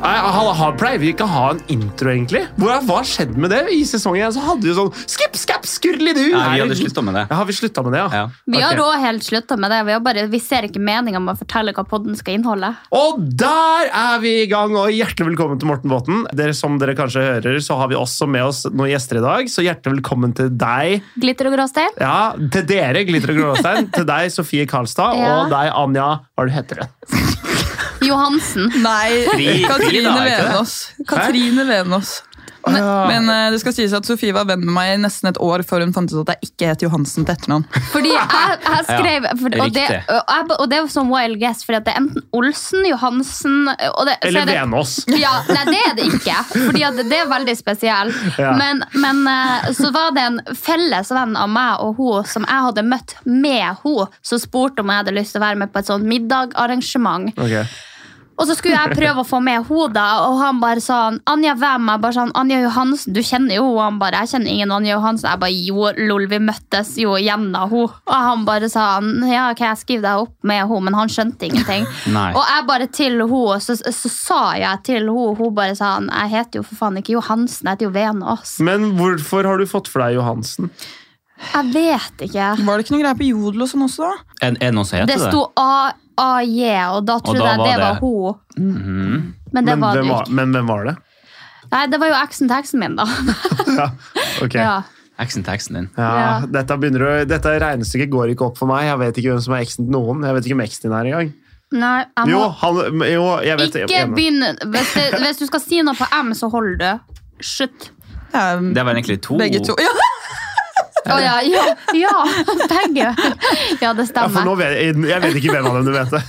ha- ha- pleier vi ikke å ha en intro, egentlig? Hvor, hva har skjedd med det? I sesongen så hadde vi jo sånn skip, skap, skurrelidu! Nei, vi hadde slutta med det. Ja, har vi slutta med det, ja? Ja. Vi har Ok. også helt slutta med det. Vi, har bare, vi ser ikke meninga med å fortelle hva podden skal inneholde. Og der er vi i gang, og hjertelig velkommen til Morten Båten. Dere, som dere kanskje hører, så har vi også med oss noen gjester i dag, så hjertelig velkommen til deg. Glitter og gråstein. Ja, til dere, Glitter og Gråstein. til deg, Sofie Karlstad, Ja. og deg, Anja, hva er det du heter igjen? Johansen. Nei, Fri- fri da, er Katrine ikke det? Venås. Katrine Venås. Men eh, det skal sies at Sofie var venn med meg i nesten et år før hun fant ut at jeg ikke heter Johansen til etternavn. Fordi jeg, jeg skrev Ja, for, og, det, riktig. og, jeg, ba- og det er sånn wild guess, fordi at det er enten Olsen, Johansen og det, så er Eller det- Venås. Ja, nei, det er det ikke. Fordi at det er veldig spesiell. Ja. Men, men eh, så var det en felles venn av meg og hun som jeg hadde møtt med hun, som spurte om jeg hadde lyst til å være med på et sånt middagarrangement. Ok. Og så skulle jeg prøve å få med henne, da, og han bare sånn Anja, hvem? Jeg bare sånn, Anja Johansen, du kjenner jo henne. Han bare, jeg kjenner ingen Anja Johansen. Jeg bare, jo, lol, vi møttes jo gjennom henne. Og han bare sånn, ja, ok, jeg skriver deg opp med henne, men han skjønte ingenting. Nei. Og jeg bare til henne, så, så sa jeg til henne, hun bare sånn, jeg heter jo for faen ikke Johansen, jeg heter jo Venås. Men hvorfor har du fått for deg Johansen? Jeg vet ikke. Var det ikke noe greier på Jodel og sånn også? da? Er er det noen som heter Det det? sto A- AJ, og da trodde da jeg var det Mhm. var det- hun. Men det men, var det hvem jo var, ikke. men hvem var det? Nei, det var jo eksen til eksen min, da. Ja, ok. Ja. Eksen til eksen din. Ja, Ja. dette, begynner å, dette regnestykket går ikke opp for meg. Jeg vet ikke hvem som er eksen til noen. Jeg vet ikke hvem eksen din er engang. Nei, jeg må... Jo, han, jo, jeg vet Ikke jeg- begynn hvis, det, hvis du skal si noe på M, så hold det. Slutt. Det er Det var egentlig to. begge to. Ja, Å ja, ja, ja, begge. Ja, det Ja, for nå stemmer. vet jeg, jeg vet ikke hvem av dem du vet det.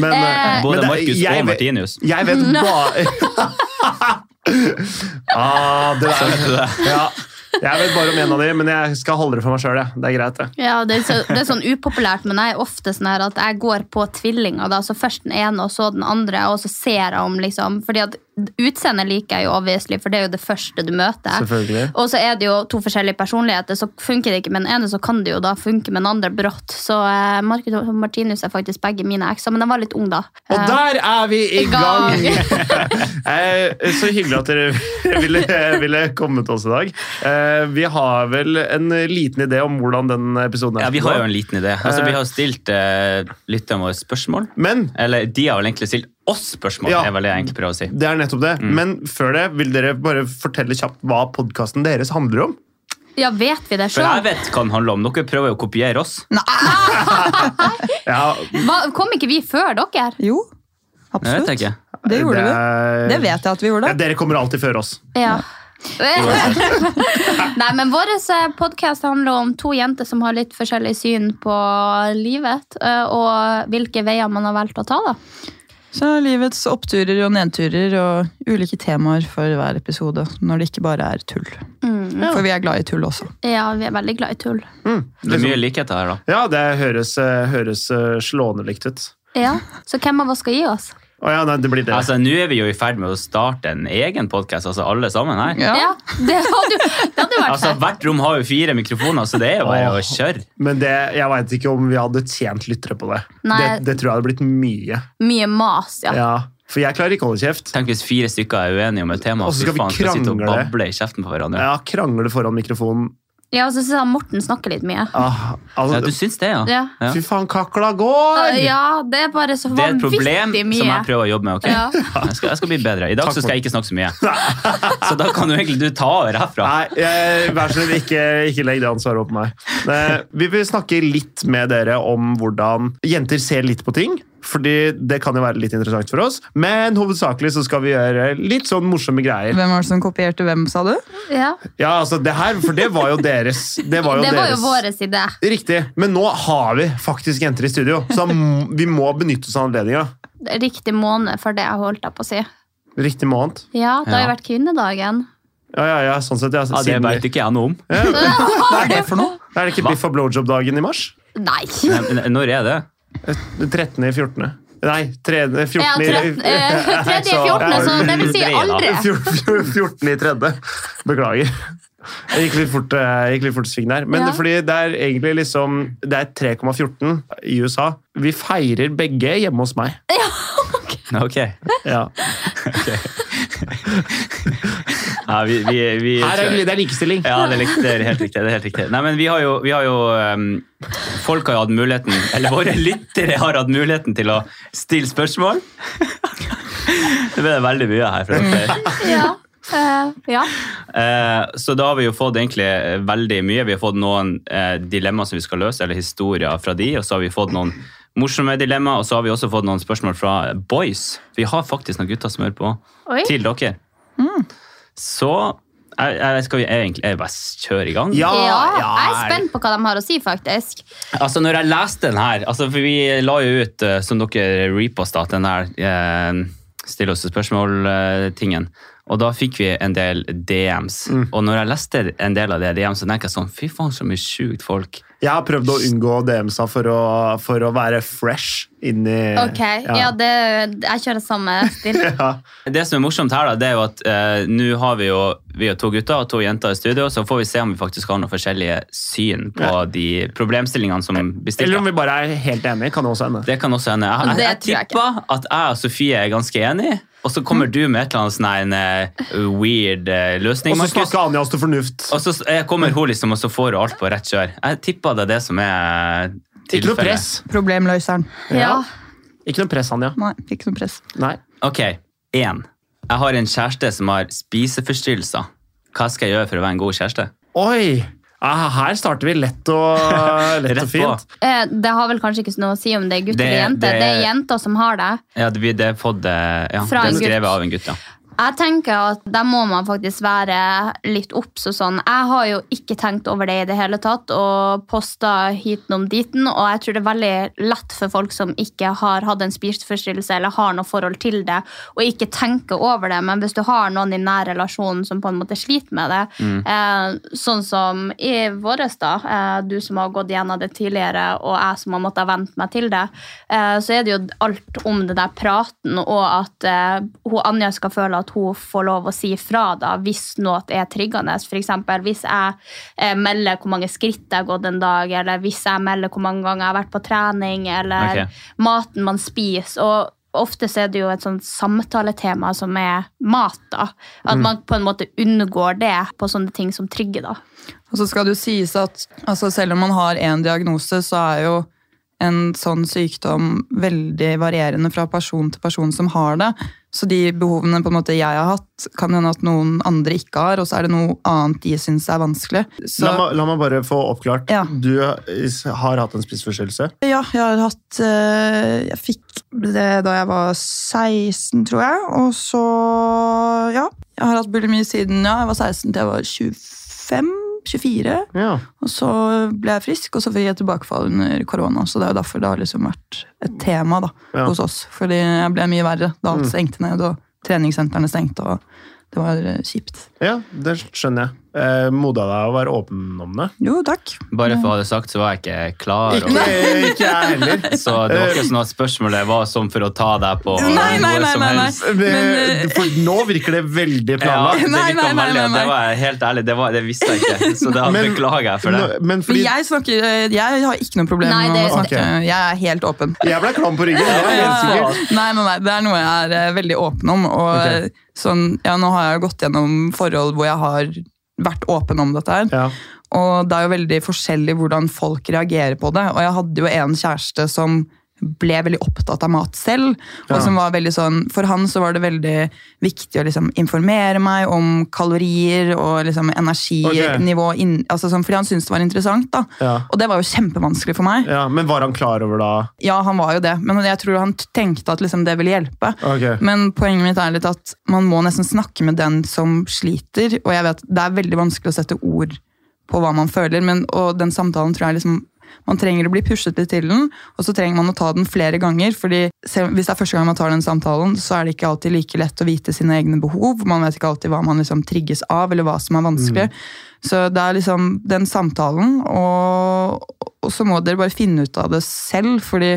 Men, eh, Både men det- Markus jeg og vet- Martinus. Jeg vet bare ah, det der. Det Ja, jeg vet bare om en av dem, men jeg skal holde det for meg sjøl. Det er greit, det. Ja, det er, så, det er sånn upopulært, men jeg er ofte sånn her at jeg går på tvillinger. da, så Først den ene, og så den andre, og så ser jeg om, liksom. fordi at utseendet liker jeg jo obviously, for det er jo det første du møter. Selvfølgelig. Og så er det jo to forskjellige personligheter, så funker det ikke med den ene, så kan det jo da funke med den andre brått. Så eh, Markus og Martinus er faktisk begge mine ekser, men de var litt unge da. Og Eh, der er vi i I gang! gang. Eh, Så hyggelig at dere ville, ville komme til oss i dag. Eh, Vi har vel en liten idé om hvordan den episoden er. Ja, vi har jo en liten idé. Altså, vi har stilt eh, lytterne våre spørsmål. Men Eller de har vel egentlig stilt oss spørsmål, Ja. er vel det jeg egentlig prøver å si. det er nettopp det. Mm. Men før det, vil dere bare fortelle kjapt hva podkasten deres handler om? Ja, vet vi det For jeg sjøl? vet hva den handler om. Dere prøver jo å kopiere oss. Ja, Kom ikke vi før dere? Jo, Det vet jeg absolutt. ikke. Det gjorde vi. er- Det vet jeg at vi Ja, gjorde. dere kommer alltid før oss. Ja. Nei, men Vår podkast handler om to jenter som har litt forskjellig syn på livet. eh, Og hvilke veier man har valgt å ta. da. Så er livets oppturer og nedturer og ulike temaer for hver episode. Når det ikke bare er tull. For vi er glad i tull også. Ja, Vi er veldig glad i tull. Det er mye likheter her, da. Ja, det høres, eh, høres eh, slående likt ut. Ja, Så hvem av oss skal gi oss? Å ja, nei, det blir det. Altså, Nå er vi jo i ferd med å starte en egen podkast, altså alle sammen her. Ja. Ja, Det hadde jo det hadde jo vært Altså, fett. Hvert rom har jo fire mikrofoner, så det er jo bare å kjøre. Men det, jeg veit ikke om vi hadde tjent lyttere på det. Nei. Det, det tror jeg hadde blitt mye. Mye mas. ja. Ja, For jeg klarer ikke å holde kjeft. Tenk hvis fire stykker er uenige om et tema, Og så fy skal vi faen, skal sitte og krangle. bable i kjeften på hverandre. Ja, Krangle foran mikrofonen. Ja, og så synes jeg Morten snakker litt mye. Ah, Ja, altså, du syns det, ja? Ja. Ja. Fy faen, kakla går! Ja, Det er bare så Det er et problem vanvittig som mye. jeg prøver å jobbe med. ok? Ja. Jeg, skal, jeg skal bli bedre. I dag Takk så skal jeg ikke snakke så mye. Så da kan jo egentlig du ta over herfra. Nei, jeg, vær så snill, ikke, ikke legg det ansvaret over på meg. Eh, Vi vil snakke litt med dere om hvordan jenter ser litt på ting. Fordi det kan jo være litt interessant for oss. Men hovedsakelig så skal vi gjøre litt sånn morsomme greier. Hvem var det som kopierte hvem, sa du? Ja. Ja, altså det her, For det var jo deres. Det var jo, Det var jo deres. vår idé. Riktig. Men nå har vi faktisk jenter i studio, så da m- vi må benytte oss av anledninga. Riktig måned for det jeg holdt jeg på å si. Riktig måned. Ja, det har jo Ja. vært kvinnedagen. Ja, ja, ja, sånn sett. Ja, Ja, det siden vi- vet ikke jeg noe om. Hva er det for noe? er det ikke Hva? biff og blowjob-dagen i mars? Nei! Men eh, Når er det? 13. i 14. Nei, 3. 14. Ja, i- trett- eh, tredje i Så- fjortende, så det vil si Dreie, da. aldri. Fjor- fjor- 14 i tredje. Beklager. Jeg gikk litt fort, eh, gikk litt fort sving der. Men Ja. fordi det er egentlig liksom Det er 3,14 i USA. Vi feirer begge hjemme hos meg. Ok. Ja. Ja, vi, vi, vi, Her er det, det er likestilling. Ja, det er likt- det er helt riktig. det er helt riktig. Nei, men vi har jo, vi har jo ehm, Folk har jo hatt muligheten, eller våre lyttere har hatt muligheten til å stille spørsmål. Det ble det veldig mye her. fra dere. Ja. eh, ja. Eh, Så da har vi jo fått egentlig eh, veldig mye. Vi har fått noen eh, dilemmaer som vi skal løse, eller historier fra de, og så har vi fått noen morsomme dilemmaer, og så har vi også fått noen spørsmål fra boys. Vi har faktisk noen gutter som hører på. Oi. til dere. Så jeg, jeg skal vi egentlig jeg bare kjøre i gang. Ja, Ah, Ja, jeg er ja. spent på hva de har å si, faktisk. Altså, når jeg leste den her altså, For vi la jo ut, eh, som dere reposta, den her eh, stille oss spørsmål-tingen. Og da fikk vi en del DMs. Mm. Og når jeg leste en del av det DMs, så tenker jeg sånn Fy faen, så mye sjukt folk. Jeg har prøvd å unngå DM-sa for, å- for å være fresh inni Ok, ja, det, Jeg kjører samme stil. Ja. Det som er morsomt her, da, det er jo at eh, nå har vi jo vi har to gutter og to jenter i studio, så får vi se om vi faktisk har noen forskjellige syn på de problemstillingene som blir stilt. Eller da. om vi bare er helt enige, kan det også hende. Det kan også hende. Jeg, jeg, Det jeg tror jeg tipper at jeg og Sofie er ganske enige, og så kommer du med et eller annet sånn her, en eh, weird eh, løsning, Og så Markus. snakker Anja oss til fornuft. Og så s- eh, kommer hun liksom, og så får hun alt på rett kjør. Jeg tipper det er det som er Ikke noe tilfellet. press. Problemløseren. Ja. Ikke noe press, Anja. Nei, ikke noe press. Nei. Ok, en. Jeg har en kjæreste som har spiseforstyrrelser. Hva skal jeg gjøre for å være en god kjæreste? Oi! Ah, her starter vi lett og, lett og Rett på. fint. Eh, Det har vel kanskje ikke noe å si om det er gutter Det- eller jenter. det- Det er jenter som har det. Ja, det blir det er fått eh, ja, Fra det en er skrevet gutt. av en gutt, ja. Jeg tenker at Der må man faktisk være litt obs. og sånn. Jeg har jo ikke tenkt over det i det hele tatt og posta hiten om diten. Og jeg tror det er veldig lett for folk som ikke har hatt en spiseforstyrrelse eller har noe forhold til det, å ikke tenke over det. Men hvis du har noen i nær relasjon som på en måte sliter med det, eh, sånn som i våres, da, eh, du som har gått gjennom det tidligere, og jeg som har måttet vente meg til det, eh, så er det jo alt om det der praten, og at eh, hun Anja skal føle at hun får lov å si fra da, hvis noe er triggende. For eksempel, hvis jeg eh, melder hvor mange skritt jeg har gått en dag, eller hvis jeg melder hvor mange ganger jeg har vært på trening, eller Ok. maten man spiser. og Ofte så er det jo et sånt samtaletema som er mat. da. At man på en måte unngår det på sånne ting som trigger. da. Og så skal det jo sies at altså selv om man har én diagnose, så er jo en sånn sykdom veldig varierende fra person til person som har det. Så de behovene på en måte jeg har hatt, kan hende at noen andre ikke har, og så er det noe annet de syns er vanskelig. Så La, meg, la meg bare få oppklart. Ja. Du har hatt en spiseforstyrrelse. ja, jeg har hatt eh, Jeg fikk det da jeg var 16, tror jeg. Og så ja. Jeg har hatt bulimi siden ja, jeg var 16 til jeg var 25? 24? Ja. Og så ble jeg frisk, og så fikk jeg tilbakefall under korona. Så det er jo derfor det har liksom vært et tema da, Ja. Mm. hos oss. Fordi jeg ble mye verre da alt stengte ned, og treningssentrene stengte, og det var eh, kjipt. ja, det skjønner jeg. Eh, Moda deg å være åpen om det. Jo, takk. Bare for å ha det sagt, så var jeg ikke klar. og- Ikke, ikke jeg heller. Så det var ikke sånn at spørsmålet var som for å ta deg på Nei, nei, noe nei, som nei, nei. helst. Men, eh, Men, for nå virker det Ja, veldig planlagt. det Nei, virka nei, nei, veldig, og nei, Det var jeg helt ærlig, det, var, det visste jeg ikke. Så da Men- beklager jeg for det. Nå- Men Men fordi jeg snakker eh, Jeg har ikke noe problem Nei, med å det- snakke. Jeg er helt åpen. jeg ble klam på ryggen. Det er helt Ja, sikkert. Nei, nei, nei, det er noe jeg er eh, veldig åpen om. Og Ok. eh, sånn, ja, nå har jeg jo gått gjennom forhold hvor jeg har vært åpen om dette her. Ja. Og det er jo veldig forskjellig hvordan folk reagerer på det. Og jeg hadde jo en kjæreste som ble veldig opptatt av mat selv. Ja. og som var veldig sånn, For han så var det veldig viktig å liksom informere meg om kalorier og liksom energinivå. inn- altså sånn, fordi han syntes det var interessant. da. Ja. Og det var jo kjempevanskelig for meg. Ja, men var han klar over da? Ja, han var jo det, men jeg tror han t- tenkte at liksom det ville hjelpe. Ok. Men poenget mitt er litt at man må nesten snakke med den som sliter, og jeg vet det er veldig vanskelig å sette ord på hva man føler, men, og den samtalen tror jeg liksom man trenger å bli pushet litt til den, og så trenger man å ta den flere ganger, fordi selv, hvis det er første gang man tar den samtalen, så er det ikke alltid like lett å vite sine egne behov, man vet ikke alltid hva man liksom trigges av, eller hva som er vanskelig. Så det er liksom den samtalen, og, og så må dere bare finne ut av det selv, fordi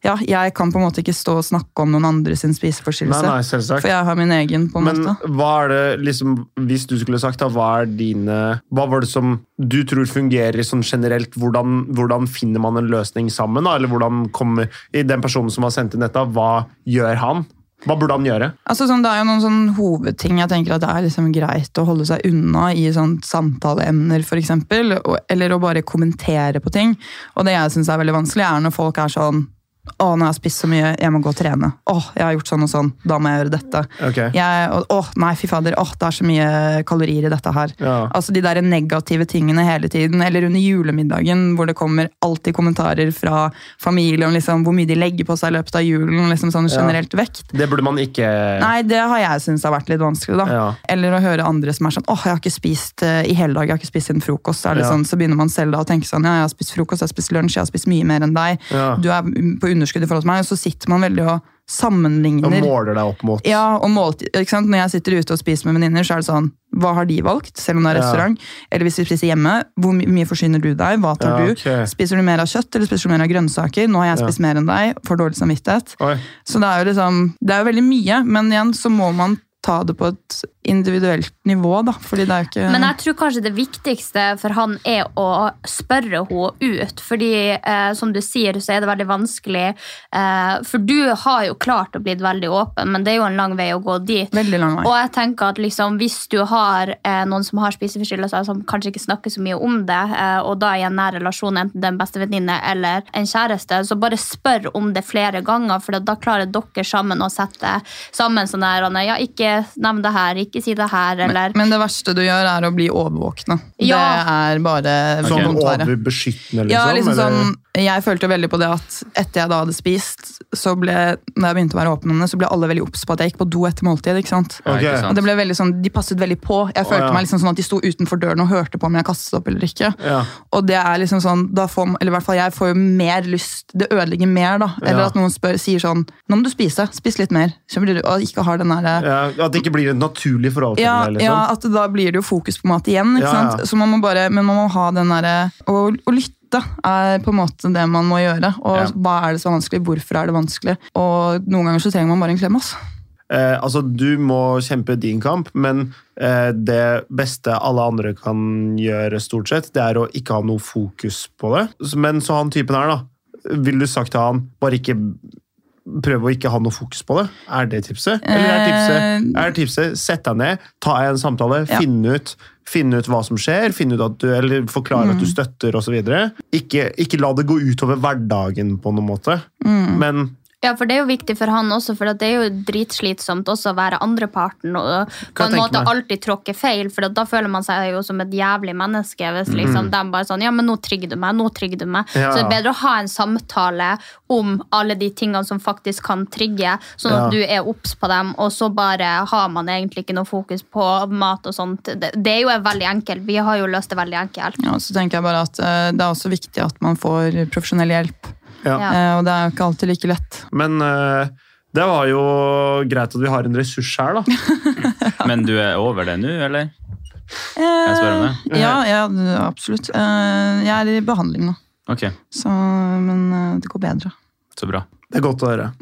ja, jeg kan på en måte ikke stå og snakke om noen andre sin Nei, spiseforstyrrelse. nei, selvsagt. For jeg har min egen, på en Men måte. hva er det, liksom, hvis du skulle sagt da, hva er dine Hva var det som du tror fungerer sånn generelt? Hvordan, hvordan finner man en løsning sammen? da? Eller hvordan kommer i den personen som har sendt inn dette, hva gjør han? Hva burde han gjøre? Altså, sånn, det er jo noen sånn hovedting jeg tenker at det er liksom greit å holde seg unna i sånn samtaleemner, for eksempel, og, eller å bare kommentere på ting. Og det jeg syns er veldig vanskelig, er når folk er sånn å, nå har jeg spist så mye, jeg må gå og trene. Å, jeg har gjort sånn og sånn, da må jeg gjøre dette. Ok. Jeg, og, å, nei, fy fader, å, det er så mye kalorier i dette her. Ja. Altså de der negative tingene hele tiden, eller under julemiddagen, hvor det kommer alltid kommentarer fra familie om liksom hvor mye de legger på seg i løpet av julen, liksom sånn generelt vekt. Det burde man ikke Nei, det har jeg syntes har vært litt vanskelig. da. Ja. Eller å høre andre som er sånn åh, jeg har ikke spist eh, i hele dag, jeg har ikke spist siden frokost. Så, er det Ja. sånn, så begynner man selv da å tenke sånn ja, jeg har spist frokost, jeg har spist lunsj, jeg har spist mye mer enn deg. Ja. Du er på underskudd i forhold til meg, og så sitter man veldig og Og sammenligner. måler deg opp mot Ja, og måltid, ikke sant? Når jeg sitter ute og spiser med venninner, så er det sånn Hva har de valgt, selv om det er Ja. restaurant? Eller hvis vi spiser hjemme, hvor my- mye forsyner du deg? Hva tar Ja, du? ok. Spiser du mer av kjøtt, eller spiser du mer av grønnsaker? Nå har jeg Ja. spist mer enn deg, får dårlig samvittighet. Oi. Så det er jo liksom Det er jo veldig mye, men igjen så må man ta det på et individuelt nivå, da. Fordi det er jo ikke Men jeg tror kanskje det viktigste for han er å spørre henne ut. Fordi eh, som du sier, så er det veldig vanskelig. Eh, for du har jo klart å bli veldig åpen, men det er jo en lang vei å gå dit. Veldig lang vei. Og jeg tenker at liksom, Hvis du har eh, noen som har spiseforstyrrelser, som kanskje ikke snakker så mye om det, eh, og da i en nær relasjon, enten det er en bestevenninne eller en kjæreste, så bare spør om det flere ganger, for da klarer dere sammen å sette sammen sånn der Anne, Ja, ikke nevn det her, ikke si det her, eller Men det verste du gjør, er å bli overvåkna. Ja. Det er bare Sånn vondt verre. overbeskyttende, liksom? Ja, liksom eller? sånn, jeg følte veldig på det at etter jeg da hadde spist, så ble, når jeg begynte å være åpen om det, så ble alle veldig obs på at jeg gikk på do etter måltid. ikke sant? Ja, ikke Ok. sant? Og det ble veldig sånn, De passet veldig på. Jeg følte ja. meg liksom sånn at de sto utenfor døren og hørte på om jeg kastet opp eller ikke. Ja. Og det er liksom sånn, da får, eller i hvert fall jeg får jo mer lyst, det ødelegger mer da. Eller Ja. at noen spør, sier sånn, nå må du spise, spis litt mer. Så blir du, og ikke har den der... Ja, at det ikke blir et naturlig forhold til Ja, deg, ja, liksom? at da blir det jo fokus på mat igjen. Ikke Ja, ja. sant? Så man må bare, men man må ha den derre å, å lytte er på en måte det man må gjøre. Og Ja. hva er det som er vanskelig, hvorfor er det vanskelig? Og noen ganger så trenger man bare en klem. ass. Eh, altså, du må kjempe din kamp, men eh, det beste alle andre kan gjøre, stort sett, det er å ikke ha noe fokus på det. Så- Men så han typen her, da. Ville du sagt til han bare ikke Prøv å ikke ha noe fokus på det. Er det tipset? Eller er tipset, er tipset sett deg ned, ta en samtale, Ja. finne ut Finne ut hva som skjer, finne ut at du, eller forklare at du støtter osv. Ikke, ikke la det gå utover hverdagen på noen måte. Men Ja, for det er jo viktig for han også, for det er jo dritslitsomt også å være andreparten og på Kan jeg tenke en måte meg. alltid tråkke feil, for da føler man seg jo som et jævlig menneske hvis Mhm. liksom de bare sånn Ja, men nå trygger du meg, nå trygger du meg. Ja. Så det er bedre å ha en samtale om alle de tingene som faktisk kan trigge, sånn Ja. at du er obs på dem, og så bare har man egentlig ikke noe fokus på mat og sånt. Det, det er jo veldig enkelt. Vi har jo løst det veldig enkelt. Ja, så tenker jeg bare at eh, Det er også viktig at man får profesjonell hjelp. ja. Ja. Eh, og det er jo ikke alltid like lett. Men eh, det var jo greit at vi har en ressurs her, da. Men du er over det nå, eller? jeg spørre om Eh, Ja, ja absolutt. Eh, jeg er i behandling nå, Ok, så, men eh, det går bedre. så bra. Det er godt å høre.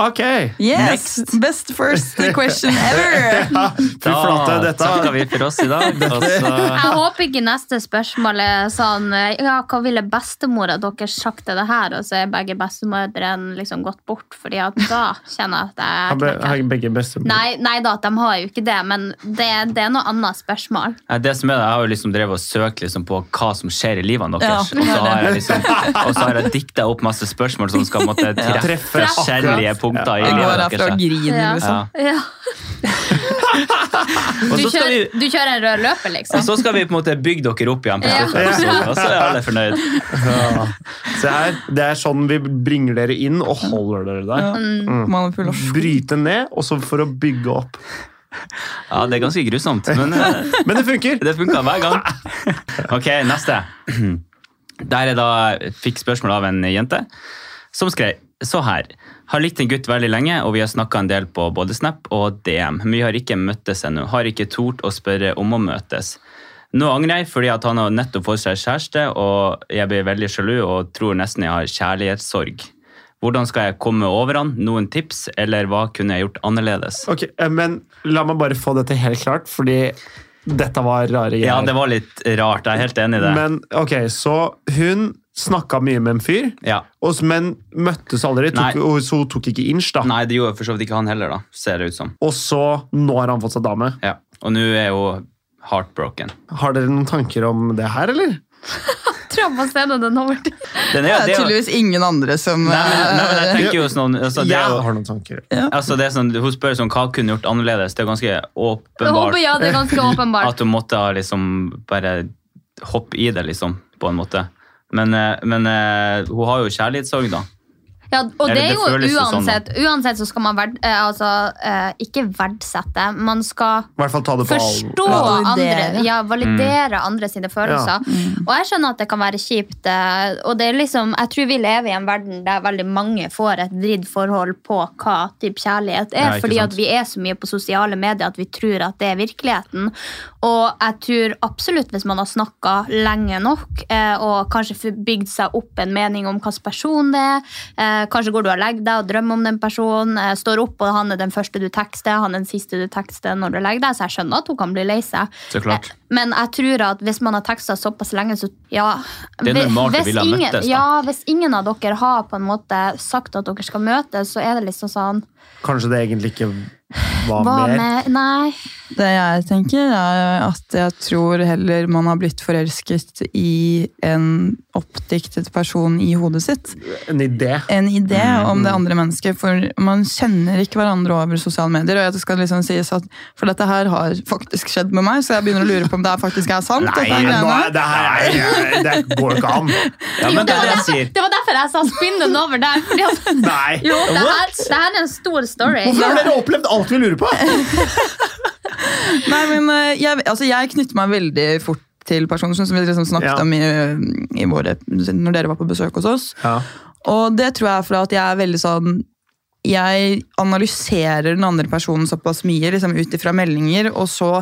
Ok! Yes! Best first question ever! Ja, fy flate, dette takker vi for oss i dag. Og så Jeg håper ikke neste spørsmål er sånn Ja, hva ville bestemora deres sagt til det her? Og så er begge bestemødrene liksom gått bort, fordi at da kjenner jeg at har jeg be- har knekker. begge bestemor. Nei, nei da, de har jo ikke det, men det, det er noe annet spørsmål. Nei, det som er det, Jeg har jo liksom drevet og søkt liksom på hva som skjer i livene Ja, deres. og, så har jeg liksom, og så har jeg dikta opp masse spørsmål som skal måtte treffe Treffe forskjellige punkter i Det går livet herfra og deres. griner, Ja. liksom. Ja. Og Du, så skal vi kjører, du kjører en rød løper, og liksom? så skal vi på en måte bygge dere opp igjen, på Ja. slutten, så- og så er alle fornøyd. Ja. Se her. Det er sånn vi bringer dere inn og holder dere der. Manipulasjon. Bryte ned, og så for å bygge opp. Ja, Det er ganske grusomt, men eh, Men det funker! Det funka hver gang. Ok, neste. Der jeg da fikk spørsmål av en jente som skrev så her. Har likt en gutt veldig lenge, og vi har snakka en del på både Snap og DM. Men vi har ikke møttes ennå. Har ikke tort å spørre om å møtes. Nå angrer jeg fordi at han har nettopp fått seg kjæreste, og jeg blir veldig sjalu og tror nesten jeg har kjærlighetssorg. Hvordan skal jeg komme over han? Noen tips, eller hva kunne jeg gjort annerledes? Ok, eh, Men la meg bare få dette helt klart, fordi dette var rare greier. Ja, det var litt rart. Jeg er helt enig i det. Men ok, så hun snakka mye med en fyr, Ja. og, s- men møttes aldri. Nei. Tok, og så hun tok ikke inch, da. Nei, det gjorde for så vidt ikke han heller, da, ser det ut som. Og så, nå har han fått seg dame. Ja. Og nå er hun heartbroken. Har dere noen tanker om det her, eller? Tror jeg må sende den over til Den er, Det er det er, jo- tydeligvis ingen andre som nei, men, nei, men jeg eh, tenker jo sånn altså, det er, jeg jo- har noen tanker. altså, det er sånn, Hun spør sånn, hva kunne gjort annerledes. Det er ganske Jeg håper åpenbart ja, det er ganske at åpenbart. hun måtte ha liksom bare hoppe i det, liksom, på en måte. Men, eh, men eh, hun har jo kjærlighetssorg, da. Ja, og Eller det er det jo føles jo sånn, da. uansett Uansett så skal man verd, eh, altså, eh, ikke verdsette, man skal I hvert fall ta det på forstå alvor. andre, Validere. ja, Mm. validere andre sine følelser. Og jeg skjønner at det kan være kjipt. eh, Og det er liksom, jeg tror vi lever i en verden der veldig mange får et drittforhold på hva type kjærlighet er, Ja, ikke fordi sant. at vi er så mye på sosiale medier at vi tror at det er virkeligheten. Og jeg tror absolutt hvis man har snakka lenge nok, eh, og kanskje f- bygd seg opp en mening om hvilken person det er, eh, kanskje går du og legger deg og drømmer om den personen, eh, står opp og han er den første du tekster, han er den siste du tekster når du legger deg, så jeg skjønner at hun kan bli lei seg. Så klart. Eh, Men jeg tror at hvis man har teksta såpass lenge, så ja Det er vi- normalt å hvis ville ha ingen- møttes, da. Ja, hvis ingen av dere har på en måte sagt at dere skal møtes, så er det liksom sånn Kanskje det egentlig ikke var Hva mer. med Nei. Det jeg tenker, er at jeg tror heller man har blitt forelsket i en oppdiktet person i hodet sitt. En idé. en idé om det andre mennesket, for man kjenner ikke hverandre over sosiale medier. og det skal liksom sies at, For dette her har faktisk skjedd med meg, så jeg begynner å lure på om det her faktisk er sant. Nei, dette her nå greiene. er, det her er, det går ikke an. Ja, men det er det jeg sier. Det var derfor jeg sa spinn den over der. Fordi at, Nei. jo, det her, det her er en stor story. Hvorfor har dere opplevd alt vi lurer på? Nei, men eh, jeg, altså, jeg knytter meg veldig fort til personer som vi liksom snakket Ja. om i, i våre, når dere var på besøk hos oss. Og det tror jeg er fordi at jeg er veldig sånn Jeg analyserer den andre personen såpass mye liksom ut ifra meldinger, og så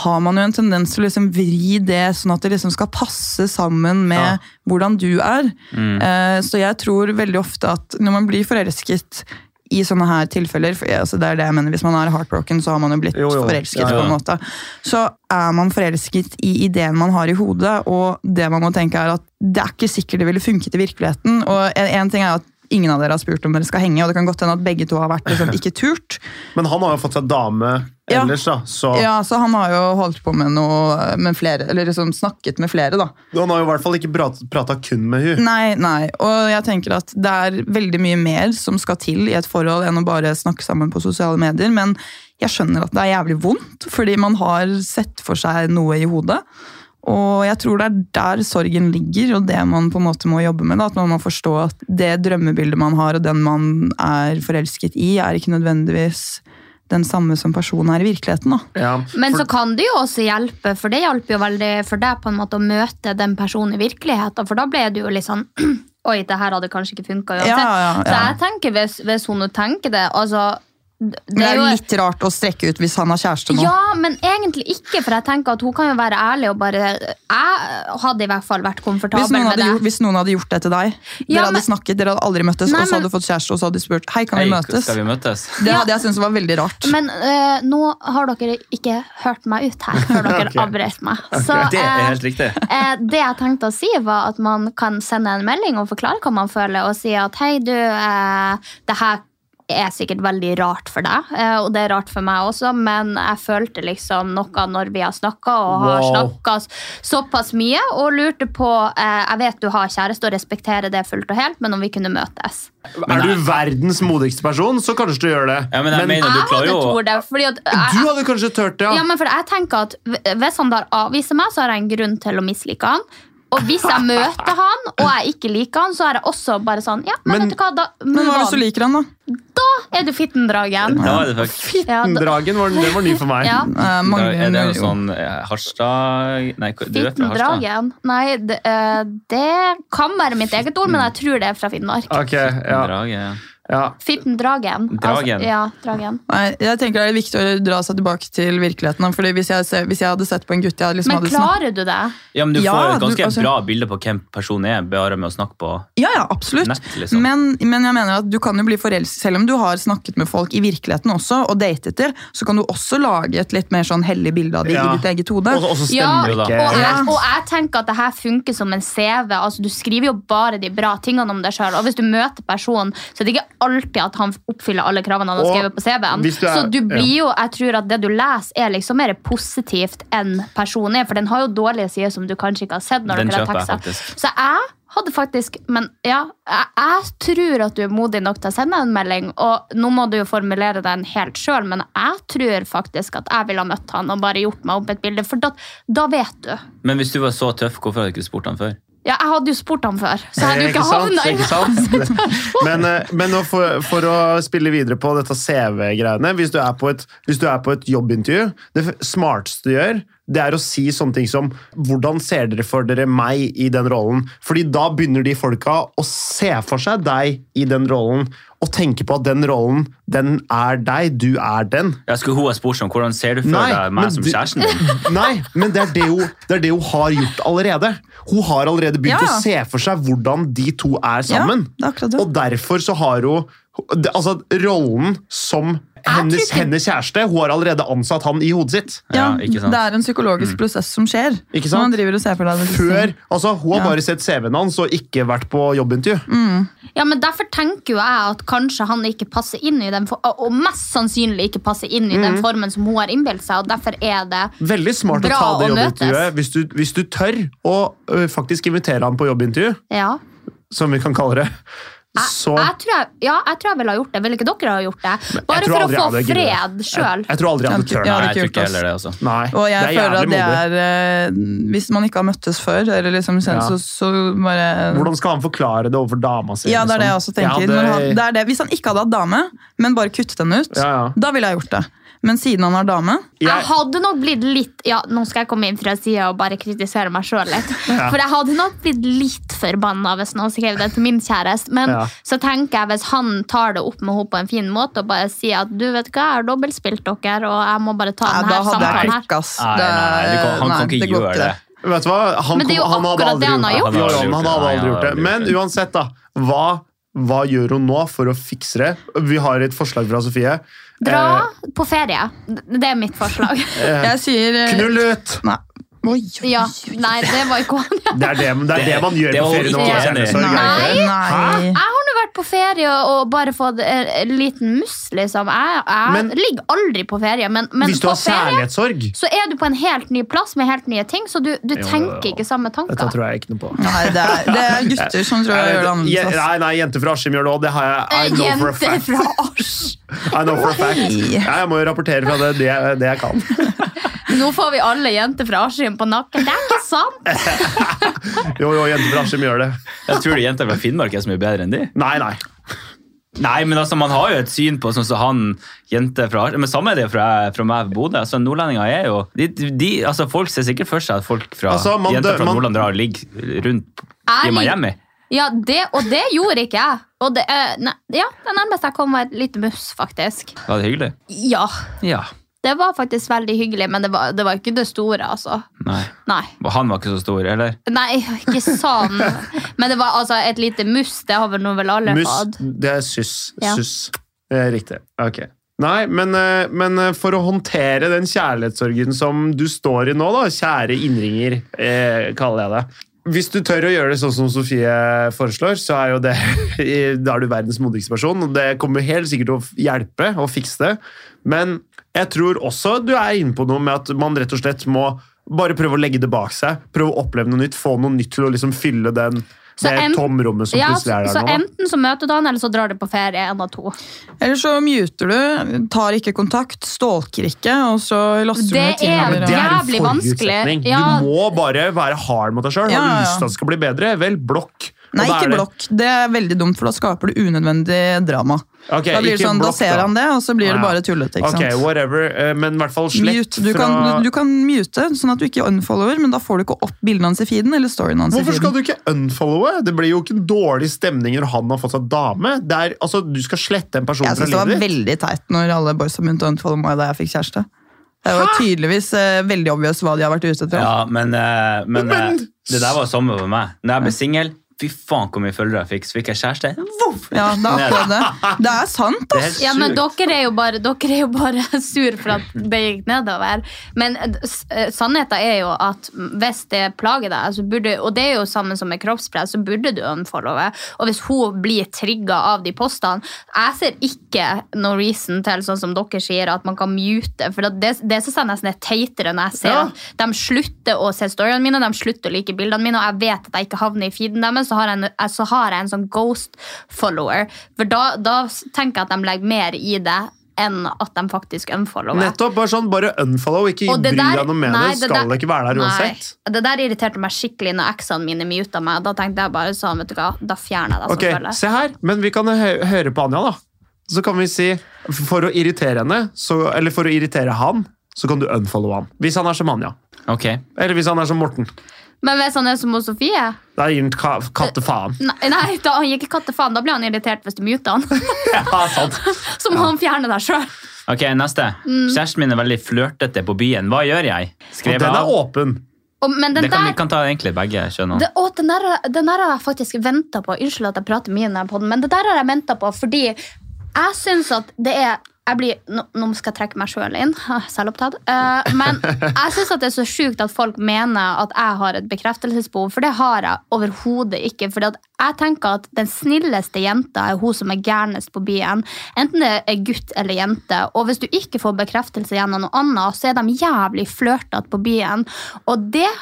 har man jo en tendens til å liksom vri det sånn at det liksom skal passe sammen med Ja. hvordan du er. Eh, Så jeg tror veldig ofte at når man blir forelsket i sånne her tilfeller for altså det er det jeg mener, Hvis man er heartbroken, så har man jo blitt Jo, jo. forelsket. Ja, ja. på en måte. Så er man forelsket i ideen man har i hodet, og det man må tenke er at det er ikke sikkert det ville funket i virkeligheten. Og en, en ting er at ingen av dere har spurt om dere skal henge, og det kan godt hende at begge to har vært liksom, ikke turt. Men han har jo fått seg dame Ja. ellers, da. Så Ja, så han har jo holdt på med noe med flere, eller liksom snakket med flere, da. han har jo i hvert fall ikke prat- prata kun med hun. Nei, nei. Og jeg tenker at det er veldig mye mer som skal til i et forhold enn å bare snakke sammen på sosiale medier. Men jeg skjønner at det er jævlig vondt, fordi man har sett for seg noe i hodet. Og jeg tror det er der sorgen ligger, og det man på en måte må jobbe med. Da, at man må forstå at det drømmebildet man har, og den man er forelsket i, er ikke nødvendigvis den samme som personen er i virkeligheten. da. Ja. Mm. Men for- så kan det jo også hjelpe, for det hjalp jo veldig for deg på en måte å møte den personen i virkeligheten, for da ble du jo litt sånn Oi, det her hadde kanskje ikke funka uansett. Ja, ja, ja. Så jeg tenker, hvis, hvis hun nå tenker det altså, det, Men det er jo jo litt rart å strekke ut hvis han har kjæreste nå. Ja, men egentlig ikke, for jeg tenker at hun kan jo være ærlig og bare Jeg hadde i hvert fall vært komfortabel Hvis noen, med hadde, det. gjort- hvis noen hadde gjort det til deg Dere Ja, men- hadde snakket, dere hadde aldri møttes, Nei, og så men- hadde du fått kjæreste, og så hadde de spurt Hei, kan vi Hei, møtes? Skal vi møtes? Det Ja. hadde jeg syntes var veldig rart. Men eh, nå har dere ikke hørt meg ut her før dere Ok. avbrøt meg. Så, Det er eh, helt riktig. eh, det jeg tenkte å si, var at man kan sende en melding og forklare hva man føler, og si at hei, du, eh, det her er sikkert veldig rart for deg, eh, og det er rart for meg også, men jeg følte liksom noe når vi har snakka, og har Wow. snakket snakket såpass mye, og lurte på eh, Jeg vet du har kjæreste og respekterer det fullt og helt, men om vi kunne møtes. er du verdens modigste person, så kanskje du gjør det. Ja, men jeg mener Jeg du klarer hadde jo tort det, fordi at jeg, du hadde kanskje turt det, Ja, men for jeg tenker at hv- Hvis han der avviser meg, så har jeg en grunn til å mislike han. Og hvis jeg møter han, og jeg ikke liker han, så er jeg også bare sånn ja, men, Men- vet du hva, da, Men hva move hvis du on. liker han, da? Eh, Da er du fittendragen. Da er det faktisk Ja, da- Dragen var, den var ny for meg. ja. Eh, da mange- Er det jo. jo sånn eh, Harstad Nei, hva- du er fra Harstad? Fittendragen? Nei, det, eh, det kan være mitt eget ord, men jeg tror det er fra Finnmark. Ok, ja. Drage. Ja. Fitten Dragen. Dragen. Altså, ja, dragen. Nei, jeg tenker det er viktig å dra seg tilbake til virkeligheten. da, Fordi hvis jeg, ser, hvis jeg hadde sett på en gutt jeg liksom Men hadde snakket klarer du det? Ja, men du Ja, får et du- ganske altså- bra bilde på hvem personen er, bare med å snakke på Ja, ja, absolutt. nett, liksom. Men, men jeg mener at du kan jo bli forelsket, selv om du har snakket med folk i virkeligheten også, og datet det, så kan du også lage et litt mer sånn hellig bilde av det Ja. i ditt eget hode. Og og så Ja, stemmer det og- ikke. Og jeg, Ja. og jeg tenker at det her funker som en CV. Altså, du skriver jo bare de bra tingene om deg sjøl. Og hvis du møter personen, så er det ikke alltid at han oppfyller alle kravene han har Og skrevet på CV-en. hvis du er- Så du blir ja. jo, jeg tror at det du leser, er liksom mer positivt enn personen er. For den har jo dårlige sider som du kanskje ikke har sett. når Den dere kjøper har jeg tekster. faktisk. Så jeg hadde faktisk Men ja, jeg, jeg tror at du er modig nok til å sende en melding, og nå må du jo formulere den helt sjøl, men jeg tror faktisk at jeg ville ha møtt han og bare gjort meg opp et bilde, for da, da vet du. Men hvis du var så tøff, hvorfor hadde du ikke spurt han før? Ja, jeg hadde jo spurt han før, så jeg hadde jo Ikke ikke sant? havna i Ikke sant? Men, eh, men nå for, for å spille videre på dette CV-greiene Hvis du er på et, hvis du er på et jobbintervju Det f- smarteste du gjør, det er å si sånne ting som Hvordan ser dere for dere meg i den rollen? Fordi da begynner de folka å se for seg deg i den rollen, og tenke på at den rollen, den er deg. Du er den. Jeg skulle hun ha spurt sånn, hvordan ser du for Nei, deg men meg som du- kjæresten din? Nei, men det er det, hun, det er det hun har gjort allerede. Hun har allerede begynt Ja. å se for seg hvordan de to er sammen. Ja, det er akkurat det. Og derfor så har hun det- Altså, rollen som hennes, ikke- hennes kjæreste Hun har allerede ansatt han i hodet sitt. Ja, ikke sant? Mm. Det er en psykologisk prosess som skjer. Ikke Når sant? Man driver og ser for deg disse Før, tingene. altså, Hun har Ja. Mm. bare sett CV-en hans og ikke vært på jobbintervju. Ja, men Derfor tenker jo jeg at kanskje han ikke passer inn i den, for- og mest sannsynlig ikke passer inn i Mm. den formen som hun har innbilt seg, og derfor er det Veldig smart Bra å ta det å jobbintervjuet hvis du, hvis du tør å ø, faktisk invitere han på jobbintervju, Ja. som vi kan kalle det. Så Jeg tror jeg, ja, jeg tror jeg ville ha gjort det. Ville ikke dere ha gjort det? jeg Bare tror for å aldri jeg få hadde giddet fred sjøl. jeg tror aldri jeg hadde Jeg- turt. ja, Nei, det er jeg tror kult, ikke ass. heller det, altså. Nei, Og jeg det er føler at jævlig det modig. er eh, Hvis man ikke har møttes før, eller liksom sen, Ja. så, så bare Hvordan skal han forklare det overfor dama si? Ja, det er det jeg også liksom? tenker. Ja, Når det- han, det er det. Hvis han ikke hadde hatt dame, men bare kuttet henne ut, Ja, ja. da ville jeg gjort det. Men siden han har dame Jeg eh, jeg, hadde nok blitt litt Ja, nå skal jeg komme inn fra sida og bare kritisere meg sjøl litt. For jeg hadde nok blitt litt forbanna hvis noen skrev det til min kjæreste. Men Ja. så tenker jeg hvis han tar det opp med henne på en fin måte og bare sier at du vet hva, jeg har dobbeltspilt dere, og jeg må bare ta ja, den Da her hadde jeg samtalen her. klikka, ass. Nei, nei, nei, du kan, han kan ikke gjøre det. vet du hva? Han, Men det er jo kom- han hadde akkurat det aldri han har gjort gjort. det. Han hadde aldri gjort det. Nei, han Jo, han hadde aldri hadde gjort det. aldri Men gjort det. uansett, da. Hva, hva gjør hun nå for å fikse det? Vi har et forslag fra Sofie. Dra Eh, på ferie. Det er mitt forslag. eh, Jeg sier eh, knull ut! Nei. Oi, oi, Ja, oi. Nei, det var ikke han. Det er det, det, er det man gjør det på var ferie når ikke man har enig. kjærlighetssorg. er det ikke det? Nei. Nei. Jeg har nå vært på ferie og bare fått en en liten mus, liksom. Jeg, jeg Men- ligger aldri på ferie, men, men Hvis du har på ferie særlighetssorg, så er du på en helt ny plass med helt nye ting, så du, du Jo, jo, jo. tenker ikke samme dette tanker. tror jeg ikke noe på. Nei, det er, det er gutter som tror jeg gjør det Je- annerledes. ass. Nei, nei, jenter fra Askim gjør det òg. Det har jeg I know for a Eh, Jente fact. fra Asj. I know for a fact. Nei. Ja, Jeg må jo rapportere fra det, det, det jeg kan. Nå får vi alle jenter fra Askim på nakken. Det er ikke sant! Jo, jo, jenter fra Askim gjør det. Jeg tror de jenter fra Finnmark er så mye bedre enn de. Nei, nei. Nei, men altså, man har jo et syn på sånn som han jente fra Men samme er det fra, fra meg i Bodø. Altså, Nordlendinger er jo de, de, altså, Folk ser sikkert for seg at folk fra Altså, man dø- jenter fra man- Nordland drar og ligger rundt i Jeg- Miami. Ja, det, Og det gjorde ikke jeg. Og det, eh, nei, ja, det nærmeste jeg kom, var et lite mus, faktisk. Var det hyggelig? Ja. Ja. Det var faktisk veldig hyggelig, men det var, det var ikke det store, altså. Nei. Nei. Og han var ikke så stor, eller? Nei, ikke sånn. Men det var altså et lite mus. Det har vel nå vel alle Mus, hatt. det er suss. Ja. Suss. Det er riktig. Ok. Nei, men, eh, men eh, for å håndtere den kjærlighetssorgen som du står i nå, da, kjære innringer, eh, kaller jeg det. Hvis du tør å gjøre det sånn som Sofie foreslår, så er jo det Da er du verdens modigste person, og det kommer helt sikkert til å hjelpe og fikse det. Men jeg tror også du er inne på noe med at man rett og slett må bare prøve å legge det bak seg. Prøve å oppleve noe nytt, få noe nytt til å liksom fylle den, Så det en- tomrommet som Ja, plutselig så, er der så nå. da. enten så møter du han, eller så drar du på ferie. En av to. Eller så muter du, tar ikke kontakt, stalker ikke, og så laster du Det ned er- Tinder. Men og- det er Jævlig en forutsetning. vanskelig. Ja. Du må bare være hard mot deg sjøl. Ja, Har ja, du ja. lyst til at det skal bli bedre, vel, blokk. Nei, Og da er ikke det- blokk. Det er veldig dumt, for da skaper du unødvendig drama. Ok, da blir det ikke sånn, da blokk, ser da. Ah, han det, og så blir Ja, det ja. bare tullete. ikke Ok, sant? whatever. eh, Men i hvert fall slett Mute. Du, fra kan, du kan mute, sånn at du ikke unfollower, men da får du ikke opp bildene hans i feeden eller storyen hans. i Hvorfor skal feeden. du ikke unfollowe? Det blir jo ikke en dårlig stemning når han har fått seg dame. Det er, altså, du skal slette en person Jeg fra synes det var livet ditt. veldig teit når alle boys har begynt å unfollowe meg da jeg fikk kjæreste. Det var tydeligvis eh, veldig obvious hva de har vært ute etter. Ja, men, eh, men, Men- eh, det der var sommer for meg. Når jeg ble singel, fy faen hvor mye følgere jeg fikk. Så fikk jeg kjæreste. Voff! Ja, det er akkurat det. Det er sant, Det er ass. helt Ja, men sjukt. dere er jo bare, dere er jo bare sur for at det gikk nedover. Men eh, s- eh, sannheten er jo at hvis det plager deg, så burde, og det er jo sammen som med kroppspress, så burde du unfollowe. Og hvis hun blir trigget av de postene, jeg ser ikke noen reason til, sånn som dere sier, at man kan mute, for at det, det synes jeg nesten er teitere når jeg ser Ja. at de slutter å se storyene mine, de slutter å like bildene mine, og jeg vet at jeg ikke havner i feeden deres, så har jeg, en- så har jeg en sånn ghost follower. For da, da tenker jeg at de legger mer i det enn at de faktisk unfollower. Nettopp, bare sånn, bare unfollow, ikke Og bry det der- deg noe med nei, det. Skal der- ikke være der nei. uansett. Det der irriterte meg skikkelig når eksene mine muta meg. Da tenkte jeg bare sånn, vet du hva, da fjerner jeg deg som Ok, følger. se her, men vi kan hø høre på Anja da. Så kan vi si, for å irritere henne, så, eller for å irritere han, så kan du unfollow han. Hvis han er som Anja. Ok. Eller hvis han er som Morten. Men hvis han er som hos Sofie Da gir han ka katte faen. Nei, nei da, han gikk i kattefaen. Da blir han irritert hvis du muter han. Ja, sant. Så må han fjerne deg sjøl. Ok, neste. Mm. Kjæresten min er veldig flørtete på byen. Hva gjør jeg? Og Skrev jeg den er av? åpen. Men den Det kan, vi der kan ta egentlig begge kjønn. Det, og den der, den der har jeg faktisk venta på. Unnskyld at jeg prater mye, i denne podden, men det der har jeg venta på fordi jeg syns at det er jeg blir, nå, nå skal jeg trekke meg sjøl inn. Selvopptatt. Eh, men jeg syns det er så sjukt at folk mener at jeg har et bekreftelsesbehov, for det har jeg overhodet ikke. For jeg tenker at den snilleste jenta er hun som er gærnest på byen. Enten det er gutt eller jente. Og hvis du ikke får bekreftelse gjennom noe annet, så er de jævlig flørtete på byen. Og det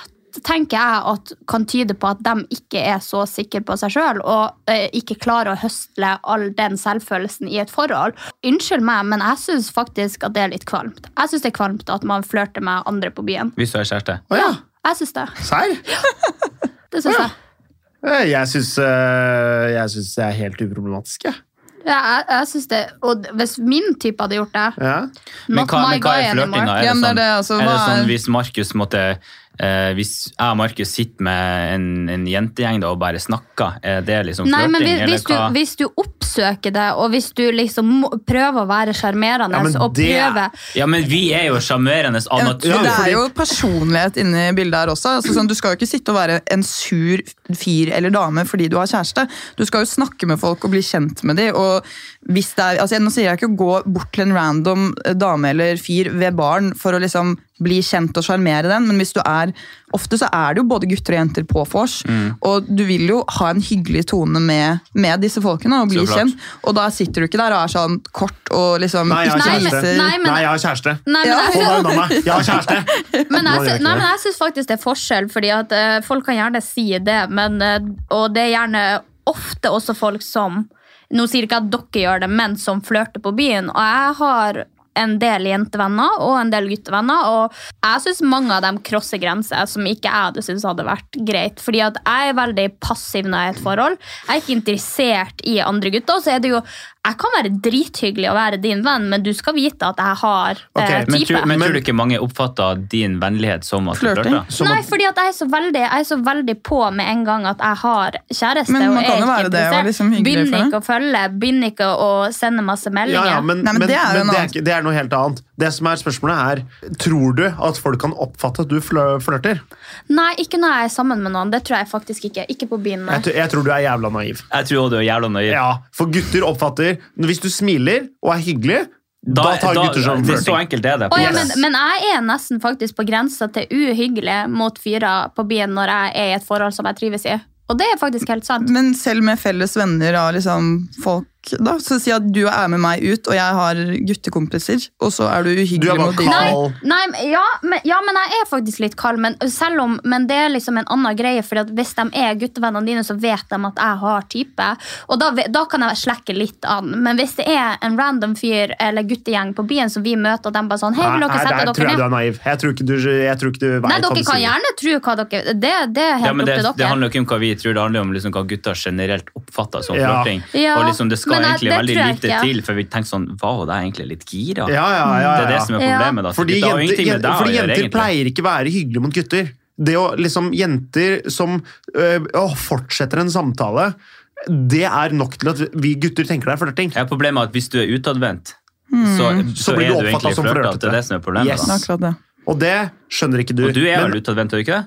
tenker jeg at kan tyde på at de ikke er så sikre på seg sjøl og eh, ikke klarer å høstle all den selvfølelsen i et forhold. Unnskyld meg, men jeg syns faktisk at det er litt kvalmt. Jeg syns det er kvalmt at man flørter med andre på byen. Hvis du har kjæreste. Å ja, Jeg syns det. serr? Det syns jeg. Eh, Jeg syns eh, jeg syns det er helt uproblematisk, jeg. Ja, jeg, jeg synes det. Og hvis min type hadde gjort det Ja. Men Not hva, my men hva guy er flørting, da? anymore. Er Ja, det, men det er sånn, det, altså, er det hva er- sånn hvis Markus måtte eh, Hvis jeg og Markus sitter med en, en jentegjeng da, og bare snakker, er det liksom Nei, flørting? men hvis, eller hvis, du, hva? hvis du oppsøker det, og hvis du liksom må, prøver å være sjarmerende Ja, men og det- prøver Ja, men vi er jo sjarmerende av Ja, natur. men det fordi- er jo personlighet inni bildet her også. Altså, sånn, du skal jo ikke sitte og være en sur fyr eller dame fordi du har kjæreste. Du skal jo snakke med folk og bli kjent med dem. Og hvis det er, altså, nå sier jeg ikke å gå bort til en random eh, dame eller fyr ved baren for å liksom bli kjent og sjarmere den, men hvis du er Ofte så er det jo både gutter og jenter på vors, Mm. og du vil jo ha en hyggelig tone med, med disse folkene og bli Så klart. kjent, og da sitter du ikke der og er sånn kort og liksom Nei, jeg har ikke Nei, men- kjæreste. viser- nei, men- jeg har kjæreste. Nei, men Ja. jeg Hold synes, deg unna meg. Jeg har kjæreste. Men Man jeg, gjør sy- ikke nei, det. men jeg syns faktisk det er forskjell, fordi at eh, folk kan gjerne si det, men, eh, og det er gjerne ofte også folk som Nå sier ikke jeg at dere gjør det, men som flørter på byen. Og jeg har en del jentevenner og en del guttevenner, og jeg syns mange av dem krosser grenser som ikke jeg hadde syntes hadde vært greit. Fordi at jeg er veldig passiv når jeg er i et forhold. Jeg er ikke interessert i andre gutter. og Så er det jo Jeg kan være drithyggelig å være din venn, men du skal vite at jeg har eh, Ok, type. Men, tror, men tror du ikke mange oppfatter din vennlighet som at du Flørting? flørter? Som Nei, at- fordi at jeg er, så veldig, jeg er så veldig på med en gang at jeg har kjæreste. Men man og er kan jo ikke være det, og interessert. liksom hyggelig for Begynner det. ikke å følge, begynner ikke å sende masse Ja, meldinger. ja, men, Nei, men men, det er men jo noe det, er annet. ikke, det er noe helt annet. Det som er spørsmålet er, Tror du at folk kan oppfatte at du flø- flørter? Nei, ikke når jeg er sammen med noen. Det tror jeg faktisk ikke. Ikke på byen, nei. Jeg, tr- jeg tror du er jævla naiv. Jeg tror også du er jævla nøye. Ja, For gutter oppfatter Hvis du smiler og er hyggelig, da, tar gutter som det er så flørting. enkelt det er det. Å, ja, Yes. men, men jeg er nesten faktisk på grensa til uhyggelig mot fyrer på byen når jeg er i et forhold som jeg trives i. Og det er faktisk helt sant. Men selv med felles venner av liksom folk Takk, da. Så si at du er med meg ut, og jeg har guttekompiser, og så er du Du uhyggelig er bare mot de. kald. Nei, Kald. nei men- ja, men, ja, men jeg er faktisk litt kald. Men, selv om, men det er liksom en annen greie, for hvis de er guttevennene dine, så vet de at jeg har type. Og da, ve- da kan jeg slekke litt an. Men hvis det er en random fyr eller guttegjeng på byen som vi møter, og de bare sånn Hei, vil Nei, der dere sette tror dere jeg du ned? er naiv. Jeg tror ikke du, jeg tror ikke du vet Nei, hva du dere kan sier. gjerne tro hva dere Det, det er helt Ja, men det, opp til det dere. handler jo ikke om hva vi tror, det handler om liksom hva gutter generelt oppfatter som Ja. flørting. Ja, Og liksom, det skal men jeg- egentlig det veldig tror jeg lite ikke. til, for vi tenker sånn Var hun der egentlig litt gira? Ja, ja, ja, Det ja. er det som er Ja. problemet. da. Så Fordi det har jo jenter, ingenting med jenter, deg å fordi gjøre, jenter egentlig. pleier ikke være hyggelige mot gutter. Det å liksom Jenter som øh, å, fortsetter en samtale, det er nok til at vi gutter tenker det er flørting. Ja, problemet er at hvis du er utadvendt, Hmm. så, så, er du blir du oppfattet egentlig som flørtete. flørtete. Det er det som er problemet. Yes. Det Da. er akkurat det. Og det skjønner ikke du. Og du er Men- vel utadvendt, er du ikke det?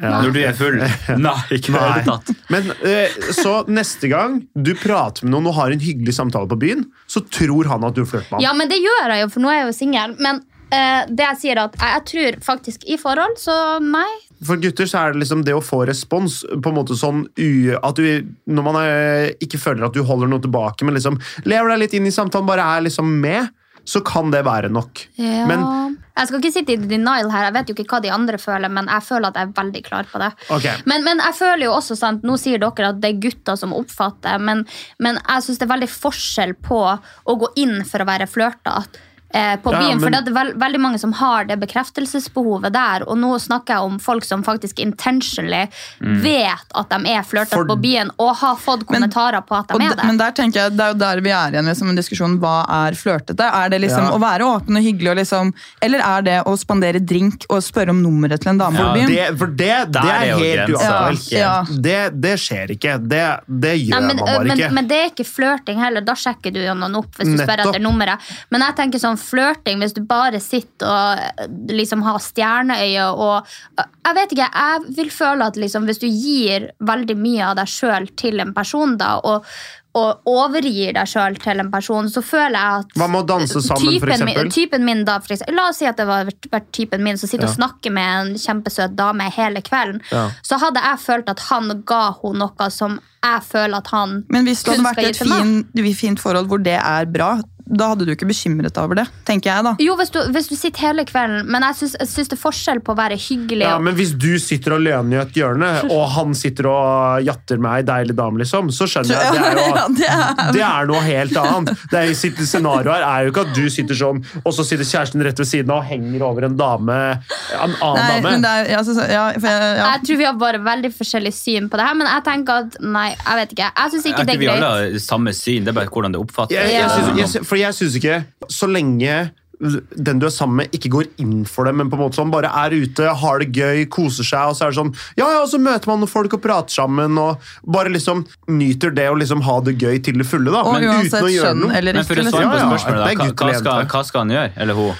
Ja. Når du er full? Nei, ikke i det hele tatt. Men eh, Så neste gang du prater med noen og har en hyggelig samtale på byen, så tror han at du flørter med ham. Ja, men det gjør jeg jo, for nå er jeg jo singel. Men eh, det jeg sier er at jeg, jeg tror faktisk i forhold, så nei. For gutter så er det liksom det å få respons på en måte sånn u, at du, Når man eh, ikke føler at du holder noe tilbake, men liksom lever deg litt inn i samtalen, bare er liksom med, så kan det være nok. Men jeg skal ikke sitte i denial her, jeg vet jo ikke hva de andre føler, men jeg føler at jeg er veldig klar på det. ok, Men, men jeg føler jo også, sant, nå sier dere at det er gutter som oppfatter, men, men jeg syns det er veldig forskjell på å gå inn for å være flørtete. eh, På Ja, byen, for men- det er vel- veldig mange som har det bekreftelsesbehovet der. Og nå snakker jeg om folk som faktisk intentionally vet at de er flørtete Mm. For- på byen, og har fått Men- kommentarer på at Og de de- er det. men der tenker jeg, Det er jo der vi er igjen liksom, en diskusjon. Hva er flørtete? Er det liksom Ja. å være åpen og hyggelig, og liksom, eller er det å spandere drink og spørre om nummeret til en dame Ja, på byen? det, for det, det Der er er jo helt grensa. uaktuelt. Ja. Det, det skjer ikke. Det, det gjør Nei, men, eh, man bare men, ikke. men det er ikke flørting heller. Da sjekker du jo noen opp hvis du spør Nettopp. etter nummeret. Men jeg tenker sånn flørting, hvis du bare sitter og eh, liksom har stjerneøye og eh, Jeg vet ikke, jeg vil føle at liksom, hvis du gir veldig mye av deg sjøl til en person, da, og, og overgir deg sjøl til en person, så føler jeg at Hva med å danse sammen, for typen, min, eksempel? typen min da, for eksempel, La oss si at det var vært typen min som sitter og snakker med en kjempesøt dame hele kvelden. Ja. Så hadde jeg følt at han ga henne noe som jeg føler at han Men hvis det kun skal hadde vært gi et til meg. fin, fint forhold hvor det er bra, da hadde du ikke bekymret deg over det, tenker jeg da. Jo, hvis du, hvis du sitter hele kvelden, men jeg syns, jeg syns det er forskjell på å være hyggelig Ja, og- men hvis du sitter alene i et hjørne, og han sitter og jatter med ei deilig dame, liksom, så skjønner jeg at det er Ja, jo det er- det er noe helt annet. Det er, sitt- scenarioet her er jo ikke at du sitter sånn, og så sitter kjæresten rett ved siden av og henger over en dame, en Nei, annen men det dame. er, ja, så, så- ja, for jeg, ja. Jeg tror vi har bare veldig forskjellig syn på det her, men jeg tenker at nei, jeg vet ikke. Jeg syns Jeg ikke tror det er vi alle greit. har samme syn, det er bare hvordan det oppfattes. Jeg, jeg Ja. synes, jeg, sy- for jeg syns ikke Så lenge den du er sammen med, ikke går inn for det, men på en måte sånn bare er ute, har det gøy, koser seg, og så er det sånn Ja, ja, og så møter man noen folk og prater sammen, og bare liksom nyter det å liksom ha det gøy til det fulle, da. Og men uansett skjønn noe. eller Men for ikke. å Liksom. svare på Ja, ja, spørsmålet, det er da, hva, gutter hva, eller skal, jenter. hva skal han gjøre? Eller hun?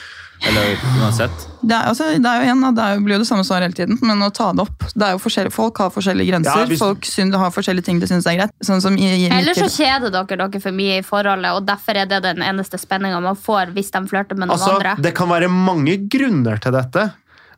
Eller uansett. Det, er, altså, det er jo igjen, da, det er jo, blir jo det samme svaret hele tiden, men å ta det opp det er jo forskjellig- Folk har forskjellige grenser, Ja, hvis- folk syn, har forskjellige ting de syns er greit. Sånn som i, i, Eller så kjeder dere dere for mye i forholdet, og derfor er det den eneste spenninga man får hvis de flørter med noen Altså, andre. det kan være mange grunner til dette,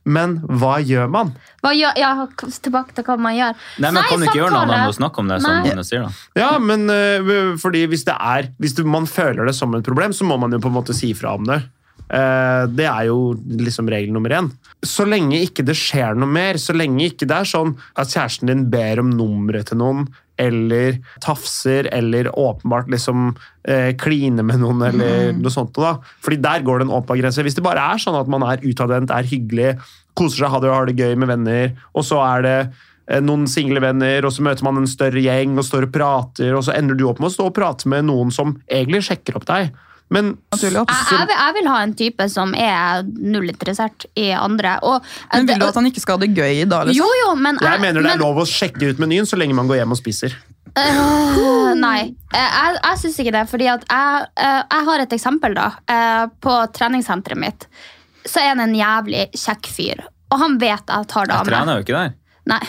men hva gjør man? Hva gjør, ja, k- tilbake til hva man gjør. Nei, men kan du ikke gjøre noe annet enn å samtale. snakke om det? som sånn Nei. hun sier da? Ja, men øh, fordi hvis det er Hvis du, man føler det som et problem, så må man jo på en måte si fra om det. Eh, det er jo liksom regel nummer én. Så lenge ikke det skjer noe mer, så lenge ikke det er sånn at kjæresten din ber om nummeret til noen, eller tafser, eller åpenbart liksom eh, kline med noen, eller noe sånt. da. Fordi der går det en åpen grense. Hvis det bare er sånn at man er utadvendt, er hyggelig, koser seg, har det, har det gøy med venner, og så er det eh, noen single venner, og så møter man en større gjeng og står og prater, og så ender du opp med å stå og prate med noen som egentlig sjekker opp deg. Men Naturlig opp. Jeg, jeg, vil, jeg vil ha en type som er null interessert i andre. Og, Men vil du at han ikke skal ha det gøy da? Liksom? Jo, jo, men jeg mener det er lov å sjekke ut menyen så lenge man går hjem og spiser. Øh, nei, Eh, jeg, jeg syns ikke det. Fordi at jeg, eh, jeg har et eksempel da eh, på treningssenteret mitt. Så er det en jævlig kjekk fyr, og han vet jeg tar Jeg dame. trener jo ikke der. Nei.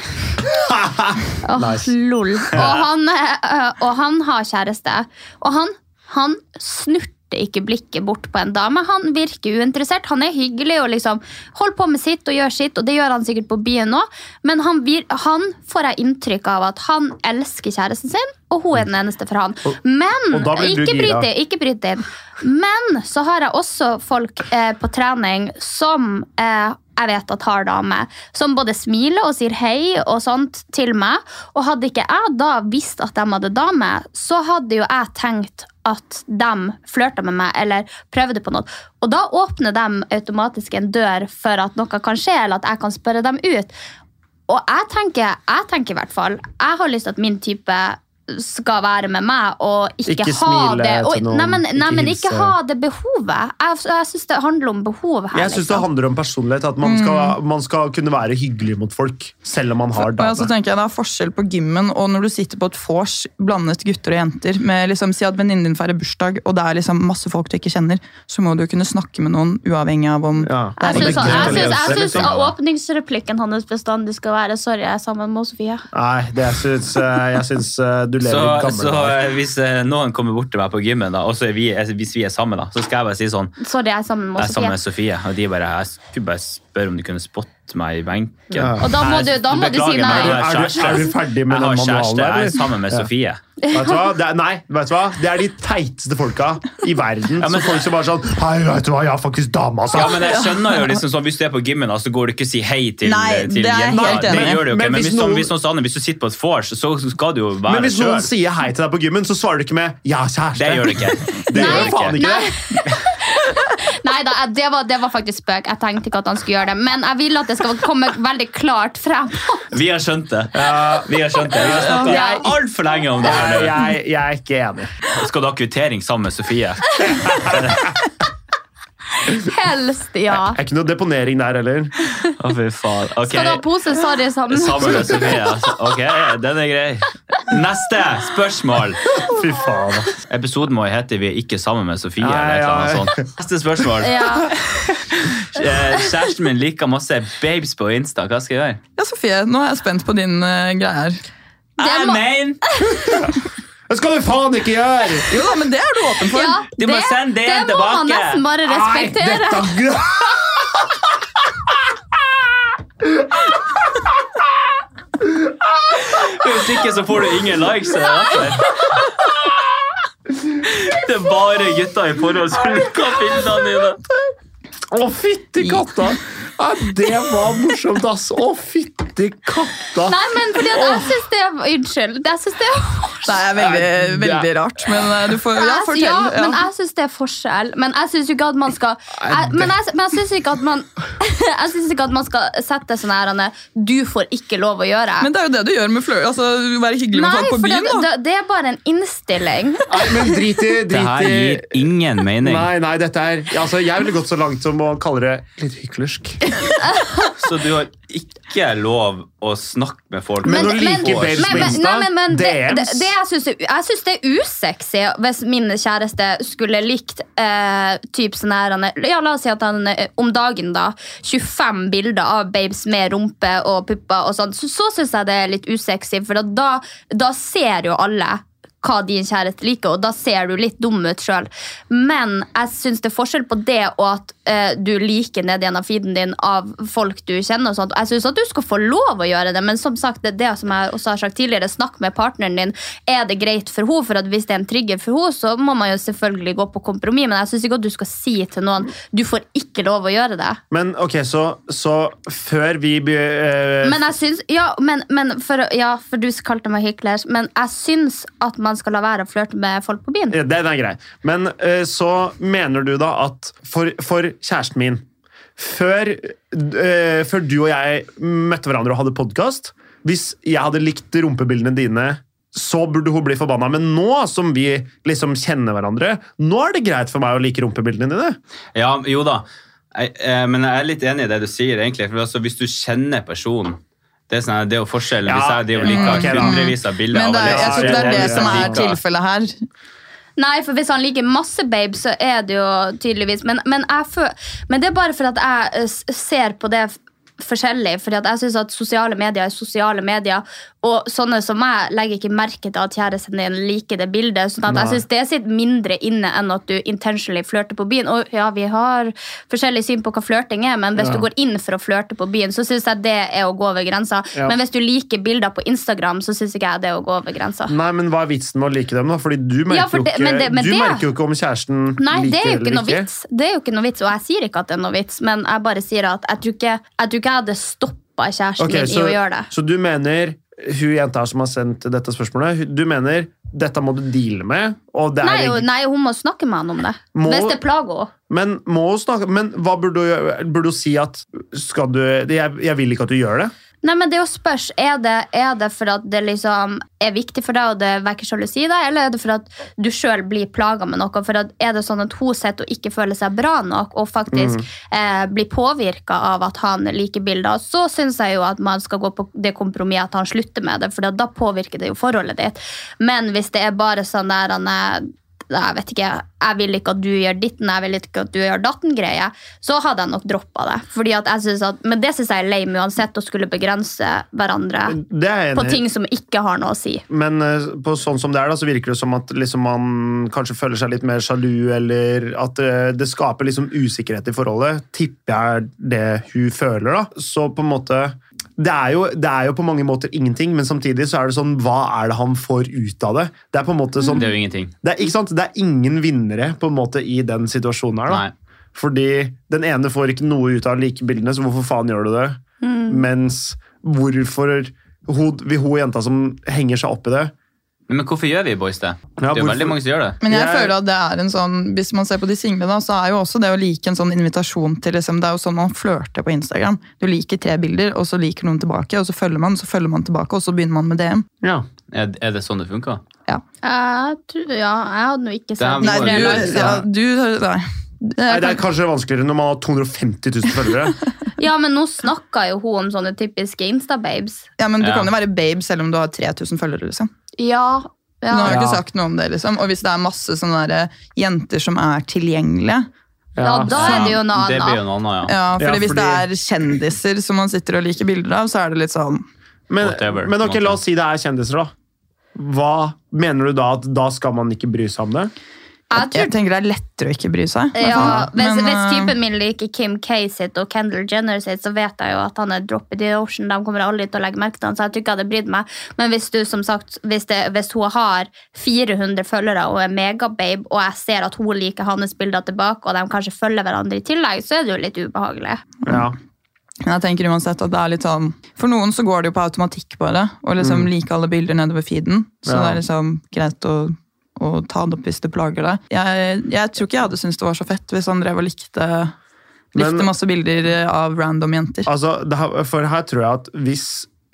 Åh, Nice. Lol. Og han, eh, øh, og han har kjæreste. Og han, han snurter ikke blikket bort på en dame. Han virker uinteressert. Han er hyggelig og liksom holder på med sitt og gjør sitt, og det gjør han sikkert på byen nå, men han, vir han får jeg inntrykk av at han elsker kjæresten sin, og hun er den eneste for han. Men og da blir du ikke gira. bryt inn, ikke bryt inn. Men så har jeg også folk eh, på trening som eh, jeg vet at har dame, som både smiler og sier hei og sånt til meg. Og hadde ikke jeg da visst at de hadde dame, så hadde jo jeg tenkt at de flørta med meg eller prøvde på noe. Og da åpner de automatisk en dør for at noe kan skje, eller at jeg kan spørre dem ut. Og jeg tenker, jeg tenker i hvert fall Jeg har lyst til at min type skal være med meg og ikke, Ikke ha smile det og, til noen, Nei, men, nei, ikke men ikke hilse. ha det behovet. Jeg, jeg syns det handler om behov her. Jeg syns det liksom. handler om personlighet. At man Mm. skal, man skal kunne være hyggelig mot folk, selv om man har Og så dame. tenker jeg Det er forskjell på gymmen og når du sitter på et vors blandet gutter og jenter. med liksom, Si at venninnen din feirer bursdag, og det er liksom masse folk du ikke kjenner. Så må du jo kunne snakke med noen, uavhengig av om Ja. Jeg det er syns- en jeg gutt. syns- jeg Liksom. syns at åpningsreplikken hans bestandig skal være 'sorry, jeg er sammen med Sofie'. Nei, det jeg syns eh, jeg syns, eh, du lever Så, i gamle så dager. eh, hvis eh, noen kommer bort til meg på gymmen, da, og så er vi, eh, hvis vi er sammen, da, så skal jeg bare si sånn Sorry, jeg er sammen Jeg med er sammen Sofie. med Sofie, og de bare Jeg skulle bare spørre om du kunne spotte meg i benken. Ja. Og da må du- da må du si beklager, men nei. jeg har Er du- er du- er du kjæreste. ferdig med Jeg har den manualen kjæreste, der, Jeg er eller? sammen med Ja. Sofie. Vet du hva? Det er, nei, vet du hva? Det er de teiteste folka i verden. men- så folk som bare sånn Hei, vet du hva, jeg har faktisk dame, altså. Ja, men jeg skjønner jo liksom sånn, Hvis du er på gymmen, da, så går du ikke og sier hei til, eh, Nei, til det er jeg jenta. helt Det enig i. gjør du jo ikke. Men Men, hvis hvis, noen, noen- hvis, noen, sånn, hvis du sitter på et vors, så så skal du jo Men være hvis selv. noen sier hei til deg på gymmen, så svarer du ikke med 'jeg har kjæreste'. Det gjør du ikke. Det gjør du jo faen ikke det. Nei da, jeg- det var, det var faktisk spøk. Jeg tenkte ikke at han skulle gjøre det, men jeg vil at det skal komme veldig klart frem. Vi har skjønt det. Vi har skjønt det. Vi har Ja. snakka altfor lenge om det. her nå. Jeg, jeg er ikke enig. Skal du ha kvittering sammen med Sofie? Helst, ja. Det er ikke noe deponering der heller. Å, fy faen. Ok. Skal du ha pose? Sorry, sammen. Sammen med Sofie. altså. Ok, den er grei. Neste spørsmål. Fy faen. ass. Episoden må jo hete 'Vi er ikke sammen med Sofie'. Ja, eller et eller annet ja, ja. sånt. Neste spørsmål. Ja. Eh, Kjæresten min liker masse babes på Insta. Hva skal jeg gjøre? Ja, Sofie, nå er jeg spent på din eh, greie her. Det må- Amen! Det skal du faen ikke gjøre! Jo da, men det er du åpen for. Ja, Du må sende det det må man tilbake. nesten bare Nei, respektere. dette- Hvis ikke så får du ingen likes. er det derfor? Det er bare gutter i forhold som liker bildene dine. Å, fytti katta! Ja, det var morsomt, ass. Å, fytti katta. Nei, men fordi at jeg syns det Unnskyld. Jeg synes det Det er veldig, veldig rart, men eh, du får ja, Jeg- fortell. ja, men Ja. jeg syns det er forskjell. Men jeg syns jo ikke at man skal jeg, Men jeg, men jeg syns ikke at man Jeg synes ikke at man skal sette sånn her Anne, Du får ikke lov å gjøre. Men det er jo det du gjør med flør. Altså, være hyggelig med Nei, folk på for det, byen. da. det, det er bare en innstilling. Nei, men drit i Det her drit i gir ingen mening. Nei, nei, dette er altså, Jeg ville gått så langt som å kalle det litt hyklersk. Så du har ikke lov å snakke med folk. Men på å et like vors. babes på men- Insta, nei, men- men det- DMs. det- det Jeg syns er- jeg syns det er usexy hvis min kjæreste skulle likt eh, typ sånn her han er- Ja, la oss si at han eh, om dagen, da. 25 bilder av babes med rumpe og pupper og sånn. Så, så syns jeg det er litt usexy, for da, da ser jo alle hva din kjæreste liker, og da ser du litt dum ut sjøl. Men jeg syns det er forskjell på det og at eh, du liker ned igjen av feeden din av folk du kjenner. og sånt. Jeg syns at du skal få lov å gjøre det, men som sagt, det er det som jeg også har sagt tidligere, snakk med partneren din. Er det greit for henne? For at hvis det er en trigger for henne, så må man jo selvfølgelig gå på kompromiss, men jeg syns ikke at du skal si til noen du får ikke lov å gjøre det. Men ok, så, så før vi be, eh, Men jeg syns Ja, men, men for, ja, for du kalte meg hykler, men jeg syns at man skal la være å flørte med folk på byen. Ja, Den er grei. Men eh, så mener du da at for, for kjæresten min før, eh, før du og jeg møtte hverandre og hadde podkast Hvis jeg hadde likt rumpebildene dine, så burde hun bli forbanna. Men nå som vi liksom kjenner hverandre, nå er det greit for meg å like rumpebildene dine. Ja, jo da. Jeg, eh, men jeg er litt enig i det du sier, egentlig. For altså, hvis du kjenner personen det er, sånn, her, det er jo forskjellen. Hvis Ja, jeg driver og liker ok, da. hundrevis av bilder Men det er, av jeg tror ikke det er det Ja, som ja, ja. er tilfellet her. Nei, for hvis han liker masse babe, så er det jo tydeligvis Men, men, jeg fø- men det er bare for at jeg eh, s- ser på det f- forskjellig. Fordi at jeg syns at sosiale medier er sosiale medier, Og sånne som meg legger ikke merke til at kjæresten din liker det bildet. sånn at Nei. jeg synes det sitter mindre inne enn at du intentionally flørter på byen. Og ja, vi har forskjellig syn på hva flørting er, men hvis Ja. du går inn for å flørte på byen, så syns jeg det er å gå over grensa. Ja. Men hvis du liker bilder på Instagram, så syns ikke jeg det er å gå over grensa. Nei, men hva er vitsen med å like dem, da? Fordi du merker, Ja, for det- jo, ikke, men det- men du det- merker jo ikke om kjæresten Nei, liker det er jo ikke eller noe vits. Det er jo ikke noe vits, Og jeg sier ikke at det er noe vits, men jeg bare sier at jeg tror ikke jeg, tror ikke jeg hadde stoppa kjæresten Ok, min så, i å gjøre det. så du mener hun jenta her som har sendt dette spørsmålet, hun- du mener dette må du deale med? Og det er Nei, egentlig- jo- nei, hun må snakke med han om det. Må- Hvis det plager henne. Men, må hun snakke, men hva burde hun gjøre? Burde hun si at skal du, jeg, 'Jeg vil ikke at du gjør det'? Nei, men det å spørs, er det, er det for at det liksom er viktig for deg, og det vekker sjalusi i deg, eller er det for at du sjøl blir plaga med noe? For at, er det sånn at hun sitter og ikke føler seg bra nok, og faktisk eh, blir påvirka av at han liker bilder, så syns jeg jo at man skal gå på det kompromisset at han slutter med det, for da påvirker det jo forholdet ditt. Men hvis det er bare sånn der han er jeg vet ikke, jeg vil ikke at du gjør ditten, jeg vil ikke at du gjør datten-greie, så hadde jeg nok droppa det. Fordi at jeg synes at, Men det syns jeg er lame uansett, å skulle begrense hverandre Det er jeg på enig i. ting som ikke har noe å si. Men eh, på sånn som det er da, så virker det som at liksom man kanskje føler seg litt mer sjalu, eller at eh, det skaper liksom usikkerhet i forholdet. Tipper jeg er det hun føler, da. Så på en måte det er, jo, det er jo på mange måter ingenting, men samtidig så er det sånn Hva er det han får ut av det? Det er på en måte sånn Det det er jo ingenting. er, ikke sant? Det er ingen vinnere på en måte i den situasjonen her. da. Nei. Fordi den ene får ikke noe ut av likebildene, så hvorfor faen gjør du det? Mens hvorfor hun, vil hun jenta som henger seg opp i det Men hvorfor gjør vi boys det? Ja, det er jo hvorfor- veldig mange som gjør det. Men jeg, Jeg- føler at det er en sånn, hvis man ser på de single, da, så er jo også det å like en sånn invitasjon til liksom, Det er jo sånn man flørter på Instagram. Du liker tre bilder, og så liker noen tilbake, og så følger man, så følger man tilbake, og så begynner man med DM. Er, er det sånn det funker? Ja. Jeg tror, ja, jeg hadde nå ikke er sett Nei, du, Bare like, ja, du Nei. Nei, Det er kanskje vanskeligere når man har 250 000 følgere. Ja, men nå snakka jo hun om sånne typiske Insta-babes. Ja, men du Ja. kan jo være babe selv om du har 3000 følgere, liksom. Ja, ja. Nå har jeg Ja. ikke sagt noe om det, liksom. Og hvis det er masse sånne der, eh, jenter som er tilgjengelige ja, da er det jo noe Det blir jo annet. noe annet, ja. ja, fordi Ja, Hvis det fordi- er kjendiser som man sitter og liker bilder av, så er det litt sånn Men, Whatever, men ok, på en måte. la oss si det er kjendiser, da. Hva mener du da at da skal man ikke bry seg om det? Jeg tror Jeg tenker det er lettere å ikke bry seg. i hvert Ja, fall. hvis, Men, hvis eh, typen min liker Kim K sitt og Kendall Jenner sitt, så vet jeg jo at han er drop in the ocean. De kommer aldri til å legge merke til han, så jeg tror ikke jeg hadde brydd meg. Men hvis du, som sagt, hvis, det, hvis hun har 400 følgere og er megababe, og jeg ser at hun liker hans bilder tilbake, og de kanskje følger hverandre i tillegg, så er det jo litt ubehagelig. Ja. Men jeg tenker uansett at det er litt sånn For noen så går det jo på automatikk bare, og liksom like alle bilder nedover feeden. Mm. Så Ja. det er liksom greit å, å ta det opp hvis det plager deg. Jeg, jeg tror ikke jeg hadde syntes det var så fett hvis han drev og likte, likte Men- masse bilder av random jenter. Altså, det her, for her tror jeg at hvis,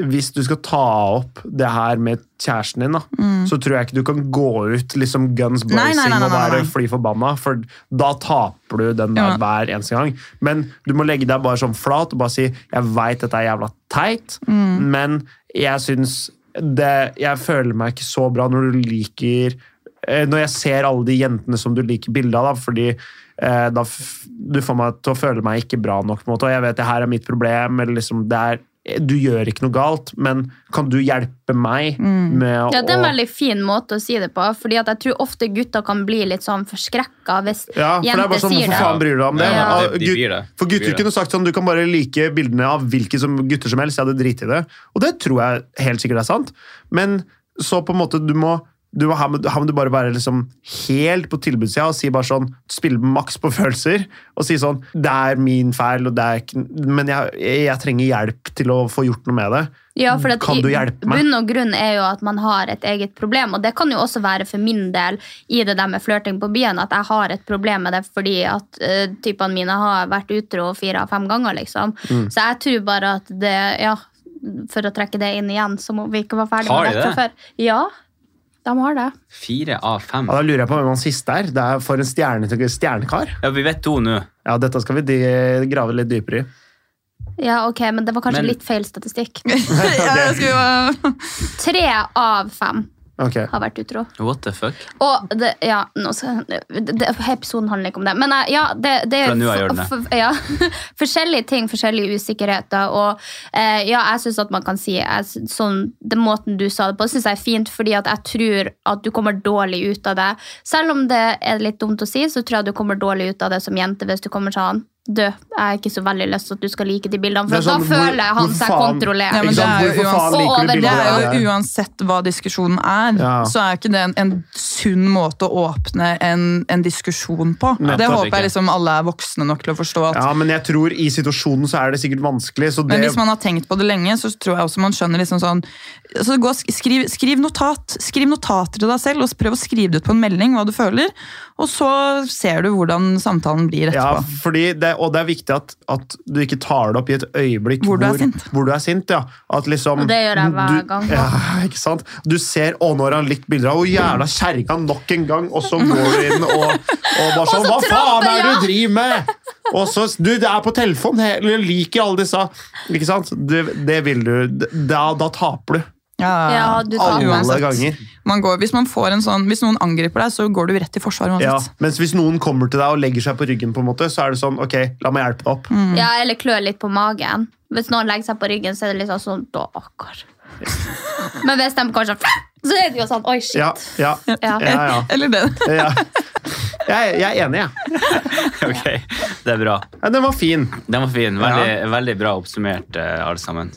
hvis du skal ta opp det her med kjæresten din, da, så tror jeg ikke du kan gå ut liksom guns blazing Mm. Nei, nei, nei, nei, og nei, være nei. fly forbanna, for da taper du den der Ja. hver eneste gang. Men du må legge deg bare sånn flat og bare si 'jeg veit dette er jævla teit', Mm. men jeg syns det Jeg føler meg ikke så bra når du liker eh, Når jeg ser alle de jentene som du liker bildet av, da, fordi eh, da f du får meg til å føle meg ikke bra nok, på en måte, og jeg vet det her er mitt problem, eller liksom det er du gjør ikke noe galt, men kan du hjelpe meg med å Mm. Ja, Det er en veldig fin måte å si det på, Fordi at jeg tror ofte gutter kan bli litt sånn forskrekka hvis Ja, for det er jenter bare sånn, sier Hvorfor faen bryr det. du deg om det? Ja. Ah, De- de gutt- bryr det. For De gutter bryr kunne sagt sånn, du kan bare like bildene av hvilke som, gutter som helst, jeg hadde driti i det. Og det tror jeg helt sikkert er sant. Men så på en måte, du må, du må, her må- her må du bare være liksom helt på tilbudssida og si bare sånn, spille maks på følelser, og si sånn, det er min feil, og det er ikke, men jeg, jeg trenger hjelp til å få gjort noe med det. Ja, for at Kan i du hjelpe meg? Bunn og grunn er jo at man har et eget problem, og det kan jo også være for min del i det der med flørting på byen, at jeg har et problem med det fordi at eh, typene mine har vært utro fire av fem ganger, liksom. Mm. Så jeg tror bare at det, ja, for å trekke det inn igjen, så må vi ikke være ferdig Har med de dette før. Ja, de har det. Fire av fem. Ja, da lurer jeg på hvem han siste er. Det er for en stjerne, stjernekar. Ja, vi vet to nå. Ja, dette skal vi de, grave litt dypere i. Ja, ok, men det var kanskje Men- litt feil statistikk. ja, jeg skulle, Tre av fem. Ok. har vært utro. What the fuck? Og det, ja, nå skal, det, det, episoden handler ikke om det. Men eh, ja, det, det Fra nå av gjør den det. f- ja, forskjellige ting, forskjellige usikkerheter. Og eh, ja, jeg syns at man kan si jeg, sy- sånn, den måten du sa det på, syns jeg er fint, fordi at jeg tror at du kommer dårlig ut av det. Selv om det er litt dumt å si, så tror jeg du kommer dårlig ut av det som jente hvis du kommer sånn du, jeg har ikke så veldig lyst til at du skal like de bildene, Det for er sånn, da hvor- føler han hvorfor seg faen- kontrollert. Ja, men Ikke sant? det er jo Hvorfor faen uansett- liker du Å, Det bilder er av jo det? Uansett hva diskusjonen er, Ja. så er ikke det en, en sunn måte å åpne en, en diskusjon på. Nettopp det ikke. håper jeg liksom alle er voksne nok til å forstå. At, Ja, men jeg tror i situasjonen så er det sikkert vanskelig, så det Men hvis man har tenkt på det lenge, så tror jeg også man skjønner liksom sånn altså gå, og sk- skriv, skriv notat. Skriv notater til deg selv, og s- prøv å skrive det ut på en melding hva du føler. Og så ser du hvordan samtalen Ja, blir etterpå. fordi det, og det er viktig at, at du ikke tar det opp i et øyeblikk Hvor du er sint. Hvor du er sint, ja. At liksom, Og det gjør jeg hver du, gang. Ja, ikke sant? Du ser å, nå har han likt bilder av Å, jævla kjerringa nok en gang, og så går du inn og, og bare sånn så Hva faen tramper, er det ja!» du driver med?! Og så Du, det er på telefon! Jeg liker alle disse Ikke sant? Det, det vil du Da, da taper du. Ja, du tar Alle meg. uansett. ganger. Man går, hvis, man får en sånn, hvis noen angriper deg, så går du rett i forsvar Ja. uansett. Mens hvis noen kommer til deg og legger seg på ryggen, på en måte, så er det sånn Ok, la meg hjelpe deg opp. Ja, eller klør litt på magen. Hvis noen legger seg på ryggen, så er det liksom sånn da, akkar. Men hvis de går sånn, så er det jo sånn oi, shit. Ja, ja, Ja. ja, ja. Eller det. ja. jeg, jeg er enig, jeg. Ok, det er bra. Ja, den var fin. Den var fin. Veldig, veldig bra oppsummert, eh, alle sammen.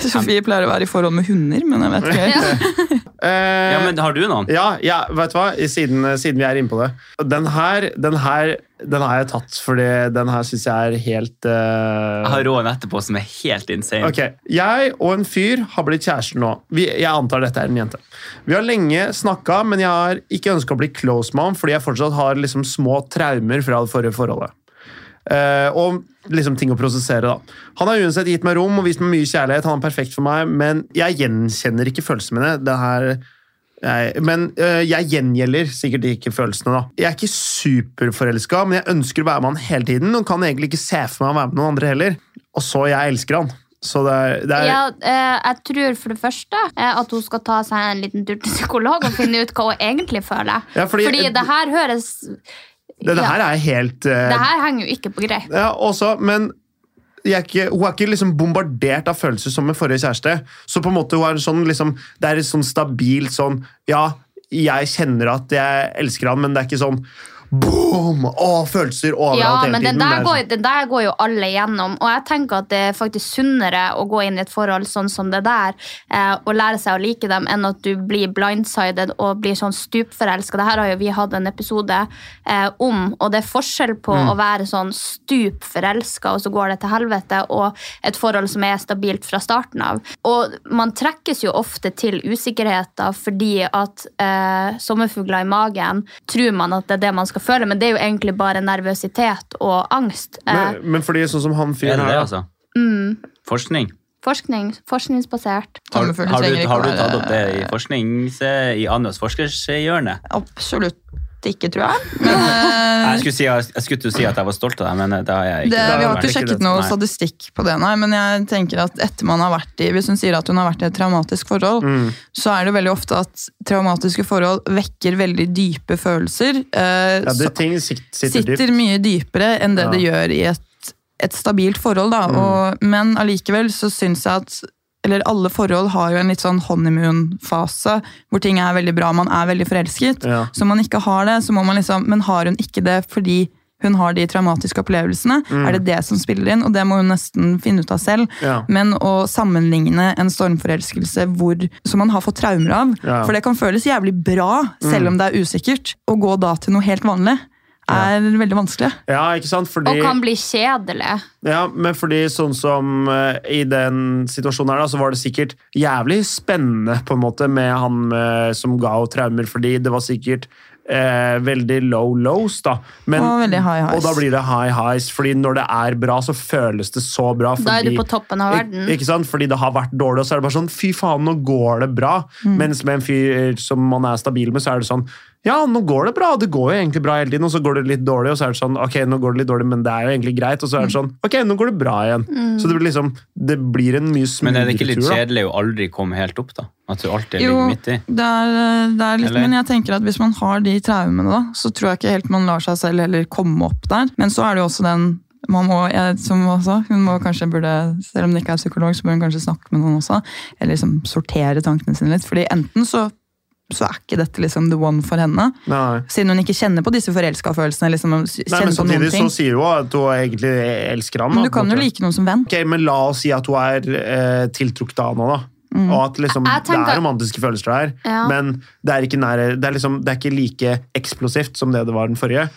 Sofie pleier å være i forhold med hunder, men jeg vet ikke. Ja. Eh, Ja, men har du noen? ja, ja, vet du hva? Siden, siden vi er inne på det. Den her, den her den har jeg tatt, fordi den her syns jeg er helt eh, Jeg har råen etterpå som er helt insane. Ok, Jeg og en fyr har blitt kjærester nå. Vi, jeg antar dette er en jente. Vi har lenge snakka, men jeg har ikke ønska å bli close med ham fordi jeg fortsatt har liksom små traumer fra det forrige forholdet. Eh, og liksom ting å prosessere, da. Han har uansett gitt meg rom og vist meg mye kjærlighet. Han er perfekt for meg, men jeg gjenkjenner ikke følelsene mine. Det her jeg, men øh, jeg gjengjelder sikkert ikke følelsene, da. Jeg er ikke superforelska, men jeg ønsker å være med han hele tiden. Og kan egentlig ikke se for meg å være med noen andre heller. Og så jeg elsker han. Så det er, det er Ja, eh, jeg tror for det første eh, at hun skal ta seg en liten tur til psykolog og finne ut hva hun egentlig føler. Ja, fordi- det her høres det, det ja, her er helt øh, det her henger jo ikke på greip. ja, også, Men jeg er ikke, hun er ikke liksom bombardert av følelser som med forrige kjæreste. Så på en måte hun er en sånn, liksom, det er et sånn stabilt sånn Ja, jeg kjenner at jeg elsker han, men det er ikke sånn boom! Å, følelser overalt Ja, hele men tiden. den Det er der, sånn- går, den der går jo alle gjennom. Og jeg tenker at det er faktisk sunnere å gå inn i et forhold sånn som det der, eh, og lære seg å like dem, enn at du blir blindsided og blir sånn stupforelska. Det her har jo vi hatt en episode eh, om, og det er forskjell på Mm. å være sånn stupforelska, og så går det til helvete, og et forhold som er stabilt fra starten av. Og man trekkes jo ofte til usikkerheter fordi at eh, sommerfugler i magen tror man at det er det man skal føle, men det er jo egentlig bare nervøsitet og angst. Eh, men, men fordi sånn som han Er fyren det det, her, da. altså? Forskning? forskning, forskningsbasert. Har, Tommelfugler har, du, trenger ikke har du være- tatt opp det i forsknings... eh, I Anjas forskershjørne? Absolutt ikke, tror jeg. Men eh, Jeg skulle, si, jeg skulle til å si at jeg var stolt av deg, men eh, det har jeg det, ikke. vi har det ikke er ikke sjekket det. noe Nei. statistikk på det, nei, men jeg tenker at etter man har vært i Hvis hun sier at hun har vært i et traumatisk forhold, så er det veldig ofte at traumatiske forhold vekker veldig dype følelser. eh, Ja, det, så- ting sitter, sitter, sitter, dypt. mye dypere enn det Ja. Mm. det gjør i et, et stabilt forhold. Da. Og, men allikevel så syns jeg at eller alle forhold har jo en litt sånn honeymoon-fase, hvor ting er veldig bra, man er veldig forelsket. Ja. Så man ikke har det, så må man liksom Men har hun ikke det fordi hun har de traumatiske opplevelsene? Er det det som spiller inn? Og det må hun nesten finne ut av selv. Mm. Ja. Men å sammenligne en stormforelskelse hvor, som man har fått traumer av, Ja. Mm. for det kan føles jævlig bra, selv om det er usikkert, å gå da til noe helt vanlig, er veldig vanskelig. ja, ikke sant? Fordi, Og kan bli kjedelig. ja, men fordi sånn som eh, i den situasjonen her, da, så var det sikkert jævlig spennende på en måte med han eh, som ga henne traumer, fordi det var sikkert eh, veldig low lows, da. Men- Og veldig high highs. Og da blir det high highs, fordi når det er bra, så føles det så bra. Fordi, Da er du på toppen av verden. Ik- Ikke sant? Fordi det har vært dårlig, og så er det bare sånn Fy faen, nå går det bra. Mm. Mens med en fyr som man er stabil med, så er det sånn Ja, nå går det bra. Det går jo egentlig bra hele tiden, og så går det litt dårlig, Mm. og så er det sånn Ok, nå går det litt dårlig, men det er jo egentlig greit. Og så er det sånn Ok, nå går det bra igjen. Så det blir liksom det blir en mye Men er det ikke smoothere litt tur. da. kjedelig å aldri komme helt opp, da? At du alltid Jo, ligger midt i? det er, det er litt, Eller? men jeg tenker at hvis man har de traumene, da, så tror jeg ikke helt man lar seg selv heller komme opp der. Men så er det jo også den man må, jeg, som hun også, hun må kanskje burde, Selv om hun ikke er psykolog, så bør hun kanskje snakke med noen også. Eller liksom sortere tankene sine litt. fordi enten så, så er ikke dette liksom the one for henne. Nei. Siden hun ikke kjenner på disse forelska følelsene. liksom Nei, kjenner men på noen samtidig så ting. sier hun at hun egentlig elsker han. da, Men du på en kan jo måte. like noen som venn. Ok, men la oss si at hun er eh, tiltrukket av han òg, da. Og at liksom, Mm. Jeg tenker- Det er romantiske følelser der, Ja. men det er, ikke nære, det, er liksom, det er ikke like eksplosivt som det det var den forrige.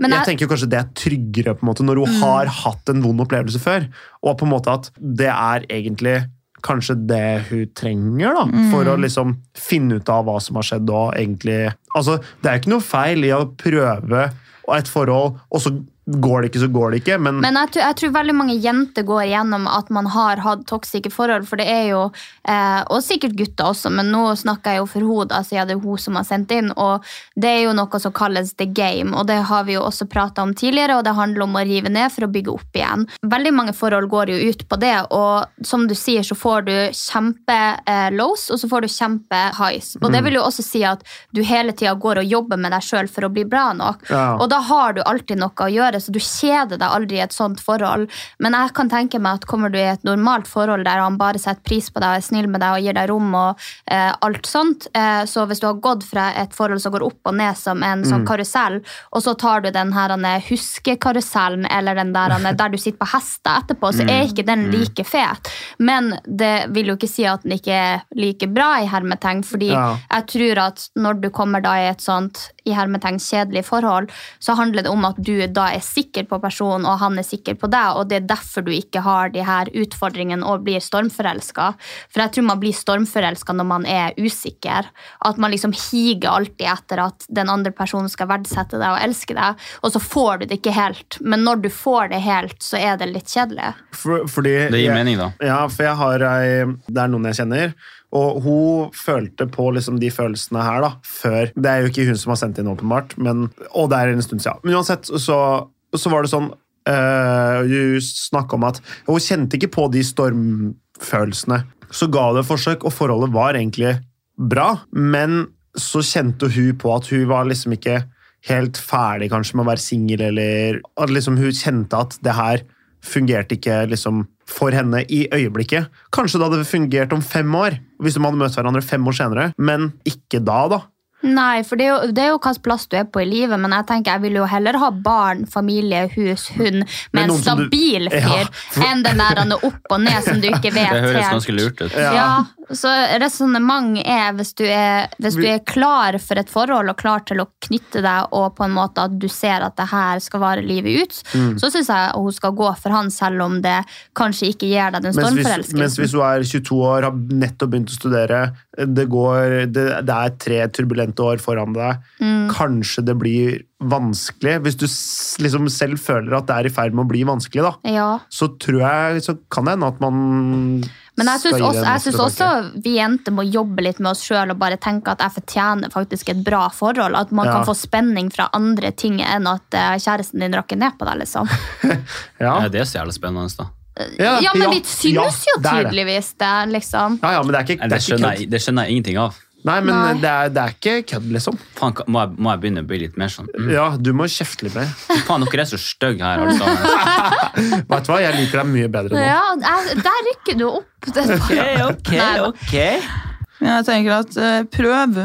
Men jeg jeg- tenker Mm. kanskje det er tryggere på en måte, når hun har hatt en vond opplevelse før. Og på en måte at det er egentlig kanskje det hun trenger da, Mm. for å liksom finne ut av hva som har skjedd. Og egentlig, altså, det er jo ikke noe feil i å prøve et forhold, og så går det ikke, så går det ikke. Men, Men jeg tror, jeg tror veldig mange jenter går igjennom at man har hatt toksiske forhold. For det er jo, eh, Og sikkert gutter også, men nå snakker jeg jo for henne, da, siden det er hun som har sendt inn. Og det er jo noe som kalles the game, og det har vi jo også prata om tidligere. Og det handler om å rive ned for å bygge opp igjen. Veldig mange forhold går jo ut på det, og som du sier, så får du kjempe eh, lows, og så får du kjempe highs. Og det vil jo også si at du hele tida går og jobber med deg sjøl for å bli bra nok. Ja. Og da har du alltid noe å gjøre, så du kjeder deg aldri i et sånt forhold. Men jeg kan tenke meg at kommer du i et normalt forhold der han bare setter pris på deg og er snill med deg og gir deg rom og eh, alt sånt, eh, så hvis du har gått fra et forhold som går opp og ned som en sånn Mm. karusell, og så tar du den her han er, huskekarusellen eller den der, han er, der du sitter på hester etterpå, så Mm. er ikke den like fet. Men det vil jo ikke si at den ikke er like bra i hermetegn, fordi Ja. jeg tror at når du kommer da i et sånt i hermetegn kjedelig forhold, så handler det om at du da er sikker på personen, og han er sikker på deg, og det er derfor du ikke har de her utfordringene og blir stormforelska. For jeg tror man blir stormforelska når man er usikker. At man liksom higer alltid etter at den andre personen skal verdsette deg og elske deg, og så får du det ikke helt. Men når du får det helt, så er det litt kjedelig. for, fordi Det gir jeg- mening, da. Ja, for jeg har ei Det er noen jeg kjenner. Og hun følte på liksom de følelsene her da, før. Det er jo ikke hun som har sendt inn, åpenbart, men, og det er en stund siden. Men uansett, så, så var det sånn eh, Hun snakka om at hun kjente ikke på de stormfølelsene. Så ga det et forsøk, og forholdet var egentlig bra, men så kjente hun på at hun var liksom ikke helt ferdig kanskje med å være singel, eller at liksom hun kjente at det her fungerte ikke liksom for henne i øyeblikket. Kanskje det hadde fungert om fem år, hvis de hadde møtt hverandre fem år senere, men ikke da, da. Nei, for det er, jo, det er jo hvilken plass du er på i livet, men jeg tenker jeg vil jo heller ha barn, familie, hus, hund Men med en noen som du- stabil Ja, fyr enn den der han er opp og ned som du ikke vet Det høres helt. ganske lurt ut. Ja. så resonnement er hvis du er, hvis du er klar for et forhold og klar til å knytte deg, og på en måte at du ser at det her skal vare livet ut, Mm. så syns jeg hun skal gå for han, selv om det kanskje ikke gir deg den Mens hvis, stormforelskelsen. mens hvis hun er 22 år, har nettopp begynt å studere, det, går, det, det er tre turbulente år foran deg, kanskje det blir vanskelig. Hvis du s- liksom selv føler at det er i ferd med å bli vanskelig, da, Ja. så tror jeg så kan det hende at man Men jeg skal syns gi det også, en jeg synes ekstra også tanke. vi jenter må jobbe litt med oss sjøl og bare tenke at jeg fortjener faktisk et bra forhold. At man Ja. kan få spenning fra andre ting enn at eh, kjæresten din rakker ned på deg. liksom. ja. Ja, det er så jævlig spennende, da. Ja, men vi ja, synes jo det er det. tydeligvis det, liksom. Ja, ja, men det er ikke, Nei, Det det er ikke skjønner kødd. jeg, det skjønner jeg ingenting av. Nei, men Nei. Det, er, det er ikke kødd, liksom. Faen, ka- må jeg, må jeg begynne å bli litt mer sånn? Mm. Ja, du må kjefte litt mer. Faen, dere er så stygge her, alle sammen. Vet du hva, jeg liker deg mye bedre nå. Ja, jeg, Der rykker du opp. Det er bare- Nei, Men jeg tenker at eh, prøv.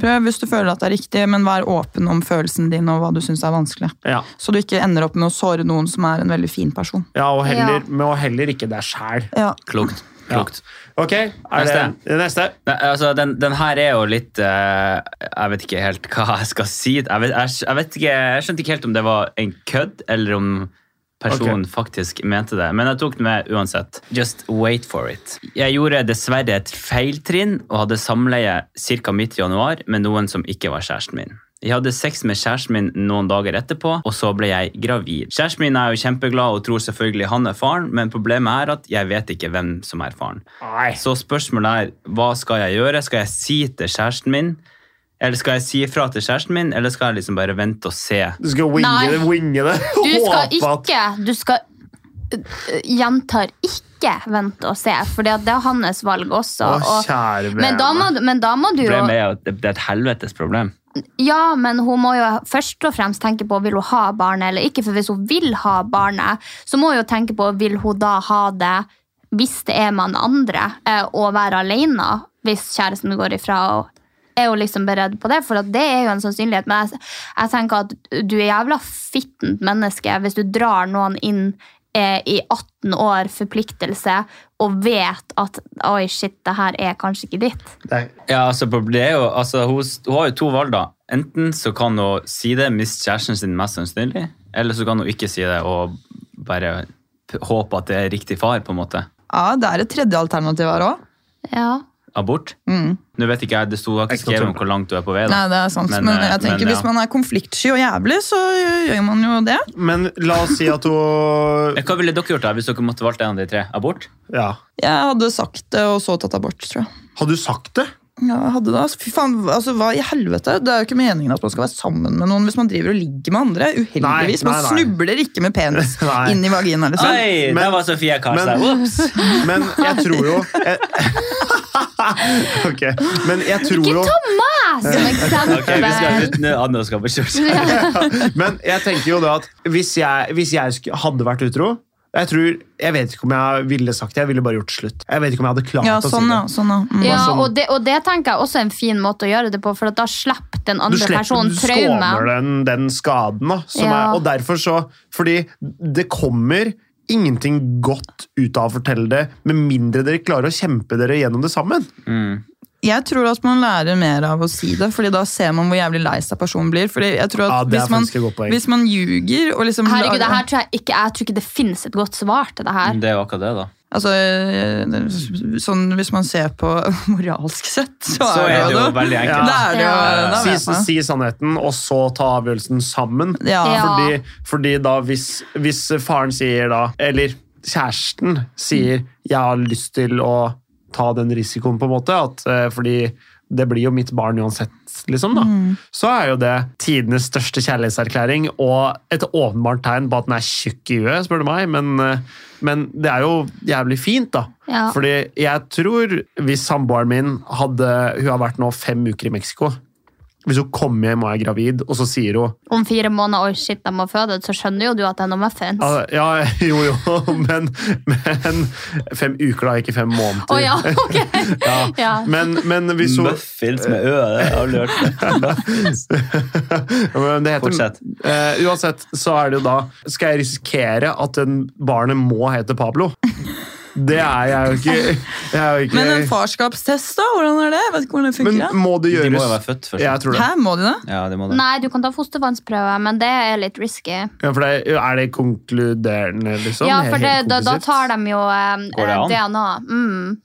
Prøv hvis du føler at det er riktig, men vær åpen om følelsen din og hva du syns er vanskelig. Ja. Så du ikke ender opp med å såre noen som er en veldig fin person. Ja, og heller, Ja. men og heller ikke deg sjæl. Ja. Klokt. Klokt. Ok, er Neste. det neste? Nei, altså, den, den her er jo litt eh, Jeg vet ikke helt hva jeg skal si. Jeg, vet, jeg, jeg, vet ikke, jeg skjønte ikke helt om det var en kødd, eller om personen faktisk mente det. Men jeg tok den med uansett. Just wait for it. Jeg gjorde dessverre et feiltrinn og hadde samleie ca. midt i januar med noen som ikke var kjæresten min. Jeg hadde sex med kjæresten min noen dager etterpå, og så ble jeg gravid. Kjæresten min er jo kjempeglad og tror selvfølgelig han er faren, men problemet er at jeg vet ikke hvem som er faren. Nei. Så spørsmålet er, hva skal jeg gjøre? Skal jeg si til kjæresten min? Eller skal jeg si ifra til kjæresten min, eller skal jeg liksom bare vente og se? Du skal winge Nei. det. winge det. Du skal Håpe at- ikke, du skal eh, gjentar ikke vent og se, for det er hans valg også. Å, og, kjære vene. men, da må, du- men da må du jo Problemet er jo at det det er et helvetes problem. Ja, men hun må jo først og fremst tenke på vil hun ha barnet eller ikke. For hvis hun vil ha barnet, så må hun jo tenke på vil hun da ha det hvis det er med han andre, eh, og være alene hvis kjæresten går ifra. og er hun liksom beredt på det, for at det er jo en sannsynlighet. Men jeg, jeg tenker at du er jævla fittent menneske hvis du drar noen inn eh, i 18 år forpliktelse og vet at oi, shit, det her er kanskje ikke ditt. Nei. Ja, altså, det er jo, altså, hun, hun har jo to valg, da. Enten så kan hun si det, miste kjæresten sin mest sannsynlig, eller så kan hun ikke si det og bare p- håpe at det er riktig far, på en måte. Ja, det er et tredje alternativ her òg. Ja. Abort. Mm. Nå vet ikke jeg, det sto jeg har ikke skrevet om hvor langt du er på vei. Nei, da. det er sant. Men, Men, eh, jeg tenker men, ja. hvis man er konfliktsky og jævlig, så gjør man jo det. Men la oss si at hun Hva ville dere gjort da, hvis dere måtte valgt en av de tre? Abort? Ja. Jeg hadde sagt det, og så tatt abort, tror jeg. Har du sagt det? Ja, jeg hadde det. altså. Fy faen, altså, hva i helvete? Det er jo ikke meningen at man skal være sammen med noen hvis man driver og ligger med andre. Uheldigvis. Nei, nei, Man nei. snubler ikke med penis Nei. inn i vaginaen. Liksom. Oi, men- der var Sofie Karlstad. men- Ops! Men jeg tror jo jeg, Ok. Men jeg tror jo Ikke ta meg som eksempel! Eh, Ok, vi skal slutte nå. Anne skal på kjørt. Men jeg tenker jo da at hvis jeg, hvis jeg sk- hadde vært utro jeg tror, jeg vet ikke om jeg ville sagt det, jeg ville bare gjort slutt. Jeg vet ikke om jeg hadde klart Ja, å sånn, si ja. det. Sånn, ja. Mm. Ja, sånn- og det, og det tenker jeg også er en fin måte å gjøre det på, for at da slipper den Du andre slipper, personen sånn du skåner traumen. den, den skaden. Da, som Ja. er, og derfor så, fordi det kommer ingenting godt ut av å fortelle det, med mindre dere klarer å kjempe dere gjennom det sammen. Jeg tror at man lærer mer av å si det, Fordi da ser man hvor jævlig lei seg personen blir. Fordi jeg tror at Ja, det er hvis, man, faktisk et godt poeng. hvis man ljuger og liksom Herregud, det her tror jeg ikke Jeg tror ikke det finnes et godt svar til det her. Det er jo akkurat det, da. Altså, eh, sånn Hvis man ser på moralsk sett, så, Så er det jo veldig Ja. enkelt. Da er det jo Ja. da Si, vet man. si sannheten, og så ta avgjørelsen sammen. Ja. Ja. Fordi, fordi da hvis, hvis faren sier da, eller kjæresten sier 'jeg har lyst til å ta den risikoen', på en måte, at, eh, fordi det blir jo mitt barn uansett, liksom, da. Mm. Så er jo det tidenes største kjærlighetserklæring og et åpenbart tegn på at den er tjukk i huet, spør du meg, men, eh, men det er jo jævlig fint, da. Ja. Fordi jeg tror hvis samboeren min hadde Hun har vært nå fem uker i Mexico. Hvis hun kommer hjem og er gravid, og så sier hun Om fire måneder oi shit, jeg må føde, så skjønner jo du at det er noe muffins. Ah, Å Ja, Ah, ja, jo, jo, men, men Fem uker, da, ikke fem måneder. ja, ok! Ja. Men, men hvis hun Muffins med ø, det har du hørt. Muffins. Ja, men det heter, Fortsett. Eh, Uansett, så er det jo da Skal jeg risikere at den barnet må hete Pablo? Det er jeg jo ikke. Jeg er jo ikke Men en farskapstest, da? Hvordan er det? Jeg vet ikke hvordan det Men funker. må det De må jo gjøres? være født først. Jeg tror det. Hæ, må de det? Ja, det må det. Nei, du kan ta fostervannsprøve, men det er litt risky. Ja, for det, er det konkluderende, liksom? Ja, for det, Helt da, da konklusivt? tar de jo eh, Går det an? DNA. Mm.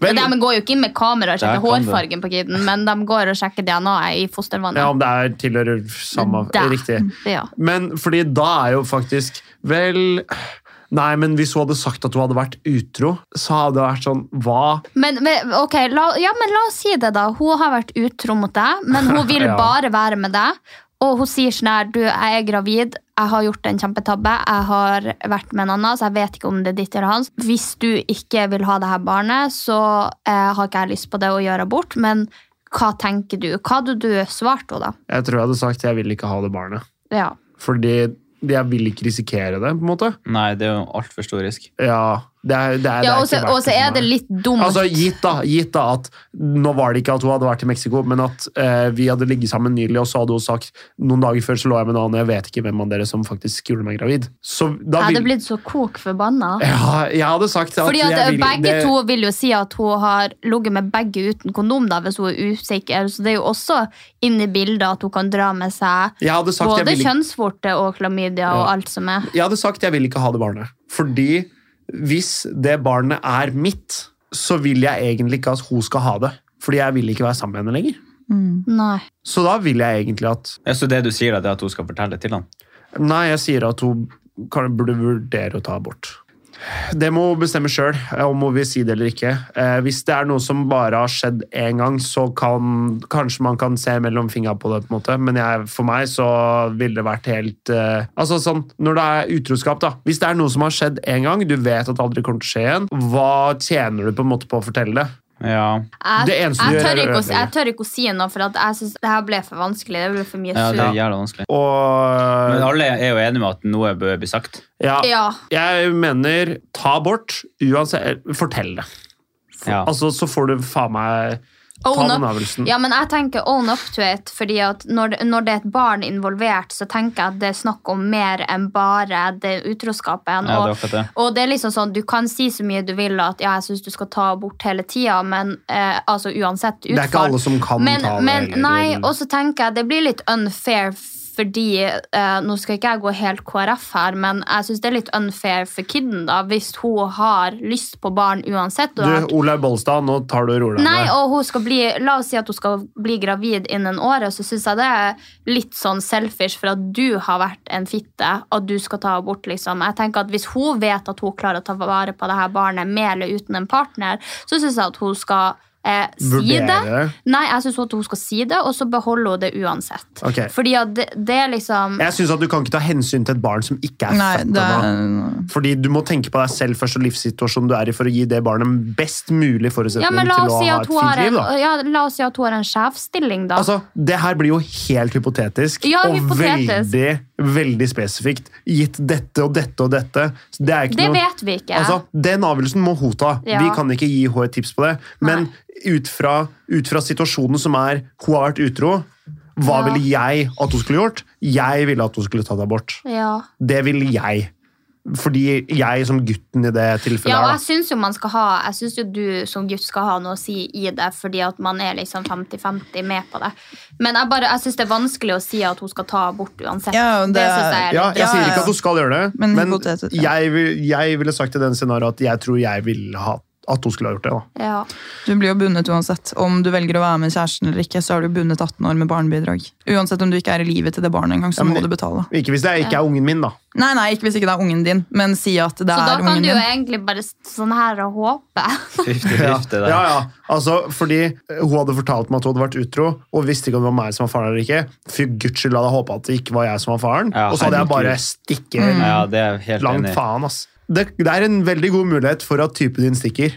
Vel, Men de går jo ikke inn med kamera og Der sjekker kan du. hårfargen på kiden, men de går og sjekker DNA-et i fostervannet. ja, om det er tilhører samme Der. Riktig. Ja. Men fordi da er jo faktisk Vel Nei, men hvis hun hadde sagt at hun hadde vært utro, så hadde det vært sånn Hva? Men, men, ok, la, ja, men la oss si det, da. Hun har vært utro mot deg, men hun vil Ja. bare være med deg. Og hun sier sånn her Du, jeg er gravid. Jeg har gjort en kjempetabbe. Jeg har vært med en annen, så jeg vet ikke om det er ditt eller hans. Hvis du ikke vil ha det her barnet, så eh, har ikke jeg lyst på det å gjøre abort. Men hva tenker du? Hva hadde du svart henne, da? Jeg tror jeg hadde sagt jeg vil ikke ha det barnet. Ja. Fordi jeg vil ikke risikere det, på en måte. Nei, det er jo altfor stor risk. Ja, det er, det er, det Ja, er og så ikke verdt og så for er det meg. litt dumt. Altså, gitt da, gitt da at Nå var det ikke at hun hadde vært i Mexico, men at eh, vi hadde ligget sammen nylig, og så hadde hun sagt noen dager før så lå jeg med en annen, jeg vet ikke hvem av dere som faktisk gjorde meg gravid. Så da jeg hadde vil- blitt så kok forbanna. Ja, jeg hadde sagt at Fordi at jeg vil, Begge det- to vil jo si at hun har ligget med begge uten kondom da, hvis hun er usikker. Så det er jo også inne i bildet at hun kan dra med seg Jeg hadde sagt jeg både vil ikke kjønnsvorte og klamydia og Ja. alt som er. Jeg hadde sagt jeg vil ikke ha det barnet. Fordi hvis det barnet er mitt, så vil jeg egentlig ikke at hun skal ha det. Fordi jeg vil ikke være sammen med henne lenger. Nei. Så da vil jeg egentlig at Ja, så det du sier, da, det er at hun skal fortelle det til han? Nei, jeg sier at hun kan, burde vurdere å ta abort. Det må hun bestemme sjøl om hun vil si det eller ikke. Eh, hvis det er noe som bare har skjedd én gang, så kan kanskje man kan se mellom fingra på det, på en måte. Men jeg, for meg så ville det vært helt eh, Altså sånn, når det er utroskap, da. Hvis det er noe som har skjedd én gang, du vet at det aldri kommer til å skje igjen, hva tjener du på en måte på å fortelle det? Ja. Det Jeg, eneste du jeg, gjør tør er å ikke å, ødelegge. jeg tør ikke å si noe, for at jeg syns det her ble for vanskelig. Det ble for mye ja, det er surr. jævla vanskelig. Men Og alle er jo enige med at noe bør bli sagt. ja, Ja. jeg mener ta bort, uansett Fortell det. Ja. Altså, så får du faen meg ta Own den up. avgjørelsen. Ja, men jeg tenker own up to it, fordi at når, det- når det er et barn involvert, så tenker jeg at det er snakk om mer enn bare det utroskapen. Ja, det er Og, akkurat det. og det er liksom sånn, du kan si så mye du vil at ja, jeg syns du skal ta abort hele tida, men eh, altså uansett utfall. Det er ikke alle som kan men, ta det. men, eller- Nei, og så tenker jeg det blir litt unfair fordi eh, Nå skal ikke jeg gå helt KrF her, men jeg syns det er litt unfair for kiden da, hvis hun har lyst på barn uansett. og at- Du, Olaug Bollestad, nå tar du og roer deg Nei, ned. og hun skal bli, La oss si at hun skal bli gravid innen året, så syns jeg det er litt sånn selfish for at du har vært en fitte, og du skal ta abort. liksom. Jeg tenker at Hvis hun vet at hun klarer å ta vare på det her barnet med eller uten en partner, så syns jeg at hun skal eh, si det. Vurdere. Nei, jeg syns at hun skal si det, og så beholder hun det uansett. Ok. Fordi at det, det er liksom Jeg syns at du kan ikke ta hensyn til et barn som ikke er Nei, født det ennå. er Fordi du må tenke på deg selv først og livssituasjonen du er i, for å gi det barnet best mulig ja, forutsetning men la til oss, å si ha at et hun har fint liv. en, da. ja, la oss si at hun har en sjefsstilling, da. Altså, Det her blir jo helt hypotetisk Ja, og hypotetisk. veldig veldig spesifikt. Gitt dette og dette og dette. Så Det er ikke det noe... vet vi ikke. Altså, Den avgjørelsen må hun ta. Ja. Vi kan ikke gi henne et tips på det. Men ut fra, ut fra situasjonen som er hun har vært utro, hva Ja. ville jeg at hun skulle gjort? Jeg ville at hun skulle tatt abort. ja. Det ville jeg. Fordi jeg som gutten i det tilfellet Ja, altså, og jeg her, da. syns jo man skal ha Jeg synes jo du som gutt skal ha noe å si i det, fordi at man er liksom 50-50 med på det. Men jeg bare, jeg syns det er vanskelig å si at hun skal ta abort uansett. Ja, det- det synes jeg er Ja, litt jeg Ja, sier ja, ikke ja. at hun skal gjøre det, Men men hypotetisk, ja. jeg, vil- jeg ville sagt i den scenarioet at jeg tror jeg ville ha at hun skulle ha gjort det. da. ja. Du blir jo bundet uansett. Om du velger å være med kjæresten eller ikke, så er du bundet 18 år med barnebidrag. Uansett om du ikke er i livet til det barnet engang, så men må det- du betale. Ikke hvis det ikke er ungen min, da. Nei, nei, ikke hvis ikke det er ungen din, men si at det Så da er kan ungen du jo din. egentlig bare s- sånn her og håpe. Ja, 50-50 der. ja, ja. Altså, fordi eh, hun hadde fortalt meg at hun hadde vært utro, og visste ikke om det var meg som var faren eller ikke. Fy guds skyld hadde jeg håpa at det ikke var jeg som var faren. Ja, og så hadde jeg herregud. bare Mm. stikker Ja, det er jeg helt langt enig. i. faen, ass. Det, det er en veldig god mulighet for at typen din stikker.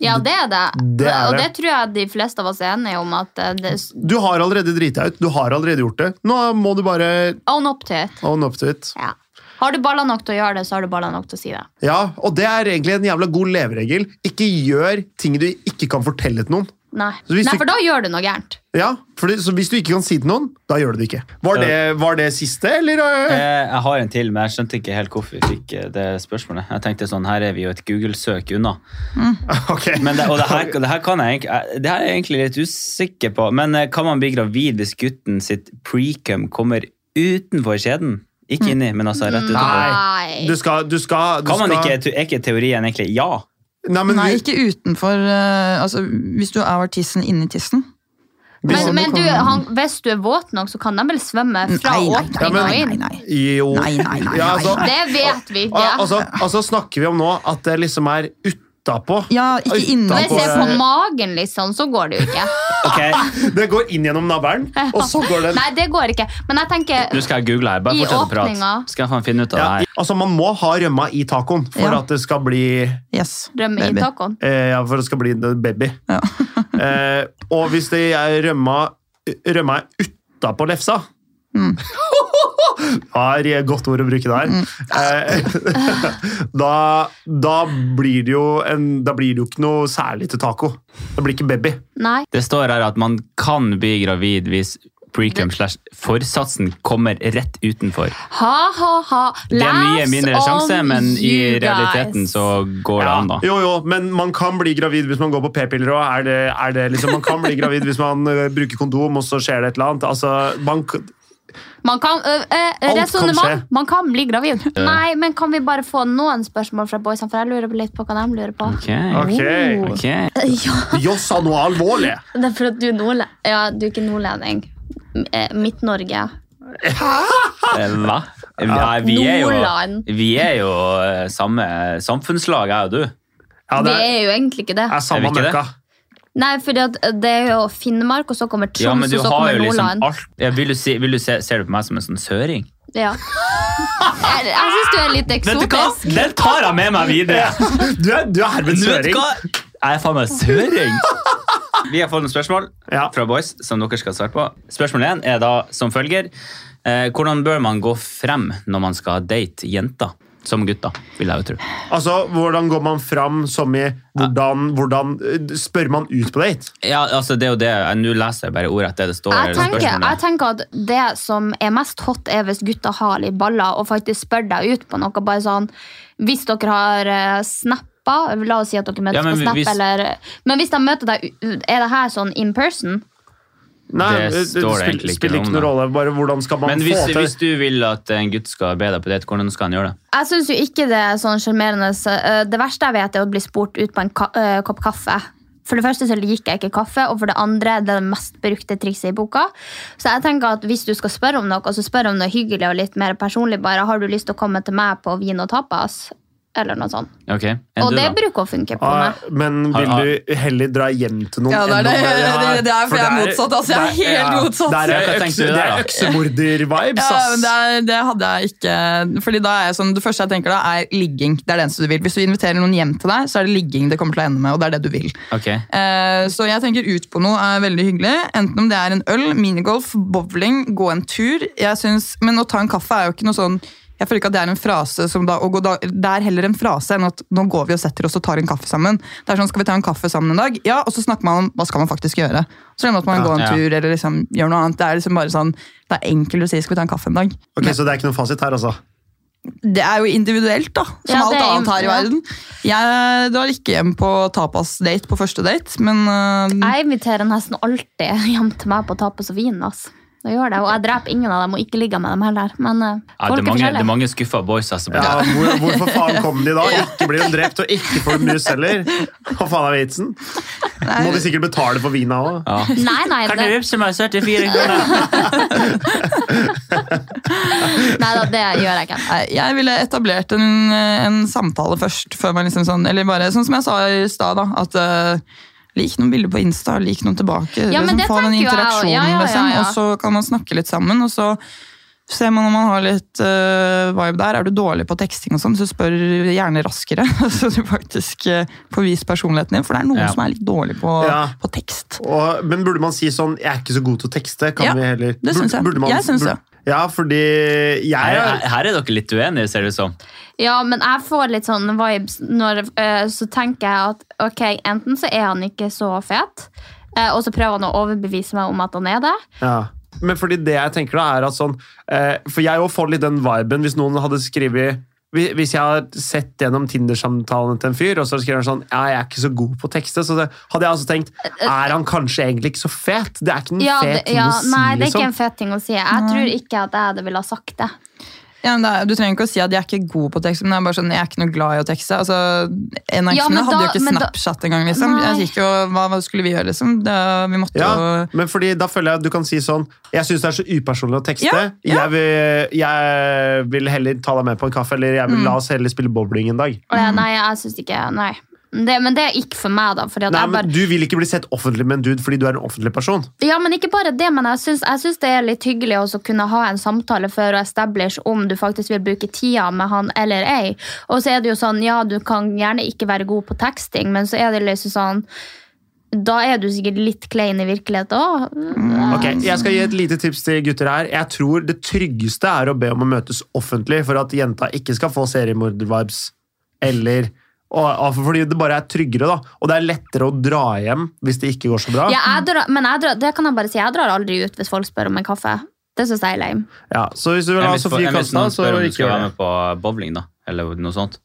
Ja, det er det. Det er Og det det. tror jeg de fleste av oss er enige om. at eh, det, Du har allerede driti deg ut. Du har allerede gjort det. Nå må du bare Own up to it. own up to it. Ja. Har du baller nok til å gjøre det, så har du baller nok til å si det. Ja, og det er egentlig en jævla god leveregel. Ikke gjør ting du ikke kan fortelle til noen. Nei, Så hvis Nei du- for da gjør du noe gærent. Ja, for det, så Hvis du ikke kan si det til noen, da gjør du det ikke. Var det, var det siste, eller? Eh, eh? Jeg har en til, men jeg skjønte ikke helt hvorfor vi fikk eh, det spørsmålet. Jeg tenkte sånn, Her er vi jo et Google-søk unna. Ok. Men det, og det her, det her kan jeg egentlig eh, Det her er jeg egentlig litt usikker på. Men eh, kan man bli gravid hvis gutten sitt precum kommer utenfor skjeden? Ikke inni, men altså rett utenfor. Nei. Du skal, du skal, du Kan man skal, ikke, Er ikke teorien egentlig ja? Nei, men, Nei, vi- ikke utenfor eh, altså, Hvis du er tissen inni tissen. hvis- Men, men Hvis- du, Mm, han, hvis du er våt nok, så kan de vel svømme fra Nei, nei, åpning nei, og nei, inn? nei, nei. Jo. Nei, nei, nei, Ja, nei, altså, nei. Det vet vi ikke. al- altså, altså snakker vi om nå at det liksom er utapå. Ja, ikke Da går Hvis det innenfor. er det- på magen, liksom, så går det jo ikke. Ok, Det går inn gjennom navlen, og så går det Nei, det går ikke. Men jeg tenker Nå skal jeg google her. Bare I fortsett å prate. åpninga. Skal jeg faen finne ut av det ja, her. Altså, man må ha rømma i tacoen for Ja. at det skal bli Yes, rømme i baby. tacoen. eh, Ja, for det skal bli en baby. Ja. eh, og hvis det er rømma Rømma er utapå lefsa Har godt ord å bruke der. Eh, da, da blir det jo en, Da blir det jo ikke noe særlig til taco. Det blir ikke baby. Nei. Det står her at man kan bli gravid hvis precum slash forsatsen kommer rett utenfor. Ha, ha, ha. Det er mye Laughs mindre on sjanse, men i you realiteten guys. så går det Ja, an, da. Jo, jo, men man kan bli gravid hvis man går på p-piller òg. Er det, er det liksom, man kan bli gravid hvis man ø, bruker kondom, og så skjer det et eller annet. Altså, man, k- Man kan, øh, øh, kan Resonnement. skje. Man kan bli gravid. Nei, men kan vi bare få noen spørsmål fra boysene, for jeg lurer litt på hva de lurer på. Ok, Ok. ok. Ja, Jeg sa noe alvorlig! det er for at du er nordlending. Ja, du er ikke nordlending. M- eh, Midt-Norge. Eh, Hva? Nei, vi er jo, Nordland. vi er jo eh, samme samfunnslag, jeg og du. Ja, det Det er, er jo egentlig ikke det. er samme Er vi ikke det? møkka. Nei, for det er jo Finnmark, og så kommer Troms, Ja, men du og så har kommer jo liksom Nordland. alt ja, Vil du si, vil du se, Ser du på meg som en sånn søring? Ja. Jeg, jeg syns du er litt eksotisk. Den tar jeg med meg videre! Du er, du er herved Men vet du søring. hva? Jeg er faen meg søring! Vi har fått noen spørsmål Ja. fra boys som dere skal svare på. Spørsmål én er da som følger. Eh, hvordan bør man gå frem når man skal date jenter? Som gutter, vil jeg jo tro. Altså, hvordan går man fram som i hvordan, hvordan eh, Spør man ut på date? Ja, altså det er jo det. jeg- Nå leser jeg bare ordet etter det står. Jeg eller tenker, spørsmålet. jeg tenker at det som er mest hot, er hvis gutta har litt baller og faktisk spør deg ut på noe. Bare sånn, Hvis dere har eh, snappa La oss si at dere møtes Ja, men på Snap. hvis- eller, men hvis de møter deg u- Er det her sånn in person? Nei, Det det, står det spill- egentlig ikke spiller noe ikke om, noen da. rolle. Bare hvordan skal man Men hvis, få til hvis du vil at en gutt skal be deg på date, hvordan skal han gjøre det? Jeg syns jo ikke det er sånn sjarmerende. Eh, Det verste jeg vet, er å bli spurt ut på en ka eh, kopp kaffe. For det første så liker jeg ikke kaffe, og for det andre det er det mest brukte trikset i boka. Så jeg tenker at hvis du skal spørre om noe, så spør om noe hyggelig og litt mer personlig. bare Har du lyst til å komme til meg på vin og tapas? Eller noe sånt. Ok, enn Og du det da? bruker å funke på Ah, meg. men Har- vil har- du heller dra hjem til noen Ja, det er enn det. å være- Det- det er- for jeg er motsatt, altså. Jeg det er helt motsatt. Det er, Hva tenkte økse, du der, det er da? øksemorder-vibes, Ja, men ass. det, er, det hadde jeg ikke Fordi da er jeg sånn, Det første jeg tenker da, er ligging. Det er det eneste du vil. Hvis du inviterer noen hjem til deg, så er det ligging det kommer til å ende med. og det er det du vil. Ok, Eh, Så jeg tenker ut på noe er veldig hyggelig. Enten om det er en øl, minigolf, bowling, gå en tur. Jeg synes, men å ta en kaffe er jo ikke noe sånn jeg føler ikke at Det er en frase som da, å gå da, det er heller en frase enn at nå går vi og setter oss og tar en kaffe sammen. Det er sånn, Skal vi ta en kaffe sammen en dag? Ja, Og så snakker man om hva skal man faktisk gjøre. Så glemmer man at man går en ja. tur eller liksom gjør noe annet. Det er liksom bare sånn, det er enkelt å si 'skal vi ta en kaffe en dag'? Ok, Så det er ikke noen fasit her, altså? Det er jo individuelt, da. Som Ja, det er alt jo- annet her i ja. verden. Jeg drar ikke hjem på tapas-date på første date, men øh, Jeg inviterer nesten alltid hjem til meg på tapas og vin. ass. Det gjør det, Og jeg dreper ingen av dem og ikke ligger med dem heller. Men eh, ja, det, er folk er mange, det er forskjellige. mange skuffa boys altså, på Ja, det. hvor, hvorfor faen kom de da? Ikke blir de drept, og ikke får de mus heller? Hva faen er vitsen? Må de sikkert betale for vina òg? Ja. Nei, nei, det, vippse meg 74 kroner? nei da, det gjør jeg ikke. Nei, jeg ville etablert en, en samtale først, før man liksom sånn Eller bare sånn som jeg sa i stad, da. At eh, lik noen bilder på Insta, lik noen tilbake. Ja, men liksom, det få den tenker jo jeg også. interaksjonen, Ja, ja, ja, liksom. ja. Og så kan man snakke litt sammen, og så ser man om man har litt eh, vibe der. Er du dårlig på teksting og sånn, så spør gjerne raskere. så du faktisk eh, får vist personligheten din, for det er noen Ja. som er litt dårlig på, Ja. på tekst. Og, men burde man si sånn 'jeg er ikke så god til å tekste'? Kan Ja, vi heller det syns jeg. Burde- burde man- Jeg syns det. burde- Ja, fordi jeg Her, her er dere litt uenige, ser det ut som. Ja, men jeg får litt sånn vibes når eh, Så tenker jeg at ok, enten så er han ikke så fet, eh, og så prøver han å overbevise meg om at han er det. Ja. Men fordi det jeg tenker da, er at sånn eh, For jeg òg får litt den viben hvis noen hadde skrevet hvi- hvis jeg har sett gjennom Tinder-samtalene til en fyr, og så skriver han sånn ja, 'Jeg er ikke så god på å tekste', så det, hadde jeg altså tenkt Er han kanskje egentlig ikke så fet? Det er ikke en Eh, Ja, fet det, ting ja, å si, nei, det er ikke liksom. en fet ting å si. Jeg tror ikke at jeg hadde ville ha sagt det. Ja, men det er, du trenger ikke å si at jeg er ikke god på tekst, men det er bare sånn, jeg er ikke noe glad i å tekste. Altså, en av Ja, eksene men hadde da- jo ikke men da- Snapchat engang. Liksom. Nei. Jeg gikk jo, hva, hva skulle vi gjøre, liksom? Det, vi måtte Ja, jo men fordi da føler jeg at du kan si sånn Jeg syns det er så upersonlig å tekste. Ja, Jeg, vil, jeg vil heller ta deg med på en kaffe, eller jeg vil Mm. la oss heller spille bowling en dag. Og jeg, nei, jeg synes ikke Nei. Det, men det er ikke for meg, da. Fordi at Nei, jeg men bare, Du vil ikke bli sett offentlig med en dude fordi du er en offentlig person. ja, men ikke bare det, men jeg syns, jeg synes det er litt hyggelig også å kunne ha en samtale for å establish om du faktisk vil bruke tida med han eller ei. Og så er det jo sånn, ja, du kan gjerne ikke være god på teksting, men så er det liksom sånn Da er du sikkert litt klein i virkeligheten òg. Ok, Jeg skal gi et lite tips til gutter her. Jeg tror det tryggeste er å be om å møtes offentlig for at jenta ikke skal få seriemorder-vibes. Eller og, og Fordi det bare er tryggere, da. Og det er lettere å dra hjem hvis det ikke går så bra. Ja, jeg drar, men jeg drar, det kan jeg bare si, jeg drar aldri ut hvis folk spør om en kaffe. Det syns jeg er lame. Ja, så hvis du vil Enn ha hvis, Sofie enn hvis Kasta, noen altså, så spør om du ikke skal gjør være det. med på bowling, da. Eller noe sånt.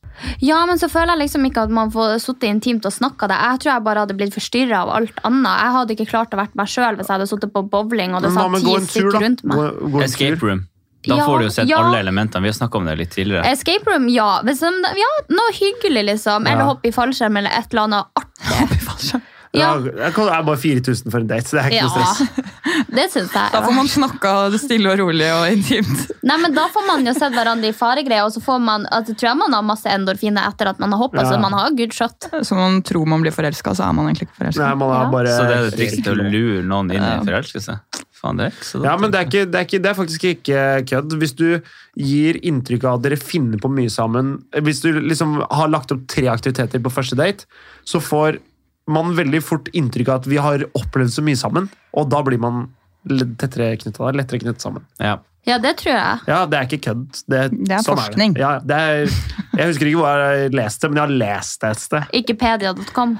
Ja, men så føler jeg liksom ikke at man får sittet intimt og snakka det. Jeg tror jeg bare hadde blitt forstyrra av alt annet. Jeg hadde ikke klart å være meg sjøl hvis jeg hadde sittet på bowling og det Men hva satt med ti gå en tur, stykker da? rundt meg. Gå, gå en Escape tur. room. Da Ja, får du jo sett ja. alle elementene. Vi har snakka om det litt tidligere. Escape room, ja. Hvis de, ja. Noe hyggelig, liksom. Ja. Eller hoppe i fallskjerm eller et eller annet artig. Ja. Det er- Det er bare 4000 for en date, så det er ikke Ja, noe stress. det syns jeg. Da får man snakka stille og rolig og intimt. Nei, men Da får man jo sett hverandre i faregreier, og så får man, altså, tror jeg man har masse endorfiner etter at man har hoppa, Ja, ja. så man har good shot. Så man tror man blir forelska, så er man egentlig ikke forelska. Nei, man har Ja. bare... Så det er det trikset å lure noen inn i Ja. forelskelse? Faen, det er ikke så dumt. Ja, men det er, ikke, det, er ikke, det er faktisk ikke kødd. Hvis du gir inntrykk av at dere finner på mye sammen Hvis du liksom har lagt opp tre aktiviteter på første date, så får man veldig fort inntrykk av at vi har opplevd så mye sammen, og da blir man litt tettere knytta lettere knyttet sammen. Ja. Ja, det tror jeg. Ja, det er ikke kødd. Det, Det er forskning. Er det. Ja, det er, jeg husker ikke hvor jeg leste det, men jeg har lest det et sted. Ikepedia.com.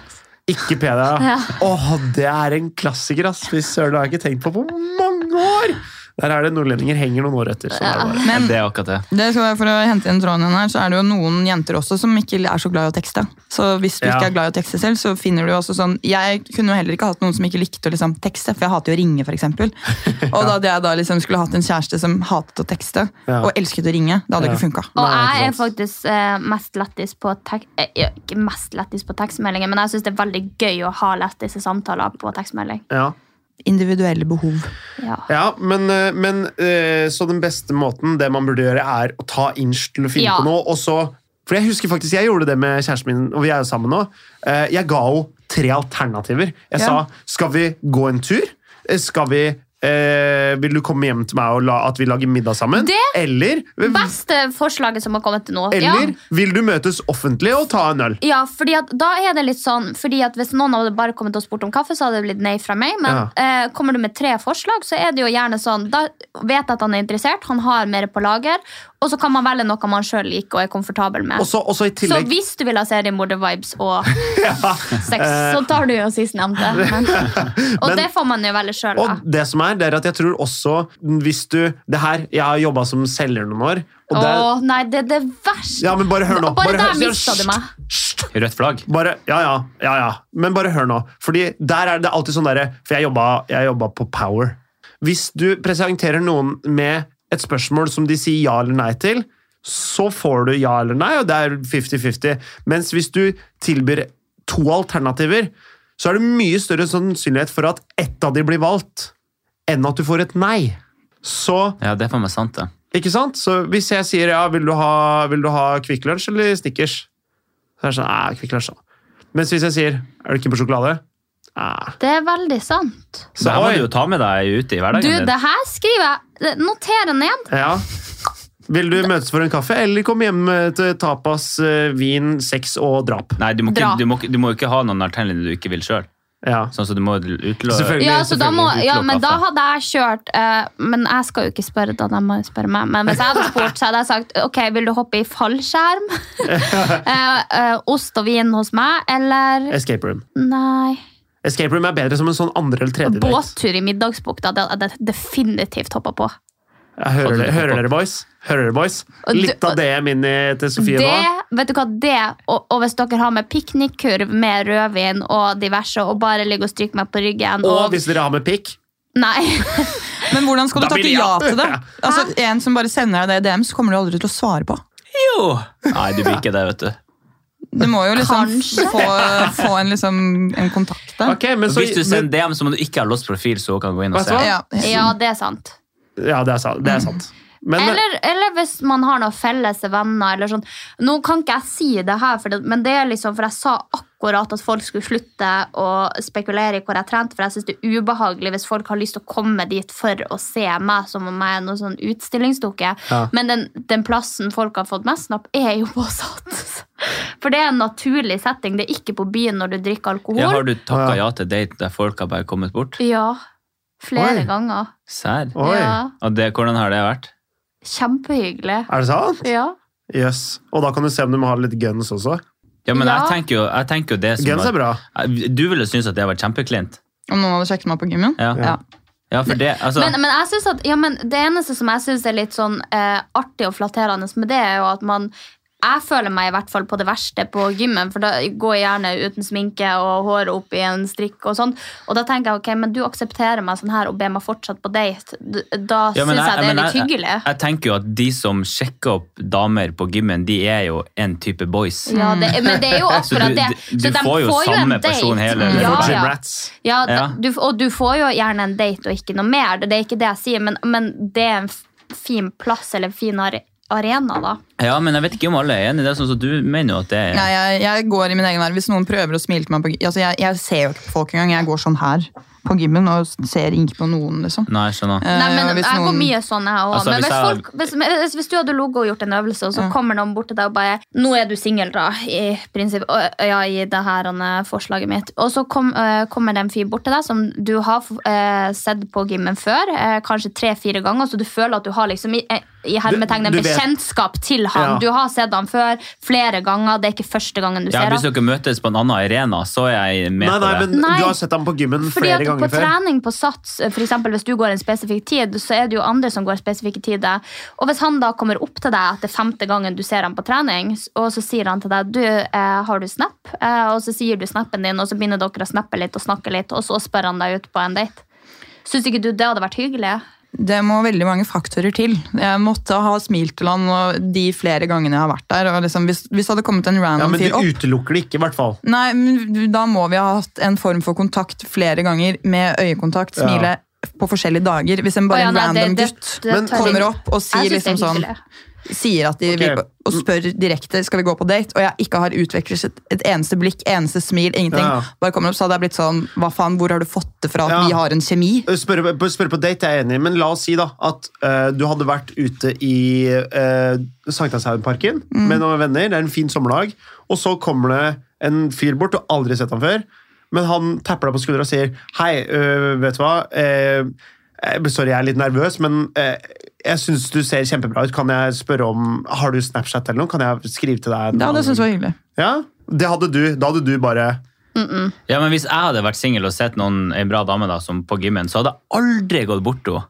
Ikke Pedia. Ja. Åh, det er en klassiker, ass! Fy søren, det har jeg ikke tenkt på på mange år! Der er det nordlendinger henger noen år etter. Sånn er det bare. Ja, Men Det er akkurat det. det skal være for å hente inn tråden igjen her, så er det jo noen jenter også som ikke er så glad i å tekste. Så hvis du Ja. ikke er glad i å tekste selv, så finner du jo også sånn Jeg kunne jo heller ikke hatt noen som ikke likte å liksom tekste, for jeg hater jo å ringe, f.eks. Og da hadde jeg da liksom skulle hatt en kjæreste som hatet å tekste, Ja. og elsket å ringe. Det hadde Ja. ikke funka. Og Nei, ikke jeg er sant. faktisk eh, mest lettis på tek eh, ja, ikke mest lettis på tekstmeldinger, men jeg syns det er veldig gøy å ha lettisse samtaler på tekstmelding. Ja. Individuelle behov. Ja. Ja, men, eh, men eh, så den beste måten det man burde gjøre, er å ta inch til å finne Ja. på noe, og så For jeg husker faktisk, jeg gjorde det med kjæresten min, og vi er jo sammen nå. Eh, Jeg ga henne tre alternativer. Jeg Ja. sa skal vi gå en tur? Eh, Skal vi eh, Vil du komme hjem til meg og la, at vi lager middag sammen? Det- Eller, Beste forslaget som har kommet til nå. Ja. eller vil du møtes offentlig og ta en øl? Ja, fordi at da er det litt sånn Fordi at Hvis noen hadde bare kommet og spurt om kaffe, så hadde det blitt nei fra meg. Men eh, kommer du med tre forslag, så er det jo gjerne sånn Da vet jeg at han er interessert, han har mer på lager, og så kan man velge noe man sjøl liker og er komfortabel med. Og så og så i så tillegg hvis du vil ha seriemorder-vibes og ja. sex, så tar du jo sistnevnte. Men- Og Men- det får man jo velge sjøl. Og det som er, det er at jeg tror også hvis du, det her, Jeg har jobba som selger noen år. og det, Å nei, det er det verste. Ja, men bare hør nå. Og bare der hør- Ja, mistet du meg. Hysj! hysj. Rødt flagg. Bare, ja, ja, ja, ja. Men bare hør nå. Fordi der er det alltid sånn derre For jeg jobba, jeg jobba på Power. Hvis du presenterer noen med et spørsmål som de sier ja eller nei til, så får du ja eller nei, og det er 50-50. Mens hvis du tilbyr to alternativer, så er det mye større sannsynlighet for at ett av de blir valgt, enn at du får et nei. Så Ja, det er faen meg sant, det. ikke sant? Så hvis jeg sier ja, vil du ha, vil du ha Kvikk Lunsj eller Snickers? Så er det sånn, nei, Kvikk Lunsj. da. Mens hvis jeg sier, er du ikke på sjokolade? Nei. Det er veldig sant. Så, Det her må oi, du jo ta med deg ute i Du, hverdagen det her skriver jeg. Noter den igjen. ja. Vil du møtes for en kaffe, eller komme hjem eh, til tapas, eh, vin, sex og drap? Nei, du må, ikke, Dra. du, må, ikke- du må jo ikke ha noen alternativer du ikke vil sjøl. Ja. Sånn som du må utlå... Selvfølgelig. Ja, så da må, selvfølgelig ja, utelukke men da kaffe. hadde jeg kjørt eh, Men jeg skal jo ikke spørre, da. De må jo spørre meg. Men hvis jeg hadde spurt, så hadde jeg sagt ok, vil du hoppe i fallskjerm? Eh, eh, ost og vin hos meg, eller Escape room. Nei. Escape room er bedre som en sånn andre eller tredje date. Båttur i Middagsbukta. Det hadde jeg definitivt hoppa på. Ja, hører, dere- hører dere, boys? Hører dere, boys? Og du- Litt av DM inn i- til Sofie det, nå. vet du hva, det, og, og hvis dere har med piknikkurv med rødvin og diverse, og bare ligger og stryker meg på ryggen Og hvis dere har med pikk, Nei. Men hvordan skal du Da blir takke det ja ja. til det? Altså, En som bare sender deg det i DM, så kommer du aldri til å svare på. Jo! Nei, du blir ikke det, vet du. Du må jo liksom Kanskje. få, få en, liksom, en kontakt der. Ok, men så... Hvis du men- sender DM, så må du ikke ha låst profil, så hun kan gå inn og Vet du se. hva? Ja. Ja, det er sant. Ja, det er sant. Det er sant. Men, Eller, eller hvis man har noen felles venner. Eller sånn. Nå kan ikke jeg si det her, for, det, men det er liksom, for jeg sa akkurat at folk skulle slutte å spekulere i hvor jeg trente, for jeg syns det er ubehagelig hvis folk har lyst til å komme dit for å se meg som om jeg er noen sånn utstillingsdukke. Ja. Men den, den plassen folk har fått mest napp, er jo på Sats. For det er en naturlig setting. Det er ikke på byen når du drikker Ja, har alkohol. du Å, takka ja. ja til date der folk har bare kommet bort? Ja, Oi. flere ganger. Sær. Oi. Ja, Og det, hvordan har det vært? kjempehyggelig. er det sant? Ja. Yes. Og da kan du se om du må ha litt guns også. Ja, men Ja. Jeg, tenker jo, jeg tenker jo det som Guns er bra. at- Du ville synes at det var kjempeklint. Om noen hadde sjekket meg på gymmen? Ja. Ja. Ja, for det, altså, Men, men, jeg synes at, ja, men det eneste som jeg syns er litt sånn eh, artig og flatterende med det, er jo at man Jeg føler meg i hvert fall på det verste på gymmen, for da går jeg gjerne uten sminke og håret opp i en strikk og sånn. Og da tenker jeg ok, men du aksepterer meg sånn her og ber meg fortsatt på date. D- Da Ja, men syns jeg det er men litt hyggelig. Jeg, jeg tenker jo at de som sjekker opp damer på gymmen, de er jo en type boys. Ja, det, men det er jo Mm. Så du, akkurat det. du, du de får jo en samme date. person hele Det er Ja, for ja. gym rats. Ja, da, Ja. Du, og du får jo gjerne en date og ikke noe mer. Det er ikke det jeg sier, men, men det er en f- fin plass eller en fin are- arena, da. Ja, men jeg vet ikke om alle er enig i det. Sånn som du mener jo at det er Nei, jeg, jeg går i min egen verden. Hvis noen prøver å smile til meg på gy- altså, jeg, jeg ser jo ikke på folk engang. Jeg går sånn her på gymmen og ser ikke på noen, liksom. Nei, jeg skjønner. Eh, Nei, men hvis Jeg går noen- mye sånn, jeg òg. Altså, men hvis hvis, jeg- folk, hvis, men altså, hvis, hvis du hadde ligget og gjort en øvelse, og så kommer noen bort til deg og bare 'Nå er du singel, da', i prinsipp, og, ja, i det her eh, forslaget mitt. Og så kom, eh, kommer det en fyr bort til deg som du har eh, sett på gymmen før, eh, kanskje tre-fire ganger, så du føler at du har liksom i, eh, i hermetegn en Du- du vet- bekjentskap til han. Ja. Du har sett han før flere ganger, det er ikke første gangen du Ja, ser hvis han. dere møtes på en annen arena, så er jeg med Nei, nei, på det. men Nei. du har sett ham på gymmen Fordi flere at på ganger før. trening på sats, eh, for eksempel hvis du går en spesifikk tid, så er det jo andre som går spesifikke tider. Og hvis han da kommer opp til deg etter femte gangen du ser ham på trening, s- og så sier han til deg du, eh, har du snap? Eh, og så sier du snappen din, og så begynner dere å snappe litt og snakke litt, og så spør han deg ut på en date. Syns ikke du det hadde vært hyggelig? Det må veldig mange faktorer til. Jeg måtte ha smilt til han og de flere gangene jeg har vært der. Og liksom, hvis, hvis det hadde kommet en Ja, random men fyr du opp utelukker det ikke, i hvert fall. Nei, men da må vi ha hatt en form for kontakt flere ganger med øyekontakt, smile på forskjellige dager. Hvis en Å bare ja, nei, random det- det- gutt det Men tør jeg kommer ikke. opp og Jeg synes sier det er liksom sånn hyggelig. sier at de Ok. vil, og spør direkte skal vi gå på date, og jeg ikke har utvekslet et, et eneste blikk, eneste smil, ingenting, Ja. bare kommer opp, så hadde jeg blitt sånn Hva faen, hvor har du fått det fra at Ja. vi har en kjemi? Spørre spørre på date jeg er enig i, men la oss si da at eh, du hadde vært ute i uh, Sankthanshaugenparken med noen venner, det er en fin sommerdag, og så kommer det en fyr bort, du har aldri sett ham før, men han tapper deg på skuldra og sier Hei, eh, vet du hva? Eh, eh, sorry, jeg er litt nervøs, men eh, jeg syns du ser kjempebra ut. Kan jeg spørre om Har du Snapchat eller noe? Kan jeg skrive til deg? en Ja, det annen syns jeg var hyggelig. Ja, det hadde du. Da hadde du bare Ja, men Hvis jeg hadde vært singel og sett noen, en bra dame da, som på gymmen, så hadde jeg aldri gått bort til henne.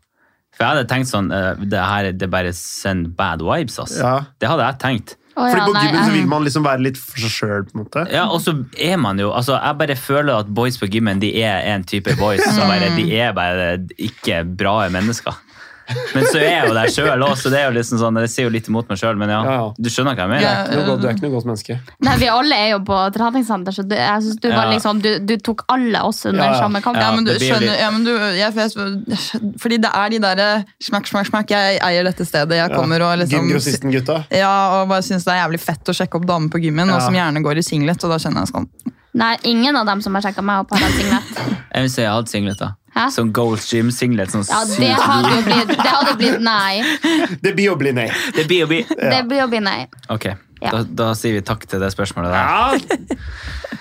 For jeg hadde tenkt sånn eh, Det her det bare send bad vibes, ass. Ja. Det hadde jeg tenkt. Å Fordi ja, på nei, gymmen så jeg- vil man liksom være litt for seg sjøl, på en måte. Ja, og så er man jo altså Jeg bare føler at boys på gymmen de er en type boys. Så bare, de er bare ikke bra mennesker. Men så er jeg jo der sjøl òg, så det er jo liksom sånn, det sier jo litt imot meg sjøl. Men ja, Ja, ja. du skjønner hva jeg mener? Du Ja. er ikke noe godt- du er ikke noe godt menneske. Nei, vi alle er jo på treningssenter, så du, jeg synes du, var Ja. liksom, du, du tok alle oss under Ja, ja. samme kamp. Ja, men du det blir jo skjønner litt- ja, men du, jeg, jeg, Fordi det er de derre smakk, smakk, smakk. Jeg eier dette stedet. Jeg kommer og liksom Gymgrossisten-gutta. ja, og bare syns det er jævlig fett å sjekke opp damer på gymmen, Ja. og som gjerne går i singlet. Og da kjenner jeg sånn Nei, ingen av dem som har sjekka meg opp, har en signett. Jeg vil si jeg hadde singlet, da. Hæ? Sånn Goals Gym-singlet. Sånn Ja, sykt det hadde hvit. jo blitt, det hadde blitt nei. Det blir å bli nei. Det blir jo blir. Det blir å bli nei. Ok, Ja. da, da sier vi takk til det spørsmålet der. Ja.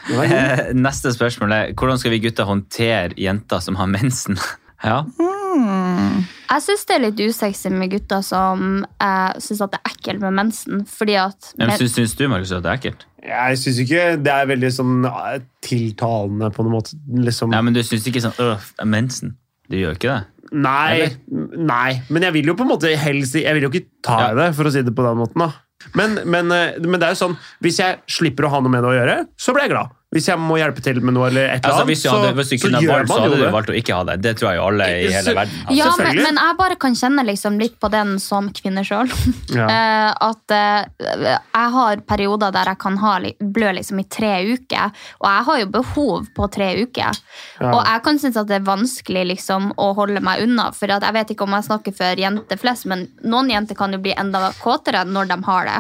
Eh, Neste spørsmål er hvordan skal vi gutter håndtere jenter som har mensen? Ja, Jeg syns det er litt usexy med gutter som eh, syns at det er ekkelt med mensen. Fordi at men syns, syns du, Markus, at det er ekkelt? Jeg syns ikke det er veldig sånn eh, tiltalende på noen måte. Liksom. Nei, men du syns ikke sånn øh, mensen? Du gjør ikke det? Nei, nei. Men jeg vil jo på en måte helst Jeg vil jo ikke ta i det, for å si det på den måten. da. Men, men, eh, men det er jo sånn, hvis jeg slipper å ha noe med det å gjøre, så blir jeg glad. Hvis jeg må hjelpe til med noe, eller et eller Altså, annet, hvis du hadde, hvis du så, kunne så ha gjør valgt, så man hadde jo du det. valgt å ikke ha det. Det tror jeg jo alle i hele Så- verden har. Ja, men, selvfølgelig. men jeg bare kan kjenne liksom litt på den som kvinne sjøl. Ja. at eh, jeg har perioder der jeg kan ha, li- blø liksom i tre uker, og jeg har jo behov på tre uker. Ja. Og jeg kan synes at det er vanskelig liksom å holde meg unna, for at jeg vet ikke om jeg snakker for jenter flest, men noen jenter kan jo bli enda kåtere når de har det.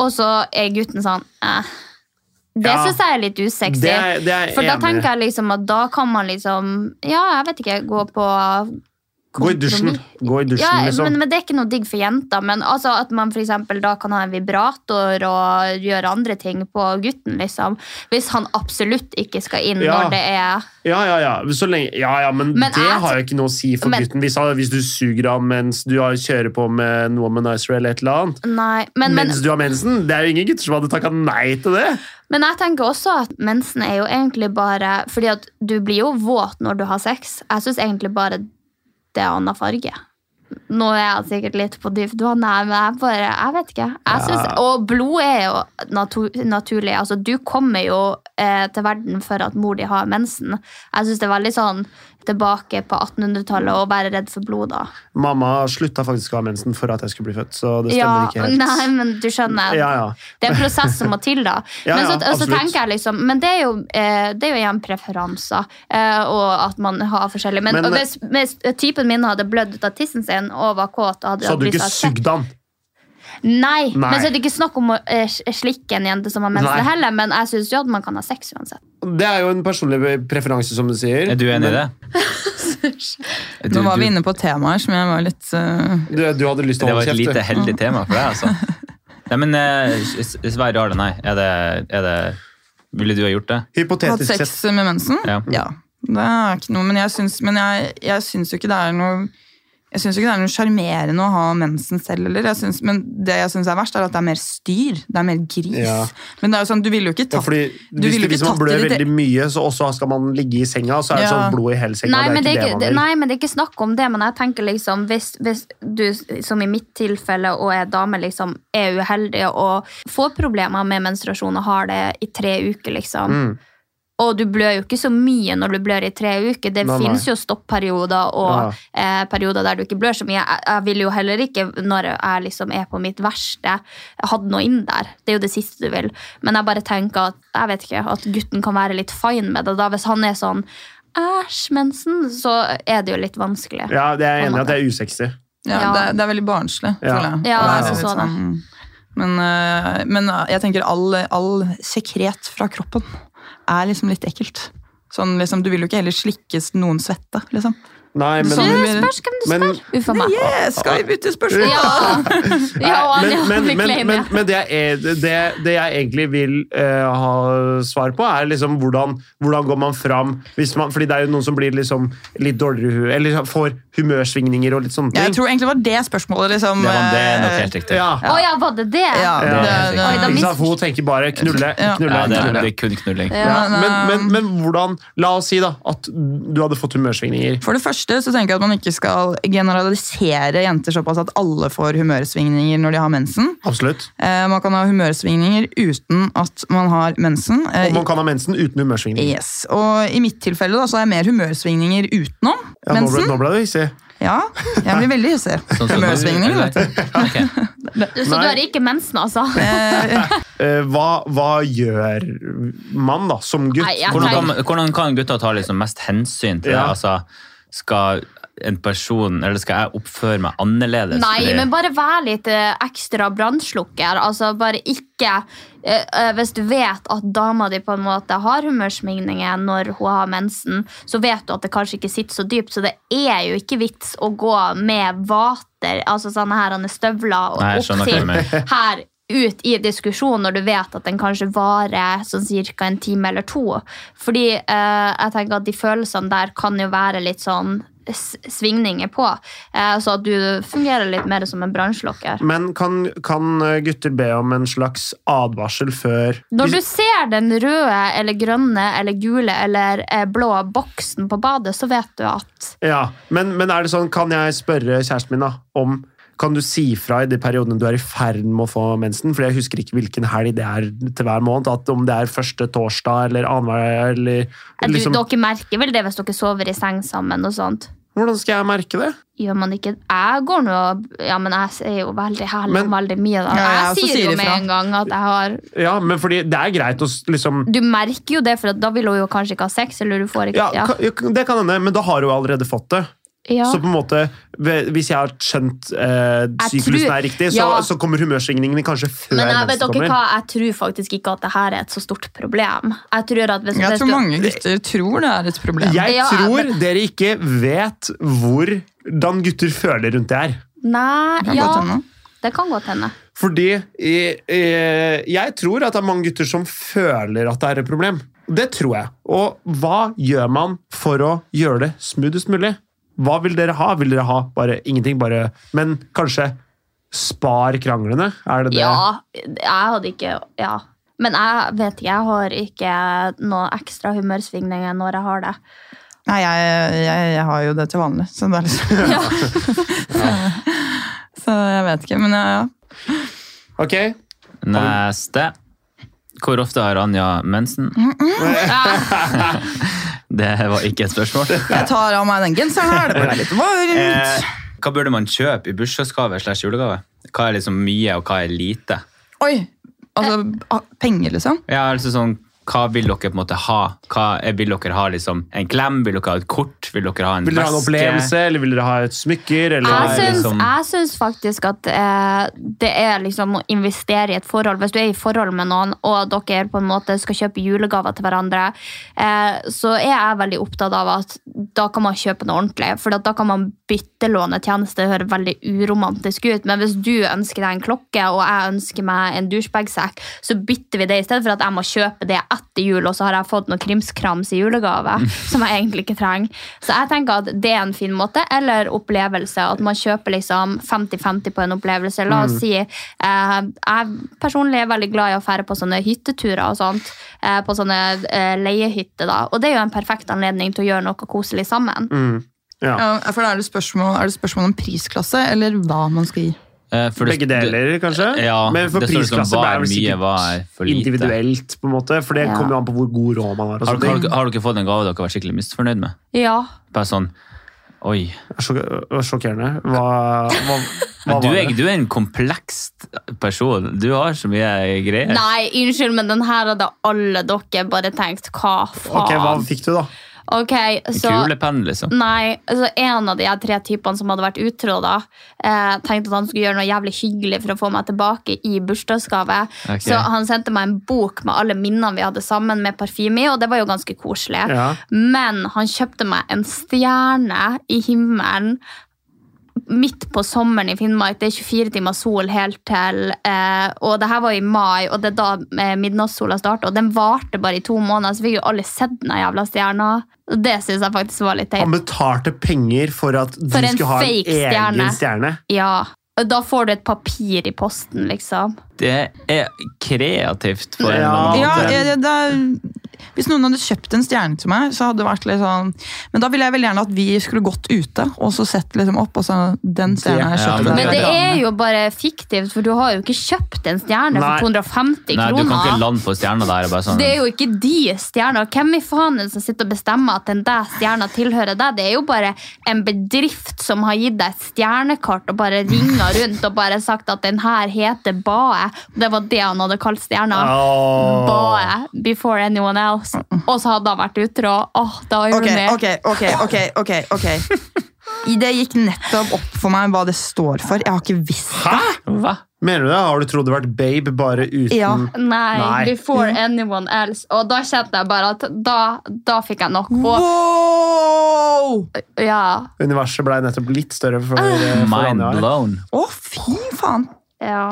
Og så er gutten sånn eh. Det Ja. synes jeg er litt usexy. Det er- det er jeg for da enig i. tenker jeg liksom at da kan man liksom Ja, jeg vet ikke, gå på Gå i dusjen. Gå i dusjen, ja, liksom. men, men Det er ikke noe digg for jenter. Men altså at man for eksempel da kan ha en vibrator og gjøre andre ting på gutten. liksom. Hvis han absolutt ikke skal inn Ja. når det er Ja, ja, ja. Så lenge, ja, ja, men, Men det jeg- har jo ikke noe å si for Men- gutten. Hvis, han, hvis du suger ham mens du har- kjører på med en womanizer eller et eller annet, Nei. Men, men, mens du har mensen. Det er jo ingen gutter som hadde takka nei til det. men jeg tenker også at mensen er jo egentlig bare Fordi at du blir jo våt når du har sex. Jeg syns egentlig bare det er annen farge. Nå er jeg sikkert litt på dypt vann her, men jeg bare, jeg vet ikke. Jeg synes, Og blod er jo natu naturlig. Altså, du kommer jo eh, til verden for at mor di har mensen. Jeg syns det er veldig sånn tilbake på 1800-tallet å være redd for blod da. Mamma slutta faktisk å ha mensen for at jeg skulle bli født, så det stemmer Ja, ikke helt. Nei, men du skjønner. Ja, ja. Det er en prosess som må til, da. Ja, men, så, ja, og så absolutt. tenker jeg liksom, men det er jo, eh, det er jo igjen preferanser, eh, og at man har forskjellig. Men, Men- eh, og hvis, hvis typen min hadde blødd ut av tissen sin og var kåt og hadde Så hadde du ikke lyst til å ha sex- sugd han? Nei, Nei. men så er det ikke snakk om å eh, slikke en jente som har mensen Nei. heller, men jeg syns jo at man kan ha sex uansett. Det er jo en personlig preferanse, som du sier. Er du enig i det? Du- Nå var du- vi inne på temaer som jeg var litt eh, Du, du hadde lyst til Det å var holde et kjeft. lite du. heldig tema for deg, altså. Nei, men eh, s- s- Vær rar, nei. Er det, er det Ville du ha gjort det? Hatt Hypotetisk sex sett. med mensen? Ja. Det er ikke noe, men jeg syns, men jeg, jeg syns jo ikke det er noe jeg syns jo ikke det er noe sjarmerende å ha mensen selv. Eller. Jeg syns- men det jeg syns er verst, er at det er mer styr. Det er mer gris. Ja. Men det er jo sånn, du ville jo ikke Ja, tatt fordi Du hvis, ville det, ikke hvis man tatt blør i ditt- veldig mye, så også skal man ligge i senga, så er det Ja. sånn blod i hele senga. Nei men, det er ikke, det man vil. nei, men det er ikke snakk om det. Men jeg tenker liksom, hvis, hvis du, som i mitt tilfelle, og er dame, liksom, er uheldig og får problemer med menstruasjon og har det i tre uker, liksom. Mm. Og du blør jo ikke så mye når du blør i tre uker. Det Nei, nei. fins jo stopperioder og Ja. eh, perioder der du ikke blør så mye. Jeg, jeg vil jo heller ikke, når jeg liksom er på mitt verste, hadde noe inn der. Det er jo det siste du vil. Men jeg bare tenker at jeg vet ikke, at gutten kan være litt fine med det. da. Hvis han er sånn æsj, mensen, så er det jo litt vanskelig. Ja, det er jeg På en enig i at det måte. er usexy. Ja, Ja. Det, er, det er veldig barnslig, Ja. føler jeg. Ja, Og det jeg er synes litt også det. sånn- Men, øh, men øh, jeg tenker all, all sekret fra kroppen er liksom litt ekkelt. Sånn, liksom, du vil jo ikke heller slikkes noen svette, liksom. Nei, men, Sånn. Det spørs hvem du spør. Men- Uff a meg. Yeah, skal vi bytte spørsmål? Ja, ja, Nei, Anja, men, vi men, men, claimer. men, men det, jeg, er- det, det jeg egentlig vil eh, ha svar på, er liksom hvordan, hvordan går man fram hvis man, Fordi det er jo noen som blir liksom litt dårligere i huet, eller får humørsvingninger og litt sånne Jeg ting. tror egentlig det var det spørsmålet. Liksom, Det, var, det er nok øh, helt riktig. Ja, Å ja, var det det? ja, Ja. det, det, Oi, da ikke mis- sant? For Hun tenker bare knulle, Ja. knulle, Ja, det, er, knulle. det er kun knulling. Ja. Ja, men, men, men, men hvordan La oss si da at du hadde fått humørsvingninger. For det første så tenker jeg at man ikke skal generalisere jenter såpass at alle får humørsvingninger når de har mensen. Absolutt. Eh, man kan ha humørsvingninger uten at man har mensen. Eh, Og man kan ha mensen uten humørsvingninger. Yes, og I mitt tilfelle da, så er jeg mer humørsvingninger utenom Ja, nå, ble, mensen. nå ble det hissig. Ja, jeg blir veldig hissig. Sånn som- Humørsvingninger, vet du. Ok. Så du Nei. har ikke mensen, altså? Eh, Eh, hva, hva gjør man da, som gutt? Nei, jeg Hvordan Hvordan- kan, man- hvordan kan gutta ta liksom mest hensyn til det? Ja. Altså, skal en person, eller skal jeg oppføre meg annerledes? Nei, fordi- men bare vær litt eh, ekstra brannslukker. Altså, bare ikke eh, eh, Hvis du vet at dama di på en måte har humørsvingninger når hun har mensen, så vet du at det kanskje ikke sitter så dypt, så det er jo ikke vits å gå med vater, altså sånne her han er støvler, og Nei, jeg opp skjønner hva du til mener. her ut i diskusjon når du vet at den kanskje varer sånn cirka en time eller to. Fordi eh, jeg tenker at de følelsene der kan jo være litt sånn s- svingninger på. Eh, så at du fungerer litt mer som en brannslokker. Men kan, kan eh, gutter be om en slags advarsel før Når du ser den røde eller grønne eller gule eller eh, blå boksen på badet, så vet du at Ja, men, men er det sånn, kan jeg spørre kjæresten min da, om kan du si fra i de periodene du er i ferd med å få mensen? For jeg husker ikke hvilken helg det er til hver måned. At om det er første torsdag eller annenhver eller eh, du, liksom, Dere merker vel det hvis dere sover i seng sammen og sånt. Hvordan skal jeg merke det? Gjør man ikke Jeg går nå Ja, men jeg er jo veldig herlig Men- om veldig mye, da. Ja, Jeg, jeg også sier, sier jo med ifra. en gang at jeg har Ja, men fordi det er greit å s- liksom Du merker jo det, for at da vil hun jo kanskje ikke ha sex, eller du får ikke ja, ka- jo, Det kan hende, men da har du jo allerede fått det. Ja. Så på en måte, ve- hvis jeg har skjønt eh, Jeg syklusen tror- er riktig, ja. så, så kommer humørsvingningene kanskje før Men jeg, vet mensen dere kommer. hva, jeg tror faktisk ikke at det her er et så stort problem. Jeg tror at hvis, Jeg hvis tror du- mange gutter tror det er et problem. Jeg Ja, tror men- dere ikke vet hvordan gutter føler rundt det her. Nei, Kan ja, godt hende. det kan godt hende. Fordi eh, eh, jeg tror at det er mange gutter som føler at det er et problem. Det tror jeg. Og hva gjør man for å gjøre det smoothest mulig? Hva vil dere ha? Vil dere ha bare ingenting, bare Men kanskje spar kranglene? Er det det? Ja, jeg hadde ikke Ja. Men jeg vet ikke, jeg har ikke noe ekstra humørsvingninger når jeg har det. Nei, jeg, jeg, jeg har jo det til vanlig, så det er liksom Ja. Så jeg vet ikke, men ja, ja. Ok. Neste. Hvor ofte har Anja mensen? Det var ikke et spørsmål. Jeg tar av meg den genseren her, det ble litt varmt. Eh, hva burde man kjøpe i bursdagsgave slash julegave? Hva er liksom mye, og hva er lite? Oi! Altså, ah, penger, liksom? Ja, altså sånn, hva vil dere på en måte ha? Hva, eh, vil dere ha liksom en klem? Vil dere ha et kort? Vil dere ha en Vil dere ha en veske? opplevelse, eller vil dere ha et smykker? Jeg er Eller syns, liksom- jeg syns faktisk at eh, det er liksom å investere i et forhold. Hvis du er i forhold med noen, og dere på en måte skal kjøpe julegaver til hverandre, eh, så er jeg veldig opptatt av at da kan man kjøpe noe ordentlig. For at da kan man byttelåne tjenester. Det høres veldig uromantisk ut. Men hvis du ønsker deg en klokke, og jeg ønsker meg en douchebagsekk, så bytter vi det i stedet for at jeg må kjøpe det etter jul, og så har jeg fått noe krimskrams i julegave Mm. som jeg egentlig ikke trenger. Så jeg tenker at det er en fin måte, eller opplevelse. At man kjøper liksom 50-50 på en opplevelse. Mm. La oss si eh, Jeg personlig er veldig glad i å fære på sånne hytteturer og sånt. Eh, på sånne eh, leiehytter, da. Og det er jo en perfekt anledning til å gjøre noe koselig sammen. mm, ja. Ja, for da er det, spørsmål, er det spørsmål om prisklasse, eller hva man skal gi? Eh, for det- Begge deler, kanskje? Ja, Men for det står liksom prisklasse hva er er vel mye, sikkert hva er for lite. individuelt, på en måte. For det Ja. kommer jo an på hvor god råd man har. og Har, sånne har, ting. dere- har dere fått en gave dere har vært skikkelig misfornøyd med? Ja. Bare sånn, oi. Det er sjok- det var sjokkerende. Hva, hva, hva Men du, var er, det? du er en kompleks person. Du har så mye greier. Nei, unnskyld, men den her hadde alle dere bare tenkt hva faen? Ok, Ah. hva fikk du, da? Ok, så... Kulepenn, liksom. Nei, altså en av de her tre typene som hadde vært utro da, eh, tenkte at han skulle gjøre noe jævlig hyggelig for å få meg tilbake i bursdagsgave. Ok. Så han sendte meg en bok med alle minnene vi hadde sammen med parfyme i, og det var jo ganske koselig. Ja. Men han kjøpte meg en stjerne i himmelen midt på sommeren i Finnmark. Det er 24 timer sol helt til. Eh, og det her var i mai, og det er da eh, midnattssola starter. Og den varte bare i to måneder, så fikk jo alle sett den her jævla stjerna. Og Det syns jeg faktisk var litt Han teit. betalte penger for at du For en skulle ha en fake egen stjerne. stjerne. Ja. Og Da får du et papir i posten, liksom. Det er kreativt på en eller Ja, annen Ja, måte. jeg, det er, hvis noen hadde kjøpt en stjerne til meg, så hadde det vært litt sånn Men da ville jeg veldig gjerne at vi skulle gått ute, og så sett liksom opp, og så Den stjerna her Ja, men kjøpte jeg Men til det deg». er jo bare fiktivt, for du har jo ikke kjøpt en stjerne Nei. for 250 Nei, du kan kroner. ikke lande på stjerna der. og Bare sånn. Det er jo ikke de stjerner. Hvem i faen er det som sitter og bestemmer at den der stjerna tilhører deg? Det er jo bare en bedrift som har gitt deg et stjernekart og bare ringer rundt og bare sagt at den her heter Bae. Det var det han hadde kalt stjerna. Åh. Bae before anyone else. Og så hadde han vært utro. Åh, da er hun Ok, med. ok, ok, ok, ok, ok. I Det gikk nettopp opp for meg hva det står for. Jeg har ikke visst det. Hva? Mener du det? Har du trodd det har vært babe bare uten Ja. Nei, Nei. Mm. before anyone else. Og da kjente jeg bare at da, da fikk jeg nok. Og Wow! Å, ja, Universet ble nettopp litt større for, Ah. for Mind Anja. her. blown. fy faen! Ja.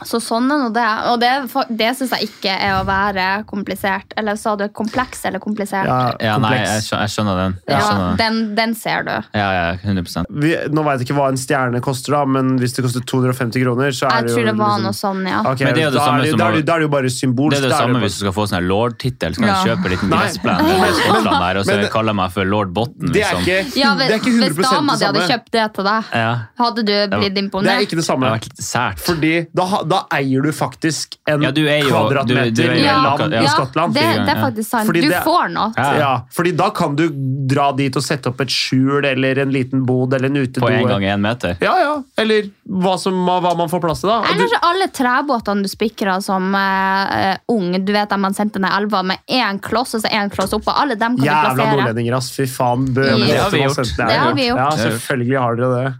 Så sånn er nå det. Og det, er fa- det syns jeg ikke er å være komplisert. Eller sa du kompleks eller komplisert? Ja, Ja, nei, jeg kompleks. skjønner, jeg skjønner den. Jeg Ja, skjønner den. den, den ser du. Ja, ja, 100 Vi, nå vet jeg ikke hva en stjerne koster, da, men hvis det koster 250 kroner, så er Jeg det jo tror det var liksom- noe sånn, ja. Ok, Men det er jo det da samme er det, som da er å- det, da er det jo bare symbolsk. Det er det da er samme bare- hvis du skal få sånn her lord-tittel. Så kan du Ja. kjøpe en liten Nei. gressplen med skottene der, og så Men- kaller jeg meg for lord Botten. det er Liksom. ikke, ja det er ikke hvis 100 dama di hadde det samme. kjøpt det til deg, Ja, hadde du blitt Det er imponert? ikke det det samme. har vært litt sært. Fordi da, ha- da eier du faktisk en Ja, du er jo- kvadratmeter du- du er jo- land Ja, i ja, Skottland. det, sier det er jeg, ja. faktisk sant. Fordi Du det- får noe. Ja. Ja, fordi da kan du dra dit og sette opp et skjul eller en liten bod eller en utedo. På en gang én meter. Ja, ja. Eller hva, som, hva man får plass til, da. Og du- Eller kanskje alle trebåtene du spikra som eh, eh, ung. Du vet at man sendte ned elva med én kloss og så én kloss oppå. Alle dem kan du Jævla plassere. nordlendinger, ass. Fy faen. Bø, Ja, men det har altså. vi gjort. Det har vi gjort. Ja, selvfølgelig har dere det.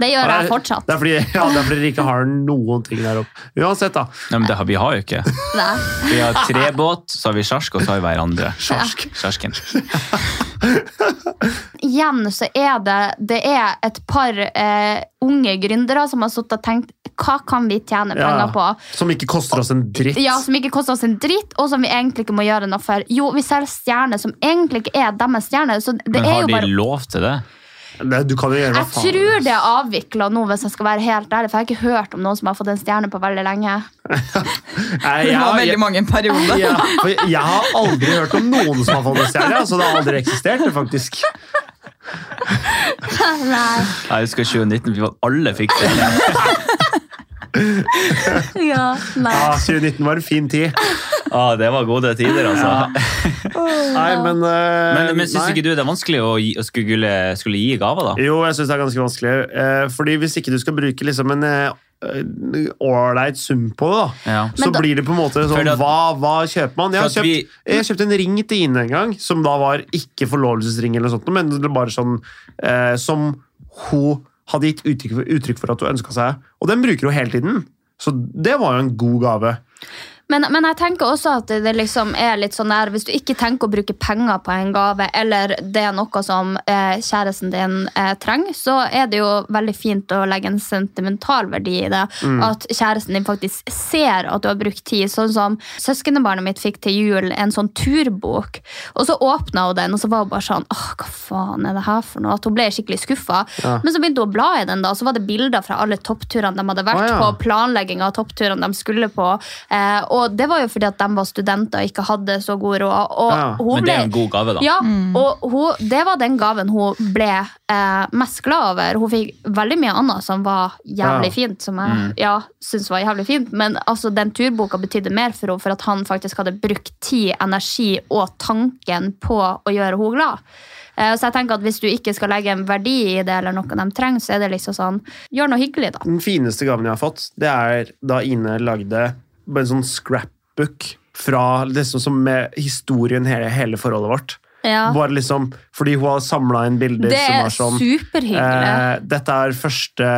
Det gjør jeg Det fortsatt. er fordi, ja, det er fordi dere ikke har noen ting der oppe. Uansett, da. Nei, men det har, vi har jo ikke. Nei. Vi har trebåt, så har vi sjark, og så har vi hverandre. Sjarsk. Sjarsken. igjen så er det, det er et par eh, unge gründere som har sittet og tenkt hva kan vi tjene Ja. penger på? Som ikke koster oss en dritt. Ja, Som ikke koster oss en dritt, og som vi egentlig ikke må gjøre noe for. Jo, vi selger stjerner som egentlig ikke er deres stjerner. Så det Men er har jo de bare lov til det? Det- Du kan jo gjøre hva Jeg faen. tror det er avvikla nå, hvis jeg skal være helt ærlig, for jeg har ikke hørt om noen som har fått en stjerne på veldig lenge. Nei, Det var jeg- veldig mange i en periode. Ja, for jeg har aldri hørt om noen som har fått en stjerne. Altså, det har aldri eksistert, det, faktisk. Nei, Jeg husker 2019, vi var alle fikk det. ja, nei. Ja, 2019 var en fin tid. Ah, det var gode tider, altså. Nei, men eh, Men, men syns nei. ikke du det er vanskelig å, gi, å skulle, skulle gi gaver, da? Jo, jeg syns det er ganske vanskelig. Eh, Fordi hvis ikke du skal bruke liksom en eh, ålreit sum på det, da. Ja. Så Men da- blir det på en måte Fordi sånn at- hva, hva kjøper man? Jeg har For at kjøpt, vi- jeg kjøpte en ring til Ine en gang, som da var ikke forlovelsesring, eller noe sånt, men det var bare sånn eh, som hun hadde gitt uttrykk for, uttrykk for at hun ønska seg. Og den bruker hun hele tiden. Så det var jo en god gave. Men, men jeg tenker også at det liksom er litt sånn der, hvis du ikke tenker å bruke penger på en gave, eller det er noe som eh, kjæresten din eh, trenger, så er det jo veldig fint å legge en sentimental verdi i det. Mm. At kjæresten din faktisk ser at du har brukt tid. Sånn som søskenbarnet mitt fikk til jul en sånn turbok. Og så åpna hun den, og så var hun bare sånn Åh, hva faen er det her for noe? At hun ble skikkelig skuffa. Ja. Men så begynte hun å bla i den, da, og så var det bilder fra alle toppturene de hadde vært Å, ja. på planlegging av toppturene de skulle på. Eh, og det var jo fordi at de var studenter og ikke hadde så god råd. Og Ja, hun Men det ble, er en god gave, da. ja, og hun, det var den gaven hun ble eh, mest glad over. Hun fikk veldig mye annet som var Ja. jævlig fint, som jeg Mm. ja, syns var jævlig fint. Men altså, den turboka betydde mer for henne for at han faktisk hadde brukt tid, energi og tanken på å gjøre henne glad. Eh, Så jeg tenker at Hvis du ikke skal legge en verdi i det, eller noe de trenger, så er det liksom sånn Gjør noe hyggelig, da. Den fineste gaven jeg har fått, det er da Ine lagde en sånn scrapbook fra det som, som med historien hele, hele forholdet vårt. Ja. Bare liksom, fordi hun har samla inn bilder Det som er var sånn superhyggelig. Eh, dette er første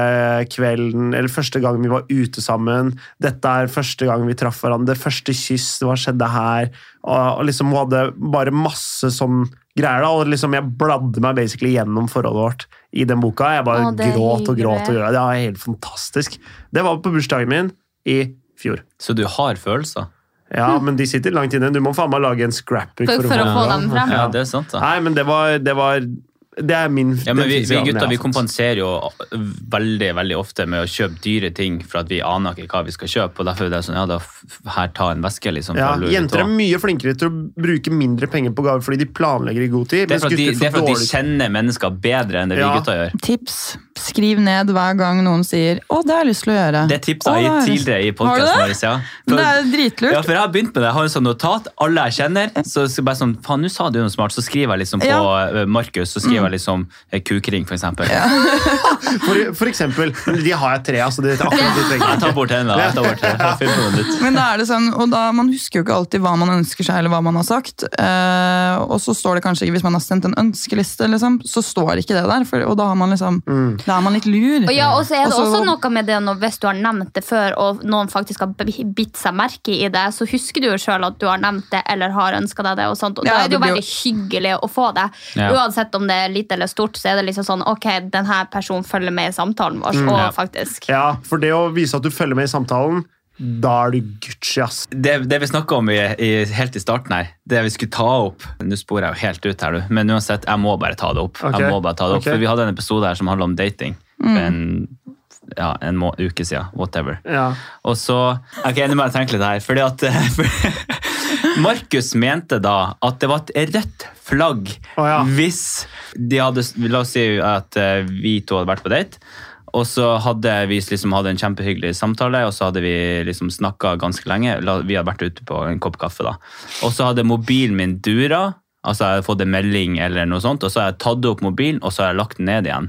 kvelden, eller første gang vi var ute sammen. Dette er første gang vi traff hverandre. Det første kyss, hva skjedde her? Og, og liksom, Hun hadde bare masse sånn greier. da, og liksom Jeg bladde meg basically gjennom forholdet vårt i den boka. Jeg bare Å, det er gråt og gråt. og hyggelig. gråt. Det var helt fantastisk. Det var på bursdagen min i fjor. Så du har følelser? Ja, men de sitter langt inne. Du må faen meg lage en scrapbook For- for å få dem frem. Ja, det er sant, da. Nei, men det var, det var det er min Ja, men den vi, vi fineste gaven jeg gutter har vi fått. kompenserer jo veldig veldig ofte med å kjøpe dyre ting for at vi aner ikke hva vi skal kjøpe. og Derfor er det sånn, ja, da f- her ta en veske, liksom. Ja, fra Louis Jenter er Vuitton. mye flinkere til å bruke mindre penger på gaver fordi de planlegger i god tid. det er mens for at de, gutter det er får for at de dårlig- kjenner mennesker bedre enn det vi Ja. gutter gjør. Tips. Skriv ned hver gang noen sier 'Å, det har jeg lyst til å gjøre'. Det tipset jeg Å, har det gitt har jeg lyst- tidligere i Har du podkasten det? vår. Ja. Men det For- er dritlurt. Ja, for jeg har begynt med det. Jeg har en sånn notat. Alle jeg kjenner, så så bare sånn Faen, nå sa du noe smart. Så skriver jeg liksom på Ja. Mm. eh, Markus, så skriver jeg liksom eh, kukring, for eksempel. For, for eksempel, men de har jeg tre av, så det er akkurat de Jeg trenger. tar bort den, da. Jeg tar bort den. Jeg finner på noe nytt. Men da er det sånn, og da, Man husker jo ikke alltid hva man ønsker seg, eller hva man har sagt. Eh, og så står det kanskje ikke, Hvis man har sendt en ønskeliste, liksom, så står ikke det der. For, og da, har man liksom, Mm. da er man litt lur. Og ja, og så er det Og så- også noe med det når, hvis du har nevnt det før, og noen faktisk har bi- bitt seg merke i det, så husker du jo sjøl at du har nevnt det eller har ønska deg det. Og sånt, og Ja, da er det det jo blir jo- veldig hyggelig å få det. Ja. Uansett om det er lite eller stort, så er det liksom sånn ok, denne personen følger med i samtalen vår. Og Ja. faktisk Ja, for det å vise at du følger med i samtalen, da er du Gucci, ass. det, det vi snakka om i, i, helt i starten her, det vi skulle ta opp Nå sporer jeg jo helt ut her, du. Men uansett, jeg må bare ta det opp. Ok, Jeg må bare ta det opp, ok. For vi hadde en episode her som handla om dating. For en, ja, en må uke siden. Whatever. Ja. Og så Ok, nå må jeg tenke litt her. Fordi at for- Markus mente da at det var et rødt flagg Å, ja. hvis de hadde La oss si at eh, vi to hadde vært på date. Og så hadde vi liksom hatt en kjempehyggelig samtale, og så hadde vi liksom snakka ganske lenge. La- Vi hadde vært ute på en kopp kaffe, da. Og så hadde mobilen min dura. Altså, jeg hadde fått en melding, eller noe sånt, og så har jeg tatt opp mobilen og så har jeg lagt den ned igjen.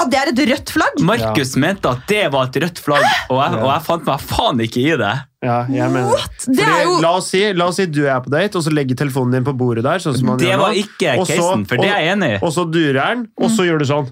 Ah, det er et rødt flagg! Markus mente at det var et rødt flagg, og jeg, og jeg fant meg faen ikke i det. ja, jeg mener det. What? Det er Fordi, jo la, oss si, la oss si du er på date, og så legger telefonen din på bordet der. Sånn som man Det gjør nå. var ikke Og så- casen, for det er jeg enig i. Og, og så durer den, og Mm. så gjør du sånn.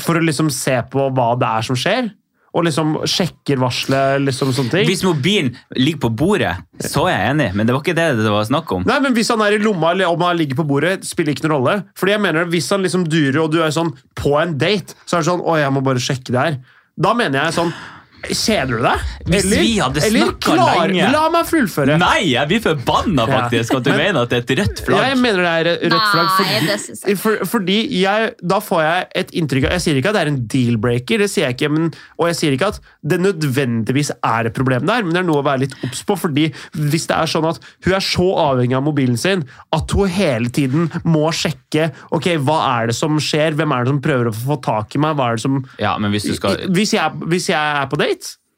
For å liksom se på hva det er som skjer, og liksom sjekker varselet, liksom sånne ting. Hvis mobilen ligger på bordet, så er jeg enig, men det var ikke det det var snakk om. Nei, men Hvis han er i lomma eller om han ligger på bordet, spiller ikke noen rolle. Fordi jeg mener at Hvis han liksom durer, og du er sånn på en date, så er det sånn Å, jeg må bare sjekke det her. Da mener jeg sånn Kjeder du deg? Hvis vi hadde eller snakket lenge. La meg fullføre. Nei, jeg blir forbanna Ja. faktisk at du mener at det er et rødt Ja, jeg flagg. mener det er rødt flagg. Nei, fordi- det synes jeg ikke. for, fordi jeg, da får jeg et inntrykk av Jeg sier ikke at det er en deal-breaker, det sier jeg ikke, men, og jeg sier ikke at det nødvendigvis er et problem der, men det er noe å være litt obs på. fordi hvis det er sånn at hun er så avhengig av mobilen sin at hun hele tiden må sjekke ok, hva er det som skjer, hvem er det som prøver å få tak i meg, hva er det som Ja, men hvis du skal... hvis, jeg, hvis jeg er på date,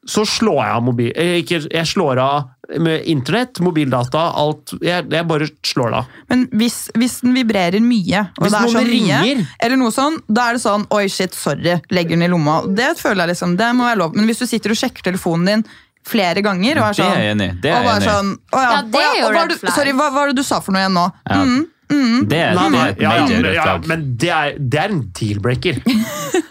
så slår jeg av mobil... eh, Ikke, jeg slår av med internett, mobildata, alt. Jeg, jeg bare slår det av. Men hvis, hvis den vibrerer mye, og Hvis det er noen sånn ringer? mye, eller noe sånn, da er det sånn Oi, shit, sorry. Legger den i lomma. Det føler jeg liksom, det må være lov. Men hvis du sitter og sjekker telefonen din flere ganger og er Det sånn, er jeg enig i. Det er og jeg bare enig i. sånn Å ja, Ja, det å ja er jo og hva, red er du, flag. sorry, hva, hva var det du sa for noe igjen nå? Mm. Ja. Det er, det er et Mm, Ja, ja, major men- rødt ja, flagg. men det er, det er en deal-breaker.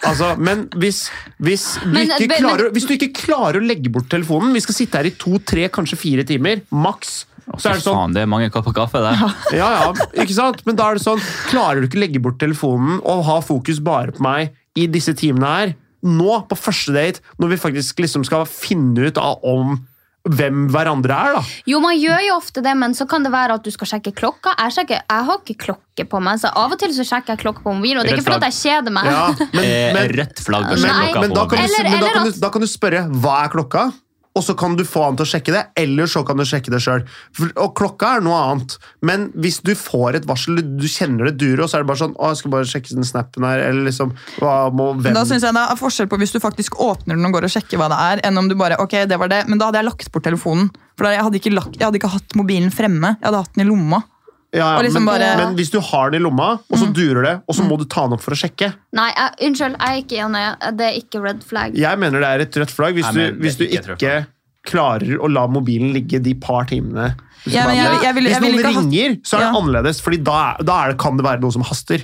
Altså, men hvis, hvis, du Men- ikke men- klarer, hvis du ikke klarer å legge bort telefonen Vi skal sitte her i to, tre, kanskje fire timer, maks. Så er det sånn, Faen, det er mange kopper kaffe der. ja, ja, ikke sant? Men da er det sånn, klarer du ikke legge bort telefonen og ha fokus bare på meg i disse timene her, nå på første date, når vi faktisk liksom skal finne ut av om hvem hverandre er, da. Jo, man gjør jo ofte det, men så kan det være at du skal sjekke klokka. Jeg, sjekker, jeg har ikke klokke på meg, så av og til så sjekker jeg klokka på mobilen. Og det er Rødt ikke fordi at jeg kjeder meg. Ja, men, Eh, men, rødt flagg og men- skjellokka men, på da, kan mobilen. du, Eller- men da, eller kan du, at- da kan du spørre hva er klokka, og så kan du få han til å sjekke det, eller så kan du sjekke det sjøl. Og klokka er noe annet, men hvis du får et varsel, du- du kjenner det durer, og så er det bare sånn å, 'Jeg skal bare sjekke den snappen her', eller liksom hva må, hvem, Da synes jeg det er forskjell på hvis du faktisk åpner den og går og sjekker hva det er, enn om du bare ok, det var det, men da hadde jeg lagt bort telefonen. For da, jeg, hadde ikke lagt, jeg hadde ikke hatt mobilen fremme, jeg hadde hatt den i lomma. Ja, ja, Og men, liksom bare- Mm. men hvis du har den i lomma, og så durer det, og så må du ta den opp for å sjekke Nei, jeg, unnskyld, jeg er ikke enig. Det er ikke red flag. Jeg mener det er et rødt flagg Nei, hvis du, men det er hvis du ikke et ikke, rødt flagg. klarer å la mobilen ligge de par timene. du skal Ja, være men jeg- med. jeg ville- hvis jeg ville noen ikke hatt- ringer, så er det Ja. annerledes, Fordi da, er- da er det, kan det være noe som haster.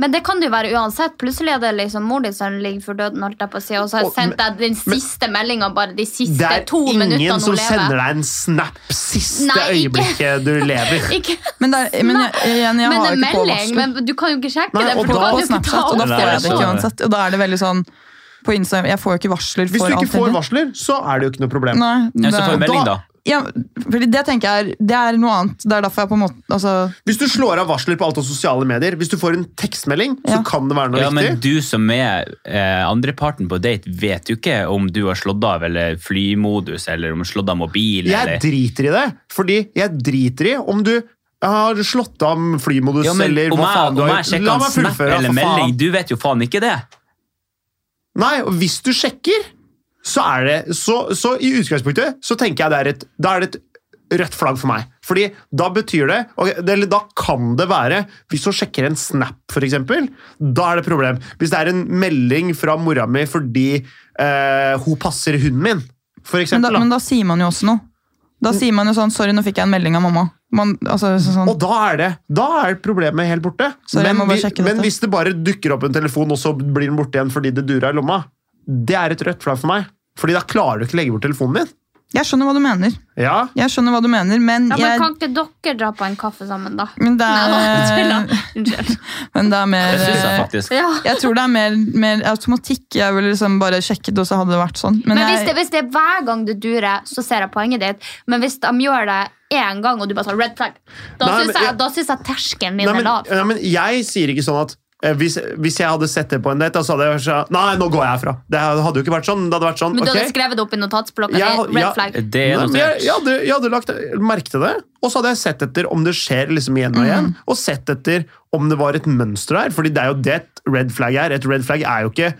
Men det kan det jo være uansett. Plutselig er det liksom mor di som ligger for døden, holdt jeg på å si, og så har jeg Og- sendt deg den siste meldinga bare de Det siste er to minuttene ingen hun som sender lever. deg en snap siste Nei, ikke. øyeblikket du lever. Ikke, Men, der, men jeg, igjen, jeg men en har jo ikke på melding, varsel. men du kan jo ikke sjekke Nei, det. og For da- da, på kan du ikke ta Snapchat, og da opp. får Nei, jeg det sånn ikke er det. uansett. Og da er det veldig sånn på Insta, Jeg får jo ikke varsler Hvis for du ikke alt får heller. varsler, så er det jo ikke noe problem. Nei, Ja, det, så får jeg melding, da. ja, fordi det tenker jeg er, det er noe annet. Det er derfor jeg på en måte altså, Hvis du slår av varsler på alt av sosiale medier, hvis du får en tekstmelding, så Ja. kan det være noe Ja, men viktig. du som er eh, andreparten på date, vet jo ikke om du har slått av eller flymodus, eller om du har slått av mobil, Jeg eller driter i det, fordi jeg driter i om du har slått av flymodus ja, men, eller om hva jeg, faen du om har jeg gjort. sjekker La en meg snap fullføre, eller for faen. melding, du vet jo faen ikke det. Nei, og hvis du sjekker, så er det Så, så i utgangspunktet så tenker jeg det er et, da er det et rødt flagg for meg. Fordi da betyr det ok, det- Eller da kan det være Hvis hun sjekker en snap, f.eks., da er det et problem. Hvis det er en melding fra mora mi fordi eh, hun passer hunden min, f.eks. men, da, men da sier man jo også noe. Da sier man jo sånn 'sorry, nå fikk jeg en melding av mamma'. Man, altså, så- sånn, Og da er, det, da er problemet helt borte. Sorry, jeg men, må bare vi- sjekke men dette. hvis det bare dukker opp en telefon, og så blir den borte igjen fordi det durer i lomma, det er et rødt flagg for meg. Fordi da klarer du ikke å legge bort telefonen din. jeg skjønner hva du mener, Ja, Jeg skjønner hva du mener men, Ja, men jeg, kan ikke dere dra på en kaffe sammen, da? men, det er, Nei, da, Unnskyld. men det er mer Det synes Eh, jeg faktisk. Ja. Jeg tror det er mer, mer automatikk. Jeg ville liksom bare sjekket, og så hadde det vært sånn. Men, hvis, jeg, det, hvis det er hver gang det durer, så ser jeg poenget ditt. Men hvis de gjør det én gang, og du bare tar red flag, da Nei, men syns jeg, jeg- da syns jeg terskelen min Nei, er men, eh, lav. nei, men jeg sier ikke sånn at eh, hvis, hvis jeg hadde sett det på en date, da, så hadde jeg sagt Nei, nå går jeg herfra. Det hadde jo ikke vært sånn. Det hadde vært sånn, Men du ok. hadde skrevet det opp i notatsblokka. Jeg di, har- red ja. flag. Det Nei, er men jeg, notert. jeg, hadde, jeg hadde lagt merke til det, og så hadde jeg sett etter om det skjer liksom igjen og igjen. Mm. Og sett etter om det var et mønster her, Fordi det er jo det et red flag er. Et red flag er jo ikke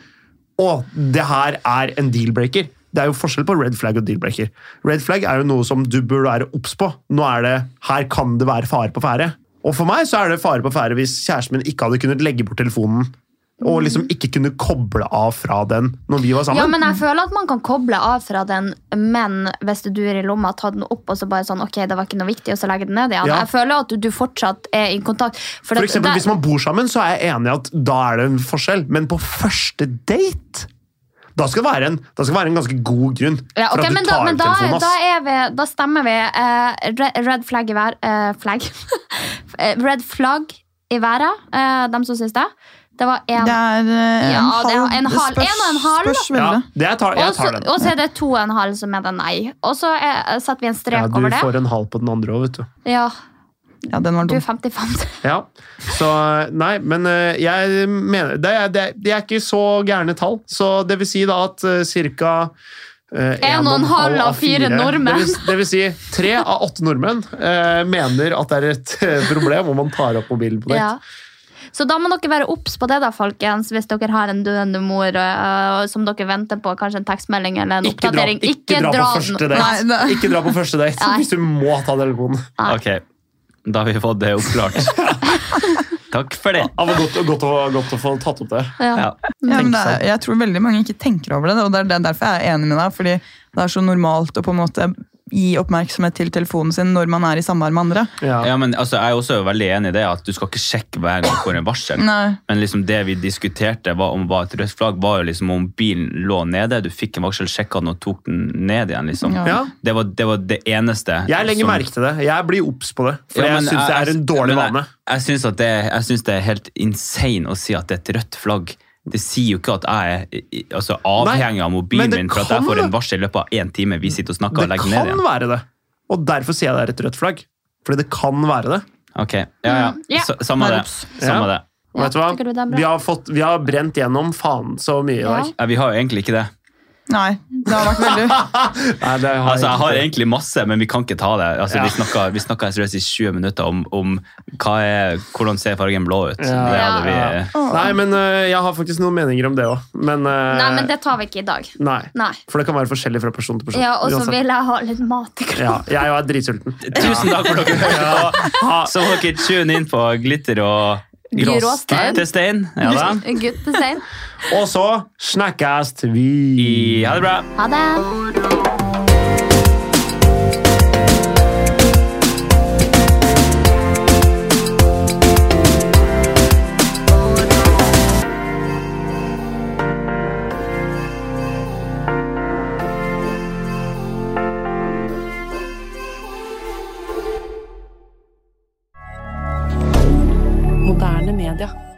Å, det her er en deal-breaker. Det er jo forskjell på red flag og deal-breaker. Red flag er jo noe som du burde være obs på. Nå er det Her kan det være fare på ferde. Og for meg så er det fare på ferde hvis kjæresten min ikke hadde kunnet legge bort telefonen. Og liksom ikke kunne koble av fra den når vi var sammen. Mm. Ja, men jeg føler at man kan koble av fra den, men hvis det durer i lomma, ta den opp og så bare sånn, ok, det var ikke noe viktig, og så legge den ned igjen. Ja. Jeg føler at du, du fortsatt er i kontakt. For For at eksempel, det- Hvis man bor sammen, så er jeg enig i at da er det en forskjell. Men på første date da skal det være en, da skal det være en ganske god grunn Ja, for ok, at men du da, tar men ut da, telefonen. da, ass. er vi, da stemmer vi eh, re- red flag i vær... eh, flag. Eh, red flag i været, eh, dem som syns det. Det var én. Det er eh, Ja, det er en det halv- spørs- en og en halv. Spørs veldig. Ja, det jeg tar, Og jeg så tar den. og så er det to og en halv som er det nei. Og så er- setter vi en strek Ja, du over det. får en halv på den andre òg, vet du. Ja, Ja, den var du er dum. 55. Ja. Så nei, men eh, jeg mener Det er, det er, det er ikke så gærne tall. Så det vil si da at eh, ca. En og en halv av fire Det nordmenn. vil, det vil si tre av åtte nordmenn eh, mener at det er et eh, problem om man tar opp mobilen på nett. Ja. Så da må dere være obs på det, da, folkens, hvis dere har en døende mor øh, som dere venter på kanskje en tekstmelding eller en Ikke dra, oppdatering. ikke dra på første Nei. date. Nei, det- Ikke dra på første date Nei. hvis du må ta telefonen. Nei. Ok, da har vi fått det oppklart. Takk for det. Det var godt, godt, å, godt å få tatt opp det. Ja. Ja. Ja, men det Tenk er, jeg tror veldig mange ikke tenker over det, og det er det- derfor jeg er enig med deg. fordi det er så normalt å på en måte gi oppmerksomhet til telefonen sin når man er i samvær med andre. Ja. Ja, men altså, Jeg er også veldig enig i det at du skal ikke sjekke hver gang du får en varsel. Nei. Men liksom det vi diskuterte var om var et rødt flagg, var jo liksom om bilen lå nede. Du fikk en varsel, sjekka den og tok den ned igjen. liksom. Ja. Ja. Det, var, det var det eneste. Jeg legger merke til det. Jeg blir obs på det. For Sånn. Ja, men eh, altså, jeg syns det er en dårlig men jeg- vane. Jeg syns at det, jeg synes det er helt insane å si at det er et rødt flagg. Det sier jo ikke at jeg er i- i- altså, avhengig av men mobilen det min for at jeg kan- får en varsel i løpet av én time vi sitter og snakker og Det legger den ned kan igjen. være det. Og derfor sier jeg det er et rødt flagg. Fordi det kan være det. Ok, ja, Mm, ja. ja. S- Samme det. Ups. Samme Ja. det. Og vet du hva? tenker du det er bra? Vi har, fått, vi har brent gjennom faen så mye i dag. Ja. Ja, vi har jo egentlig ikke det. Nei, det har vært veldig Nei, det har Altså, Jeg har ikke- egentlig masse, men vi kan ikke ta det. Altså, Ja. Vi snakka- Vi snakka seriøst i 20 minutter om, om hva er, hvordan ser fargen blå ut. Ja. Det hadde vi... Ja. Nei, men øh, jeg har faktisk noen meninger om det òg. Men, øh, Nei, men det tar vi ikke i dag. nei. Nei. For det kan være forskjellig fra person til person. Ja, og så Uansett. vil jeg ha litt mat i kroppen. ja, jeg er dritsulten. Tusen takk for dere hørte på. Så må dere tune inn på Glitter og Gråstein. Gråstein. Ja da. Guttestein. Og så snakkes vi! I, ha det bra. Ha det. Moderne media.